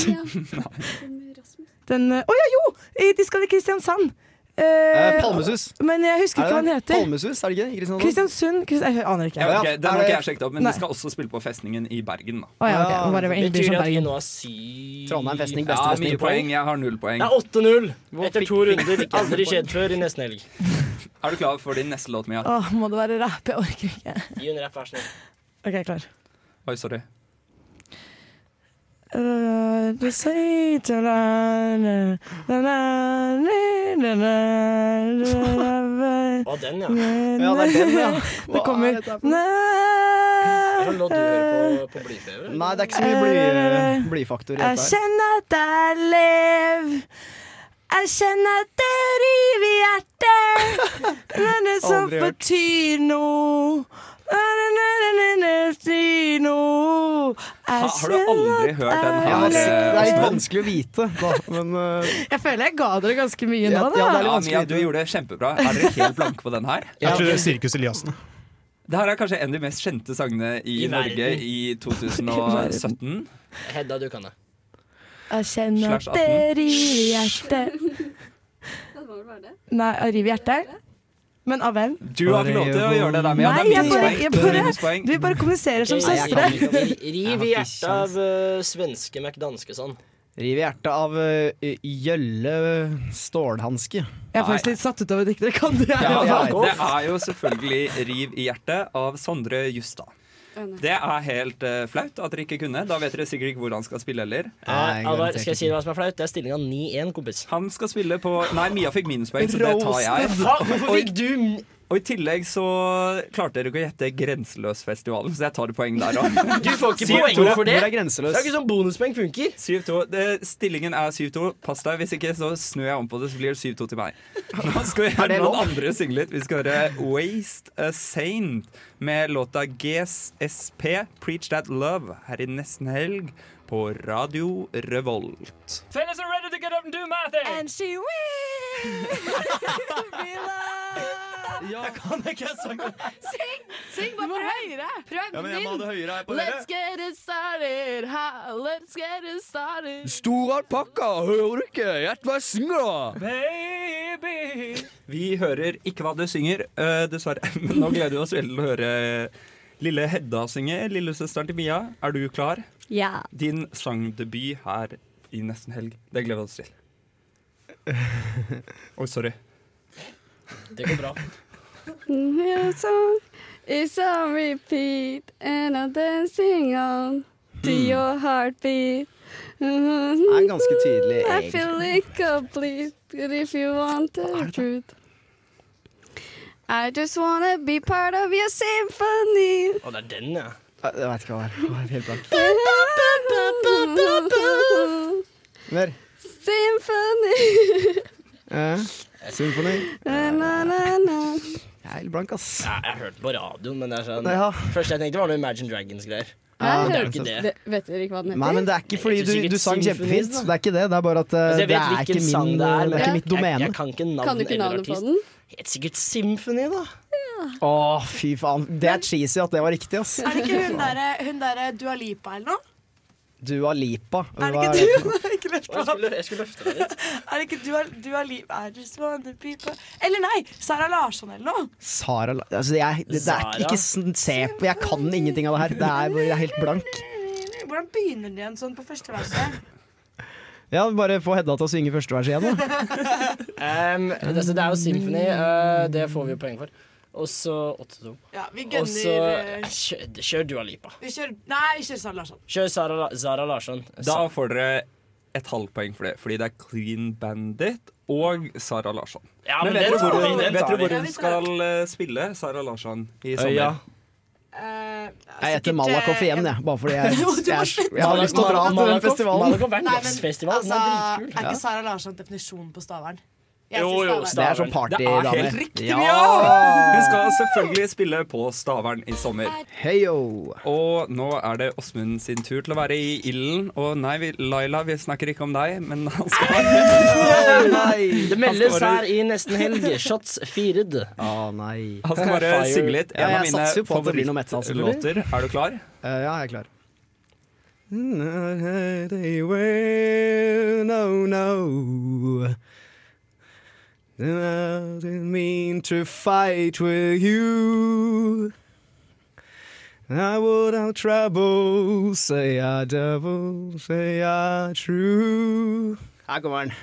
Speaker 9: <laughs> Den Å ja, jo! Eh, De skal i Kristiansand. Eh,
Speaker 13: Eh, Palmesus.
Speaker 9: Men jeg husker
Speaker 13: Er
Speaker 9: ikke hva
Speaker 13: det
Speaker 9: den heter.
Speaker 13: Palmesus, er det ikke? Kristiansand?
Speaker 9: Kristiansund Krist Jeg aner ikke.
Speaker 8: Ja, ok, Den har ikke jeg sjekket opp, men
Speaker 9: Nei.
Speaker 8: de skal også spille på Festningen i Bergen. da.
Speaker 9: Å ja, ok,
Speaker 13: Ah,
Speaker 9: det var det vel ingen bryr seg om Bergen.
Speaker 4: nå har syv
Speaker 13: Trondheim festning,
Speaker 8: Ja,
Speaker 13: beste
Speaker 8: mye
Speaker 13: festning.
Speaker 8: poeng. Jeg har null poeng.
Speaker 4: Det er 8-0 etter to runder. Aldri skjedd før i nesten helg.
Speaker 8: <laughs> Er du klar for din neste låt, Mia?
Speaker 9: Åh, må det være rapp? Jeg orker ikke.
Speaker 4: Gi en rapp, vær så snill.
Speaker 9: OK, klar.
Speaker 8: Oi, sorry.
Speaker 9: Uh, du sier til deg, na, na, na, na, na, na, na, na.
Speaker 4: Å, den, ja.
Speaker 9: Ja,
Speaker 13: det er den, ja. Hva
Speaker 9: Det kommer
Speaker 13: er dette
Speaker 9: na,
Speaker 4: Hvordan låt du hører på, på blyfever?
Speaker 13: Nei, det er ikke så mye
Speaker 9: Eh,
Speaker 13: bly- blyfaktor i
Speaker 9: Jeg
Speaker 13: dette her.
Speaker 9: kjenner at jeg lev Jeg kjenner at det river i hjertet Men det som
Speaker 13: Aldri hørt.
Speaker 9: betyr noe Na, na, na, na, na, na, betyr noe. Jeg
Speaker 8: Ha, har du
Speaker 9: kjenner
Speaker 8: aldri
Speaker 9: at
Speaker 8: hørt den
Speaker 9: jeg
Speaker 8: her?
Speaker 13: Det er litt
Speaker 8: eh, Åsmund?
Speaker 13: vanskelig å vite, da, men eh,
Speaker 9: Jeg føler jeg ga dere ganske mye nå,
Speaker 13: Ja,
Speaker 9: da.
Speaker 13: ja, det er litt
Speaker 8: Ja,
Speaker 13: vanskelig
Speaker 8: Mia, du gjorde det kjempebra. Er dere helt blanke på
Speaker 13: <laughs>
Speaker 8: den her?
Speaker 24: Jeg tror det er Sirkus Eliassen.
Speaker 8: Det her er kanskje en av de mest kjente sangene i,
Speaker 4: I verden.
Speaker 8: Norge
Speaker 9: <laughs>
Speaker 8: i 2017.
Speaker 4: Hedda, du kan det.
Speaker 9: Jeg kjenner
Speaker 8: Slash
Speaker 9: at det river i <laughs> hjertet. Nei, jeg river i hjertet. Men av
Speaker 8: <laughs>
Speaker 9: hvem?
Speaker 8: Du har ikke lov til å gjøre det der, Mia.
Speaker 9: Nei,
Speaker 8: det er
Speaker 9: jeg bare, jeg
Speaker 8: minuspoeng. Det er
Speaker 9: bare,
Speaker 8: minuspoeng.
Speaker 9: vi bare kommuniserer som
Speaker 4: Nei, jeg kan
Speaker 9: søstre.
Speaker 4: ikke. Riv i hjertet av eh, svenske sånn. McDanskeson.
Speaker 13: riv i hjertet av eh, Jølle Stålhanske.
Speaker 9: Jeg er faktisk litt satt ut over diktere. Kan du
Speaker 8: Ja,
Speaker 13: Ja,
Speaker 8: ja,
Speaker 13: ja.
Speaker 8: det er jo selvfølgelig 'Riv i hjertet' av Sondre Justad. Det er helt eh, flaut at dere ikke kunne. Da vet dere sikkert ikke hvor han skal spille heller.
Speaker 4: Nei, Alvar, skal jeg si hva som er flaut? Det er stillinga 9-1, kompis.
Speaker 8: Han skal spille på Nei, Mia fikk minuspoeng, så det tar jeg.
Speaker 4: Faen, hvorfor fikk du
Speaker 8: Og i tillegg så klarte dere ikke å gjette Grenseløsfestivalen, så jeg tar poeng der òg.
Speaker 4: Du får ikke
Speaker 8: Siv
Speaker 4: poeng
Speaker 8: Tore,
Speaker 4: for det!
Speaker 13: hvor er grenseløs?
Speaker 4: Det er ikke sånn bonuspoeng funker.
Speaker 8: 7-2. Det- Stillingen er 7-2. Pass deg, hvis ikke så snur jeg om på det, så blir det 7-2 til meg. Nå skal vi høre
Speaker 13: det
Speaker 8: noen
Speaker 13: lov?
Speaker 8: andre synge litt. Vi skal høre Waste a Saint med låta GSP, Preach That Love, her i nesten helg på Radio Revolt.
Speaker 3: Fellas are ready to get up and do eh? my thing. And
Speaker 9: she will be loved.
Speaker 3: Jeg kan ikke sangen.
Speaker 9: Syng! Syng bare prøv. høyere! Prøv
Speaker 3: Ja, men jeg må ha det høyere her på
Speaker 9: Let's
Speaker 3: øret.
Speaker 9: get it started, ha, let's get it started.
Speaker 22: Store alpakka, hører du ikke? Gjett hva jeg synger, da!
Speaker 8: Baby Vi hører ikke hva du synger, øh, dessverre. <laughs> Men nå gleder vi oss veldig til å høre lille Hedda synge. Lillesøsteren til Mia, er du klar?
Speaker 25: Ja.
Speaker 8: Din sangdebut her i nesten helg. Det gleder vi oss til.
Speaker 4: <laughs>
Speaker 8: Oi, sorry.
Speaker 4: Det går bra.
Speaker 26: Your song is on Mm-hmm. repeat, and I'm dancing on to your heartbeat. Mm-hmm.
Speaker 13: Det er ganske tydelig,
Speaker 26: I
Speaker 13: egentlig.
Speaker 26: feel incomplete, but if you want the truth. I just wanna be part of your symphony.
Speaker 4: Å, det er den, ja.
Speaker 13: Jeg jeg vet ikke hva det er. Det var Helt blank. Mer.
Speaker 26: Symphony.
Speaker 13: Eh, symfoni.
Speaker 26: Na-na-na-na.
Speaker 13: Jeg er helt blank, ass.
Speaker 4: Ja, jeg hørte på radioen, men det er sånn
Speaker 13: Ja.
Speaker 4: Første jeg tenkte, var noe Imagine Dragons-greier.
Speaker 26: Jeg
Speaker 4: Men det er
Speaker 26: hørte-
Speaker 4: jo ikke det.
Speaker 26: Ve- Vet dere ikke hva den heter?
Speaker 13: Nei, men det er ikke fordi
Speaker 4: Jeg
Speaker 13: du,
Speaker 4: tror sikkert
Speaker 13: du sang
Speaker 4: symfoni,
Speaker 13: kjempefint.
Speaker 4: da.
Speaker 13: Det er ikke det. Det er bare at eh,
Speaker 4: Altså, jeg
Speaker 13: det,
Speaker 4: vet
Speaker 13: er
Speaker 4: hvilken
Speaker 13: ikke min, eh,
Speaker 4: sang det er,
Speaker 13: det er
Speaker 4: men
Speaker 13: ikke mitt
Speaker 4: jeg,
Speaker 13: domene.
Speaker 4: jeg kan ikke navn
Speaker 26: Kan du ikke
Speaker 4: eller
Speaker 26: navnet på
Speaker 4: artist.
Speaker 26: den?
Speaker 4: Helt sikkert Symphony, da.
Speaker 13: Å, fy faen. Det er cheesy at det var riktig, ass.
Speaker 2: Er det ikke hun derre hun derre Dua Lipa eller noe?
Speaker 13: Dua Lipa.
Speaker 2: Er det
Speaker 13: Hva
Speaker 2: ikke du? Nei, ikke løft
Speaker 13: Å, jeg
Speaker 2: meg opp. <laughs> Er det ikke Dua, Dua Lipa I just wanna be pa- Eller nei, Sara Larsson eller noe.
Speaker 13: Sara La- altså jeg, det, det er
Speaker 2: Sara?
Speaker 13: ikke, ikke sn- Se på, jeg kan ingenting av det her. Det er, bare- jeg er helt blank.
Speaker 2: Hvordan begynner de igjen sånn på første verset?
Speaker 13: Ja, Bare få Hedda til å synge første vers igjen, da. sånn-
Speaker 4: Um, det, så det er jo symfoni. eh, det får vi jo poeng for. Og så 8-2.
Speaker 2: Ja, vi
Speaker 4: Og så
Speaker 2: gønner eh,
Speaker 4: kjør, kjør Dua Lipa.
Speaker 2: Vi kjører Nei, vi kjører Sara Larsson.
Speaker 4: Kjør Sara, La- Sara Larsson.
Speaker 8: Da får dere et halvt poeng for det, fordi det er Clean Bandit og Sara Larsson.
Speaker 4: Ja,
Speaker 8: men
Speaker 4: men
Speaker 8: vet
Speaker 4: den
Speaker 8: dere
Speaker 4: tar
Speaker 8: hvor
Speaker 4: vi,
Speaker 8: hun,
Speaker 4: den
Speaker 8: vet
Speaker 4: tar
Speaker 8: dere
Speaker 4: vi.
Speaker 8: hvor hun skal eh, spille Sara Larsson i sommer?
Speaker 13: Øya.
Speaker 2: Eh,
Speaker 13: Jeg heter Malakoff igjen, jeg. Bare fordi jeg,
Speaker 2: Jo,
Speaker 13: jeg,
Speaker 2: du må
Speaker 13: jeg, jeg har lyst til å dra til den
Speaker 4: Malakoff-
Speaker 13: festivalen.
Speaker 4: Malakoff er en
Speaker 2: Nei, men,
Speaker 4: jazzfestival. Den er
Speaker 2: Altså, er
Speaker 4: dritkul.
Speaker 13: Ja.
Speaker 2: ikke Sara Larsson definisjonen på Stavern? Jeg
Speaker 8: Jo,
Speaker 2: sier
Speaker 8: jo,
Speaker 2: Stavern.
Speaker 13: Det er sånn
Speaker 8: Det er
Speaker 13: partydame.
Speaker 8: helt riktig,
Speaker 13: Ja.
Speaker 8: ja! Hun skal selvfølgelig spille på Stavern i sommer. Og nå er det Åsmund sin tur til å være i ilden. Og nei, vi, Laila, vi snakker ikke om deg, men han skal
Speaker 4: Det meldes her i nesten helg. Shots fired.
Speaker 13: Å nei.
Speaker 8: Han skal bare
Speaker 4: Fire.
Speaker 8: synge litt.
Speaker 13: Ja,
Speaker 8: En av
Speaker 13: jeg satser jo
Speaker 8: mine
Speaker 13: på at det blir noe metal,
Speaker 8: favorittlåter.
Speaker 13: selvfølgelig.
Speaker 8: Er du klar?
Speaker 13: Eh, ja, jeg er klar. No, no. I didn't mean to fight with you. I would have trouble, say I double, say I true. Her kommer den.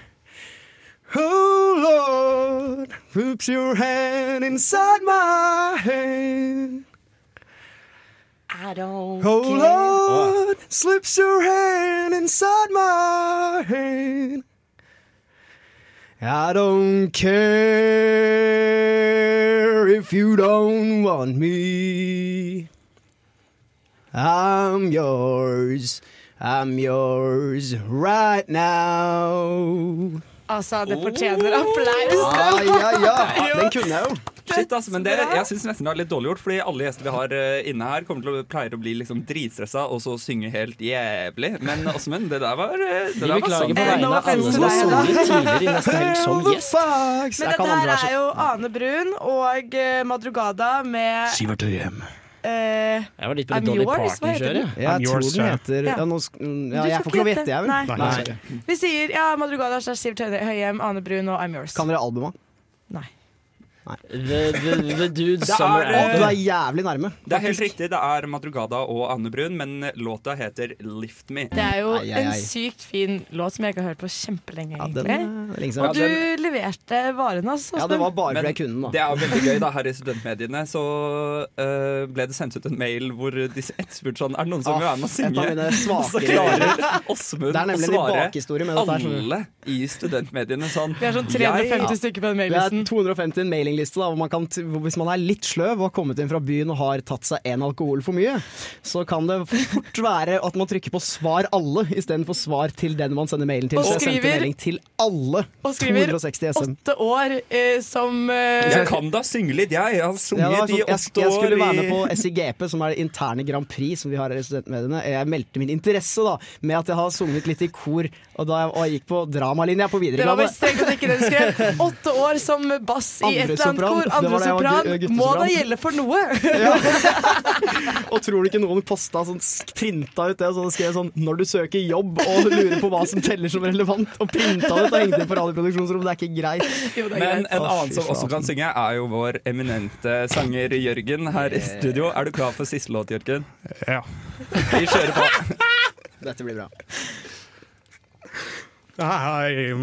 Speaker 13: Oh Lord, put your hand inside my hand.
Speaker 3: I don't
Speaker 13: Oh Lord, slips your hand inside my hand. I don't care if you don't want me. I'm yours. I'm yours right now.
Speaker 22: Altså,
Speaker 4: Oh.
Speaker 22: det fortjener applaus.
Speaker 13: Ja, ja,
Speaker 22: <laughs>
Speaker 13: ja. Den kunne jeg jo.
Speaker 8: Shit, ass, men det, jeg syns nesten det er litt dårlig gjort, fordi alle gjester vi har eh, inne her, kommer til å pleier å bli liksom dritstressa og så synge helt jævlig. Men Åsmund, det der var eh, det
Speaker 4: Vi
Speaker 8: der var
Speaker 4: beklager
Speaker 8: sånn.
Speaker 4: på vegne av alle som har sunget tidligere i nesten helg som gjest.
Speaker 13: Men
Speaker 22: dette her er jo Ane Brun og eh, Madrugada med
Speaker 13: er
Speaker 4: Sivert Høyem.
Speaker 22: eh,
Speaker 4: Jeg var litt på
Speaker 22: I'm
Speaker 4: det Dolly
Speaker 22: yours, hva heter
Speaker 4: Parton-kjøret.
Speaker 22: den?
Speaker 4: jeg.
Speaker 13: Jeg tror den heter
Speaker 22: Ja.
Speaker 13: ja, nå, sk- mm, ja,
Speaker 22: Du
Speaker 13: Jeg
Speaker 22: skal
Speaker 13: får ikke lov å
Speaker 22: ikke
Speaker 13: gjette, jeg,
Speaker 22: gjette.
Speaker 13: vel?
Speaker 22: Nei. Vi sier ja, Madrugada slash Sivert Høyne- Høyem, Ane Brun og I'm yours.
Speaker 13: Kan dere albumet?
Speaker 22: Nei.
Speaker 4: The, the, the Dude
Speaker 8: Det er,
Speaker 4: Summer
Speaker 8: eh,
Speaker 4: Out.
Speaker 13: Du er jævlig nærme.
Speaker 8: Det er helt riktig, det er Madrugada og Anne Brun, men låta heter Lift Me.
Speaker 22: Det er jo
Speaker 8: Ai, ai,
Speaker 22: en
Speaker 8: ai.
Speaker 22: sykt fin låt som jeg ikke har hørt på kjempelenge.
Speaker 8: den
Speaker 22: egentlig.
Speaker 8: er lenge siden.
Speaker 22: Og du
Speaker 8: Ja,
Speaker 22: leverte varene, altså. Åsmund.
Speaker 8: Men Det er jo veldig gøy, da. Her i studentmediene så eh, ble det sendt ut en mail hvor de etterspurte sånn Er det noen som vil være med å
Speaker 13: et av mine
Speaker 8: synge? <laughs> Så
Speaker 13: svakere-
Speaker 8: klarer Åsmund
Speaker 13: Det er
Speaker 8: å
Speaker 13: nemlig en
Speaker 8: svare
Speaker 13: bakhistorie med dette her, skjønner
Speaker 8: alle i studentmediene sånn
Speaker 22: Vi er sånn
Speaker 8: «Jeg-
Speaker 22: 350 stykker på den
Speaker 13: Det
Speaker 22: maillisten.
Speaker 13: er 250 i en mailingliste. da, hvor man kan t- hvor Hvis man er litt sløv og har kommet inn fra byen og har tatt seg en alkohol for mye, så kan det fort være at man trykker på 'svar alle' istedenfor 'svar til den man sender mailen til'.
Speaker 22: Og
Speaker 13: så jeg sendte
Speaker 22: skriver-
Speaker 13: melding til alle.
Speaker 22: Og skriver
Speaker 13: 260 SM.
Speaker 22: åtte år eh, som eh,
Speaker 8: Jeg kan da synge litt, jeg. Jeg
Speaker 13: Ja,
Speaker 8: har
Speaker 13: det var
Speaker 8: sunget
Speaker 13: sånn,
Speaker 8: i
Speaker 13: jeg,
Speaker 8: åtte
Speaker 13: jeg
Speaker 8: år
Speaker 13: skulle være
Speaker 8: i
Speaker 13: med på SIGP, som er det interne Grand Prix som vi har her i studentmediene. Jeg meldte min interesse da, med at jeg har sunget litt i kor, og da jeg, og jeg gikk på dramalinja på
Speaker 22: Det var
Speaker 13: videregående.
Speaker 22: vel strengt at ikke dere skrev åtte år som bass i et eller annet
Speaker 13: Andresopran.
Speaker 22: kor.
Speaker 13: Det var det jeg var
Speaker 22: Andresopran.
Speaker 13: gu- guttesopran.
Speaker 22: Må da gjelde for noe!
Speaker 13: Og tror du ikke noen posta sånn sk- printa ut det, og så skrev jeg sånn 'når du søker jobb og lurer på hva som teller som relevant', og printa det ut og hengte det på radioproduksjonsrommet. Det er ikke greit.
Speaker 8: Men en
Speaker 13: Å,
Speaker 8: annen
Speaker 13: fy
Speaker 8: som også
Speaker 13: flate.
Speaker 8: kan synge, er jo vår eminente sanger Jørgen her i studio. Er du klar for siste låt, Jørgen? Ja. Vi kjører på.
Speaker 13: Dette blir bra.
Speaker 24: I'm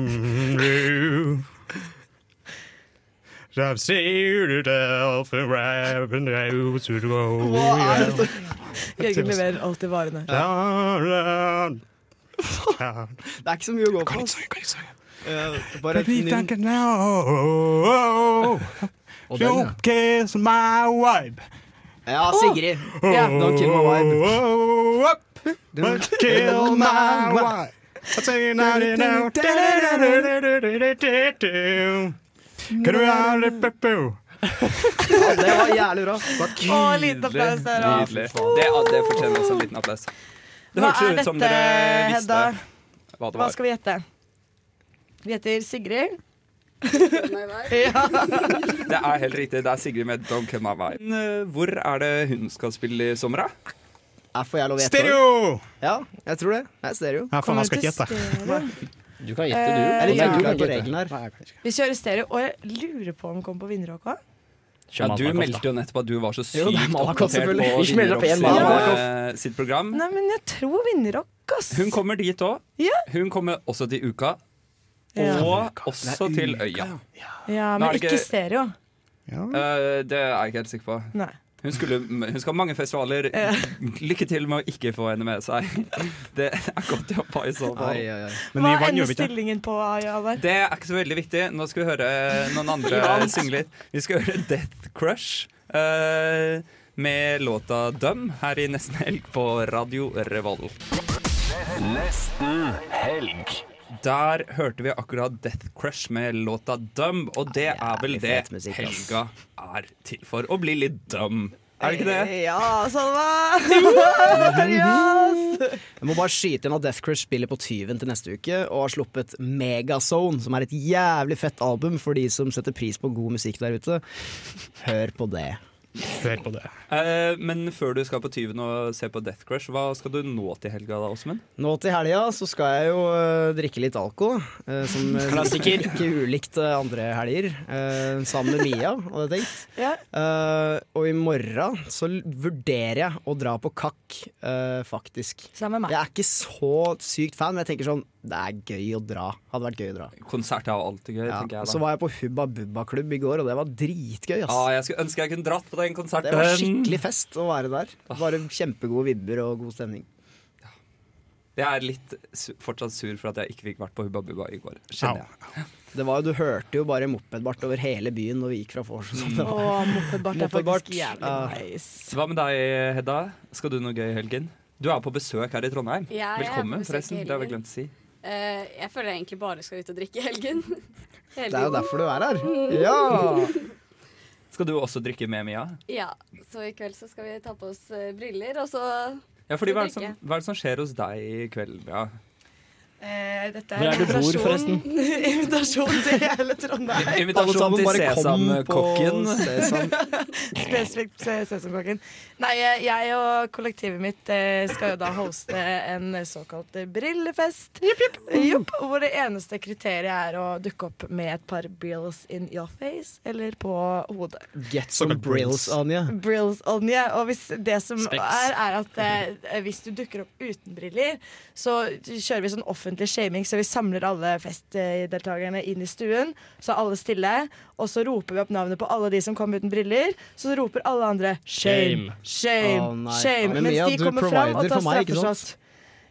Speaker 24: blue. I've seen it all for rapping out to go.
Speaker 13: er
Speaker 22: Jørgen leverer alltid varene.
Speaker 13: Det er ikke så mye å gå på. ass. Eh, Bare
Speaker 24: But
Speaker 13: et
Speaker 24: if I
Speaker 13: nyn-
Speaker 24: can Oh, know, <laughs>
Speaker 13: Og den,
Speaker 24: oh, you
Speaker 13: ja.
Speaker 24: kiss my Oh, vibe.
Speaker 13: Ja, Sigrid.
Speaker 24: Ja.
Speaker 13: Don't kill my
Speaker 24: oh, vibe.
Speaker 13: Don't
Speaker 24: oh. kill my vibe. I say now you know. Get around it, boo.
Speaker 13: Det var jævlig bra.
Speaker 22: Og liten applaus der også.
Speaker 8: Nydelig. Det, ja, det fortjener også en liten applaus. Det
Speaker 22: Hva
Speaker 8: hørtes jo
Speaker 22: er
Speaker 8: ut som
Speaker 22: dette,
Speaker 8: dere visste
Speaker 22: Hedda?
Speaker 8: hva det
Speaker 22: Hva
Speaker 8: var.
Speaker 22: skal vi gjette? Vi heter Sigrid. <laughs>
Speaker 8: Det er helt riktig. Det er Sigrid med 'Don't Cut My Vibe'. Men, eh, Hvor er det hun skal spille i sommer, da?
Speaker 13: Her får jeg lov å gjette.
Speaker 8: Stereo!
Speaker 13: Ja, jeg tror det. Det er stereo.
Speaker 8: Ja, faen, jeg skal ikke gjette.
Speaker 13: Du
Speaker 4: kan
Speaker 13: gjette, du.
Speaker 4: Eh,
Speaker 13: Eller
Speaker 4: ja.
Speaker 13: jeg
Speaker 4: Du kan
Speaker 13: kan på
Speaker 4: gjette.
Speaker 13: reglene
Speaker 4: Nei,
Speaker 13: her.
Speaker 9: Vi kjører stereo, og jeg lurer på om den kommer på vinneråka.
Speaker 8: Ja, du
Speaker 4: Malakoff,
Speaker 8: meldte jo nettopp at du var så sykt
Speaker 4: Jo, det er Malakoff,
Speaker 8: oppdatert på
Speaker 4: selvfølgelig. Vi smeller opp en
Speaker 8: Vinjerock
Speaker 4: Malakoff.
Speaker 8: sin- sitt program.
Speaker 9: Nei, men jeg tror vinneråk, ass.
Speaker 8: Hun kommer dit òg.
Speaker 9: Ja.
Speaker 8: Hun kommer også til uka.
Speaker 9: Ja.
Speaker 8: Og også til øya.
Speaker 9: Ja, men
Speaker 8: Nå er det
Speaker 9: ikke,
Speaker 8: ikke-
Speaker 9: stereo.
Speaker 8: Eh, det er jeg ikke helt sikker på.
Speaker 9: Nei.
Speaker 8: Hun, skulle, hun skal ha mange festivaler.
Speaker 9: Ja.
Speaker 8: Lykke til med å ikke få henne med seg. <laughs> Det er godt jobba i så fall.
Speaker 9: Hva ender stillingen på? Ja, der?
Speaker 8: Det er ikke så veldig viktig. Nå skal vi høre
Speaker 13: <laughs>
Speaker 8: noen andre
Speaker 9: Ja.
Speaker 8: synge litt. Vi skal høre Death Crush eh, med låta Dum her i Nesten Helg på Radio Revoll. Nesten Helg. Der hørte vi akkurat Death Crush med låta Dum, og det er vel det
Speaker 13: fet musikk, ass.
Speaker 8: helga er til for. Å bli litt dum. Er det ikke det?
Speaker 9: Ja, Salva! Yes!
Speaker 13: <laughs> Jeg må bare skyte inn at Death Crush spiller på Tyven til neste uke, og har sluppet Megazone, som er et jævlig fett album for de som setter pris på god musikk der ute. Hør på det. Hør på det.
Speaker 8: Eh, men før du skal på Tyven og se på Death Crush, hva skal du nå til helga da, Åsmund?
Speaker 13: Nå til helga så skal jeg jo øh, drikke litt alkohol, øh, som øh,
Speaker 8: Klassiker.
Speaker 13: <laughs> ikke ulikt øh, andre helger, øh, sammen med Mia, hadde jeg tenkt.
Speaker 9: Ja.
Speaker 13: Eh, og i morgen så l- vurderer jeg å dra på kakk, eh, faktisk. Jeg er ikke så sykt fan, men jeg tenker sånn det er gøy å dra. Hadde vært gøy å dra.
Speaker 8: Konsert er jo alltid gøy,
Speaker 13: Ja,
Speaker 8: tenker
Speaker 13: og
Speaker 8: jeg
Speaker 13: så
Speaker 8: da.
Speaker 13: var jeg på Hubba Bubba klubb i går, og det var dritgøy. Ass.
Speaker 8: Ja, Ah, jeg skulle ønske jeg kunne dratt på den Ah. konserten.
Speaker 13: det var skikkelig fest å være der. Bare kjempegode vibber og god stemning.
Speaker 8: Jeg er litt su fortsatt sur for at jeg ikke fikk vært på Hubba Bubba i går. Kjenner jeg.
Speaker 13: Det var jo, Du hørte jo bare mopedbart over hele byen når vi gikk fra vors. og sånn. Det var-
Speaker 9: Å, mopedbart er
Speaker 13: Mopedbart.
Speaker 9: faktisk jævlig
Speaker 13: Ja.
Speaker 9: nice.
Speaker 8: Hva med deg, Hedda? Skal du noe gøy i helgen? Du er på besøk her i Trondheim.
Speaker 26: Ja, jeg er på
Speaker 8: Velkommen,
Speaker 26: besøk i
Speaker 8: forresten. Det har vi
Speaker 26: helgen.
Speaker 8: glemt å si.
Speaker 26: Eh, jeg føler jeg egentlig bare skal ut og drikke i helgen. <laughs>
Speaker 13: Det er jo derfor du er her.
Speaker 26: Mm.
Speaker 13: Ja!
Speaker 8: Skal du også drikke med Mia?
Speaker 26: Ja, så i kveld så skal vi ta på oss eh, briller, og så
Speaker 8: Ja, fordi hva er, det som,
Speaker 26: drikke.
Speaker 8: hva er det som skjer hos deg i kveld, Mia?
Speaker 9: Eh, dette
Speaker 8: Hvor
Speaker 9: er
Speaker 8: er det du bor,
Speaker 9: invitasjon-
Speaker 8: forresten?
Speaker 9: <laughs> invitasjon til hele Trondheim.
Speaker 8: I- invitasjon Alle sammen til bare kom Sesamkokken. på <laughs> Sesam.
Speaker 9: Spesifikt se- Sesamkokken. Nei, eh, jeg og kollektivet mitt eh, skal jo da hoste en såkalt eh, brillefest. Jupp, hvor det eneste kriteriet er å dukke opp med et par brills in your face eller på hodet.
Speaker 13: Get some brills, Anja.
Speaker 9: Brills on you. Og hvis det som
Speaker 13: Specs.
Speaker 9: er, er at eh, hvis du dukker opp uten briller, så kjører vi sånn offentlig shaming, så vi samler alle festdeltakerne inn i stuen, så er alle stille, og så roper vi opp navnet på alle de som kom uten briller, så roper alle andre shame,
Speaker 13: Å,
Speaker 9: shame,
Speaker 13: nei.
Speaker 9: shame,
Speaker 13: Men
Speaker 9: mens
Speaker 13: Mia,
Speaker 9: de
Speaker 13: du
Speaker 9: kommer fram og
Speaker 13: provider
Speaker 9: tar
Speaker 13: for meg, ikke
Speaker 9: straffeshot.
Speaker 13: sant?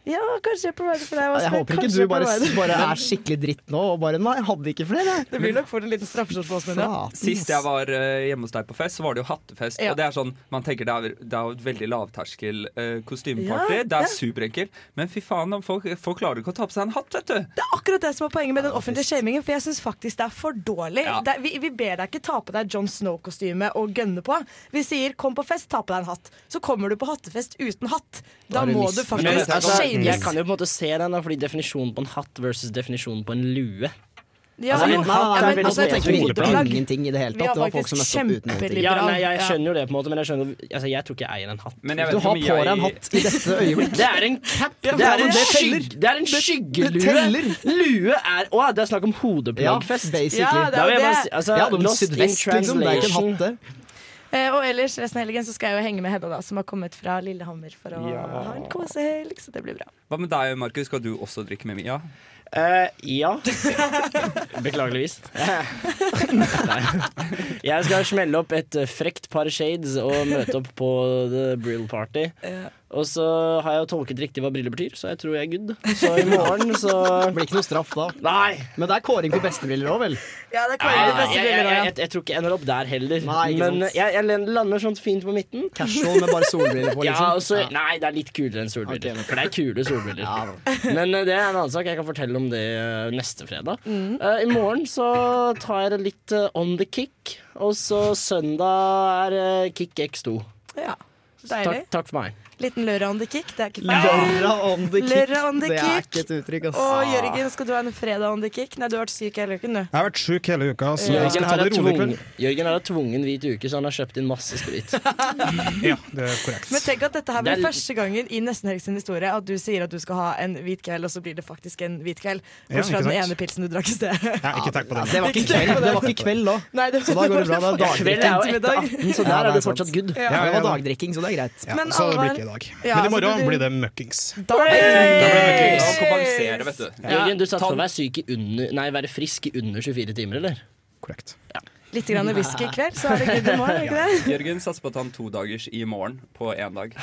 Speaker 9: Ja, kanskje jeg provider for deg.
Speaker 13: Jeg
Speaker 9: Åsmund.
Speaker 13: håper ikke
Speaker 9: Kanskje
Speaker 13: du
Speaker 9: jeg
Speaker 13: bare,
Speaker 9: provider.
Speaker 13: bare er skikkelig dritt nå og bare Nei, jeg hadde ikke flere.
Speaker 9: Det blir nok fort en liten straffeshot på oss, men ja.
Speaker 8: Sist jeg var eh, hjemme hos deg på fest, så var det jo hattefest.
Speaker 9: Ja.
Speaker 8: Og det er sånn, man tenker det er, det er jo et veldig lavterskel eh, kostymeparty.
Speaker 9: Ja,
Speaker 8: det
Speaker 9: ja.
Speaker 8: er superenkelt. Men fy faen, om folk, folk klarer ikke å ta på seg en hatt, vet du.
Speaker 9: Det er akkurat det som er poenget med den offentlige shamingen, for jeg syns faktisk det er for dårlig.
Speaker 8: Ja.
Speaker 9: Det er- vi, vi ber deg ikke ta på deg John Snow-kostyme og gønne på. Vi sier 'kom på fest, ta på deg en hatt'. Så kommer du på hattefest uten hatt. Da må du faktisk
Speaker 4: altså, Jeg
Speaker 9: shames.
Speaker 4: kan jo på en måte se den, da, fordi definisjonen på en hatt versus definisjonen på en lue.
Speaker 13: Ja, altså, nei,
Speaker 4: en hatt
Speaker 13: nei,
Speaker 4: er
Speaker 13: men
Speaker 4: veldig
Speaker 13: altså, jeg tenker
Speaker 4: spesifikt.
Speaker 13: hodeplagg. Ingenting i det hele tatt. Vi har Det var folk som faktisk møtte opp uten noen ting.
Speaker 4: Ja,
Speaker 13: kjempeliberal.
Speaker 4: nei, jeg
Speaker 13: Ja.
Speaker 4: skjønner jo det, på en måte, men jeg, skjønner, altså, jeg tror ikke jeg eier en hatt.
Speaker 13: Men jeg vet Du ikke har om på jeg- deg en hatt i dette øyeblikk.
Speaker 4: Det er en cap.
Speaker 13: Ja,
Speaker 4: Det er en,
Speaker 13: men det
Speaker 4: skygg,
Speaker 13: teller.
Speaker 4: det er en
Speaker 13: Det- det
Speaker 4: skyggelue.
Speaker 13: teller.
Speaker 4: Lue er Å, det er snakk om hodeplaggfest.
Speaker 13: Ja, basically. Ja, det er
Speaker 4: Da vil jeg
Speaker 13: jo
Speaker 4: bare
Speaker 13: det.
Speaker 4: si- altså,
Speaker 13: Ja, det er en
Speaker 4: lost in
Speaker 13: sydvest, liksom. Det er ikke en
Speaker 4: translation.
Speaker 13: hatt, det.
Speaker 9: Eh, og ellers resten av helgen så skal jeg jo henge med Hedda, da, som har kommet fra Lillehammer for å
Speaker 8: Ja.
Speaker 9: ha en kosehelg. Så det blir bra.
Speaker 8: Hva med deg, Markus? Skal du også drikke med Mia?
Speaker 4: Eh,
Speaker 8: <laughs>
Speaker 4: ja.
Speaker 13: <laughs>
Speaker 4: Beklageligvis. Nei. Jeg skal smelle opp et eh, frekt par shades og møte opp på The Brill Party. Og så har jeg jo tolket riktig hva briller betyr, så jeg tror jeg er
Speaker 9: <laughs>
Speaker 4: good. Så i morgen så
Speaker 13: Blir ikke noe straff da.
Speaker 4: Nei!
Speaker 13: Men det er kåring på bestebriller òg, vel?
Speaker 9: Ja, det
Speaker 4: Nei, nei, jeg, jeg, jeg, jeg, jeg tror ikke jeg ender opp der heller.
Speaker 13: Nei, ikke
Speaker 4: men
Speaker 13: sant.
Speaker 4: jeg, jeg lander sånn fint på midten.
Speaker 13: Casual med bare solbriller på,
Speaker 4: <laughs> Ja,
Speaker 13: liksom.
Speaker 4: og så,
Speaker 13: Ja.
Speaker 4: nei, det er litt kulere enn solbriller.
Speaker 13: Ok, men-
Speaker 4: For det er kule solbriller. men eh, det er en annen sak. Jeg kan fortelle om det eh, neste fredag. Eh, I morgen så tar jeg det litt eh, on the kick, og så søndag er eh, kick x2.
Speaker 9: Ja,
Speaker 4: Så Takk,
Speaker 9: Deilig.
Speaker 4: takk for meg. Eh,
Speaker 9: Liten lørra on the kick, det er ikke feil.
Speaker 13: Lørra on the kick.
Speaker 9: Lørra on the
Speaker 13: det er
Speaker 9: kick.
Speaker 13: ikke et uttrykk, ass.
Speaker 9: Og Jørgen, skal du ha en fredag on the kick? Nei, du har vært syk hele uken, du.
Speaker 24: Jeg har vært sjuk hele uka, så jeg
Speaker 4: Jørgen
Speaker 24: skal ta
Speaker 4: har
Speaker 24: det
Speaker 4: en
Speaker 24: rolig i
Speaker 4: tvungen,
Speaker 24: kveld.
Speaker 4: Jørgen har en tvungen hvit uke, så han har kjøpt inn masse sprit.
Speaker 24: <laughs> ja, det er korrekt.
Speaker 9: Men tenk at dette her blir
Speaker 4: Det er-
Speaker 9: første gangen i Nesten Helg sin historie at du sier at du skal ha en hvit kveld, og så blir det faktisk en hvit kveld.
Speaker 24: Ja,
Speaker 9: Bortsett fra
Speaker 24: ikke
Speaker 9: den
Speaker 24: sant?
Speaker 9: ene pilsen du drakk i sted.
Speaker 24: Ja, ikke tenk på det.
Speaker 13: Det var ikke kveld, det var ikke kveld da.
Speaker 9: Nei, det-
Speaker 13: så da går det bra. Det
Speaker 9: Ja,
Speaker 13: er
Speaker 9: kveld er jo
Speaker 13: dagdrikking.
Speaker 9: etter 18,
Speaker 13: så der er du
Speaker 24: sant.
Speaker 13: fortsatt good.
Speaker 9: Ja,
Speaker 13: det
Speaker 24: ja,
Speaker 13: var
Speaker 24: ja.
Speaker 13: dagdrikking, så det er greit.
Speaker 24: Ja,
Speaker 9: Men
Speaker 24: så det blir
Speaker 9: Alvar-
Speaker 24: ikke i dag.
Speaker 9: Ja,
Speaker 24: Men i
Speaker 9: så
Speaker 24: morgen
Speaker 9: du-
Speaker 24: blir det møkkings.
Speaker 9: Da blir
Speaker 24: det
Speaker 9: møkkings.
Speaker 24: Da kompenserer, vet du. Ja.
Speaker 4: Eh, Jørgen, du satt
Speaker 24: Ta-
Speaker 4: for å være, syk i under, nei, være frisk i under 24 timer, eller?
Speaker 24: Korrekt.
Speaker 9: <laughs> Litt grann whisky i kveld,
Speaker 24: <laughs>
Speaker 9: så er det good i morgen, er det ikke det?
Speaker 8: Jørgen satser på å ta en todagers i morgen på én dag.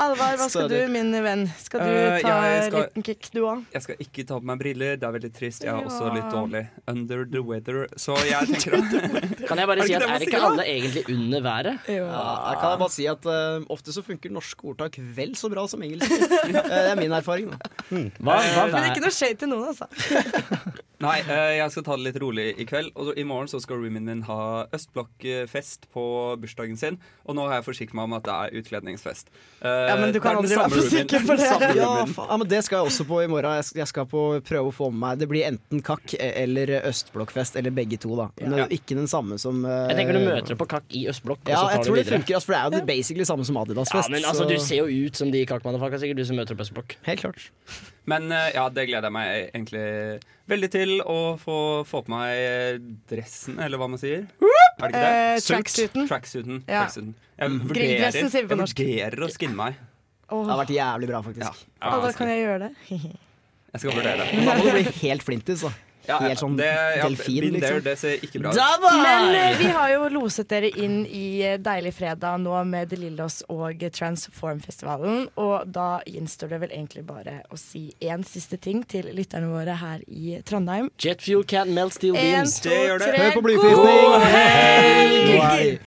Speaker 9: Alvar, hva skal du,
Speaker 8: Stadig.
Speaker 9: min venn? Skal
Speaker 8: Eh,
Speaker 9: du ta
Speaker 8: jeg skal-
Speaker 9: liten kick, du òg?
Speaker 8: Jeg skal ikke ta på meg briller, det er veldig trist. Jeg er også
Speaker 9: Ja.
Speaker 8: litt dårlig. Under the weather. Så jeg tenker at
Speaker 4: Kan jeg bare
Speaker 8: Er det
Speaker 4: si
Speaker 8: ikke det
Speaker 4: at
Speaker 8: man
Speaker 4: er ikke
Speaker 8: sier, da?
Speaker 4: alle egentlig under været?
Speaker 13: Ja, kan jeg bare si at eh, ofte så funker norske ordtak vel så bra som engelske. Eh, det er min erfaring, da.
Speaker 24: Hmm.
Speaker 9: Men ikke noe shade til noen, altså.
Speaker 8: Nei, eh, jeg skal ta det litt rolig i kveld. Og så i morgen så skal roomien min ha østblokkfest på bursdagen sin. Og nå har jeg forsikret meg om at det er Eh, utkledningsfest.
Speaker 9: Ja, men
Speaker 13: Eh,
Speaker 9: du kan aldri være for sikker på det.
Speaker 13: Ja, fa- ja, men Det skal jeg også på i morgen. Jeg skal, jeg skal på prøve å få med meg Det blir enten kakk e, eller østblokkfest, eller begge to. da Men Ikke den samme som eh,
Speaker 4: Jeg tenker du møter det på kakk i Østblokk, og
Speaker 13: Ja,
Speaker 4: så
Speaker 13: jeg
Speaker 4: tar du
Speaker 13: tror det
Speaker 4: videre.
Speaker 13: funker, altså, for det er jo det basically samme som
Speaker 4: Ja,
Speaker 13: Adidas-fest.
Speaker 4: men altså,
Speaker 13: så-
Speaker 4: Du ser jo ut som de kakmannefakka, sikkert, du som møter opp Østblokk.
Speaker 13: Helt klart.
Speaker 8: Men eh, ja, det gleder jeg meg egentlig veldig til. Å få, få på meg eh, dressen, eller hva man sier. Er det ikke det?
Speaker 9: Eh,
Speaker 8: Suit?
Speaker 9: tracksuiten.
Speaker 8: Tracksuiten.
Speaker 9: Ja.
Speaker 8: tracksuiten. Jeg
Speaker 9: Mm.
Speaker 8: vurderer,
Speaker 9: Grilldressen sier vi på norsk.
Speaker 8: Jeg vurderer å skinne meg.
Speaker 9: Åh.
Speaker 13: Det har vært jævlig bra, faktisk.
Speaker 8: Ja,
Speaker 9: Alvar,
Speaker 8: jeg
Speaker 9: kan
Speaker 8: skal,
Speaker 9: jeg gjøre det?
Speaker 8: jeg skal vurdere
Speaker 13: Men da må du
Speaker 8: det.
Speaker 13: bli helt flintis, da.
Speaker 8: Ja, ja,
Speaker 13: Helt sånn
Speaker 8: det, ja,
Speaker 13: delfin,
Speaker 8: been there,
Speaker 13: liksom.
Speaker 8: Det ser ikke bra ut.
Speaker 13: Da var-
Speaker 9: Men eh, vi har jo loset dere inn i eh, Deilig fredag nå med De Lillos og Transformfestivalen. Og da gjenstår det vel egentlig bare å si én siste ting til lytterne våre her i Trondheim.
Speaker 4: Jet fuel can melt steel
Speaker 9: En,
Speaker 4: beams.
Speaker 9: to, tre,
Speaker 4: God
Speaker 9: god helg!
Speaker 4: helg!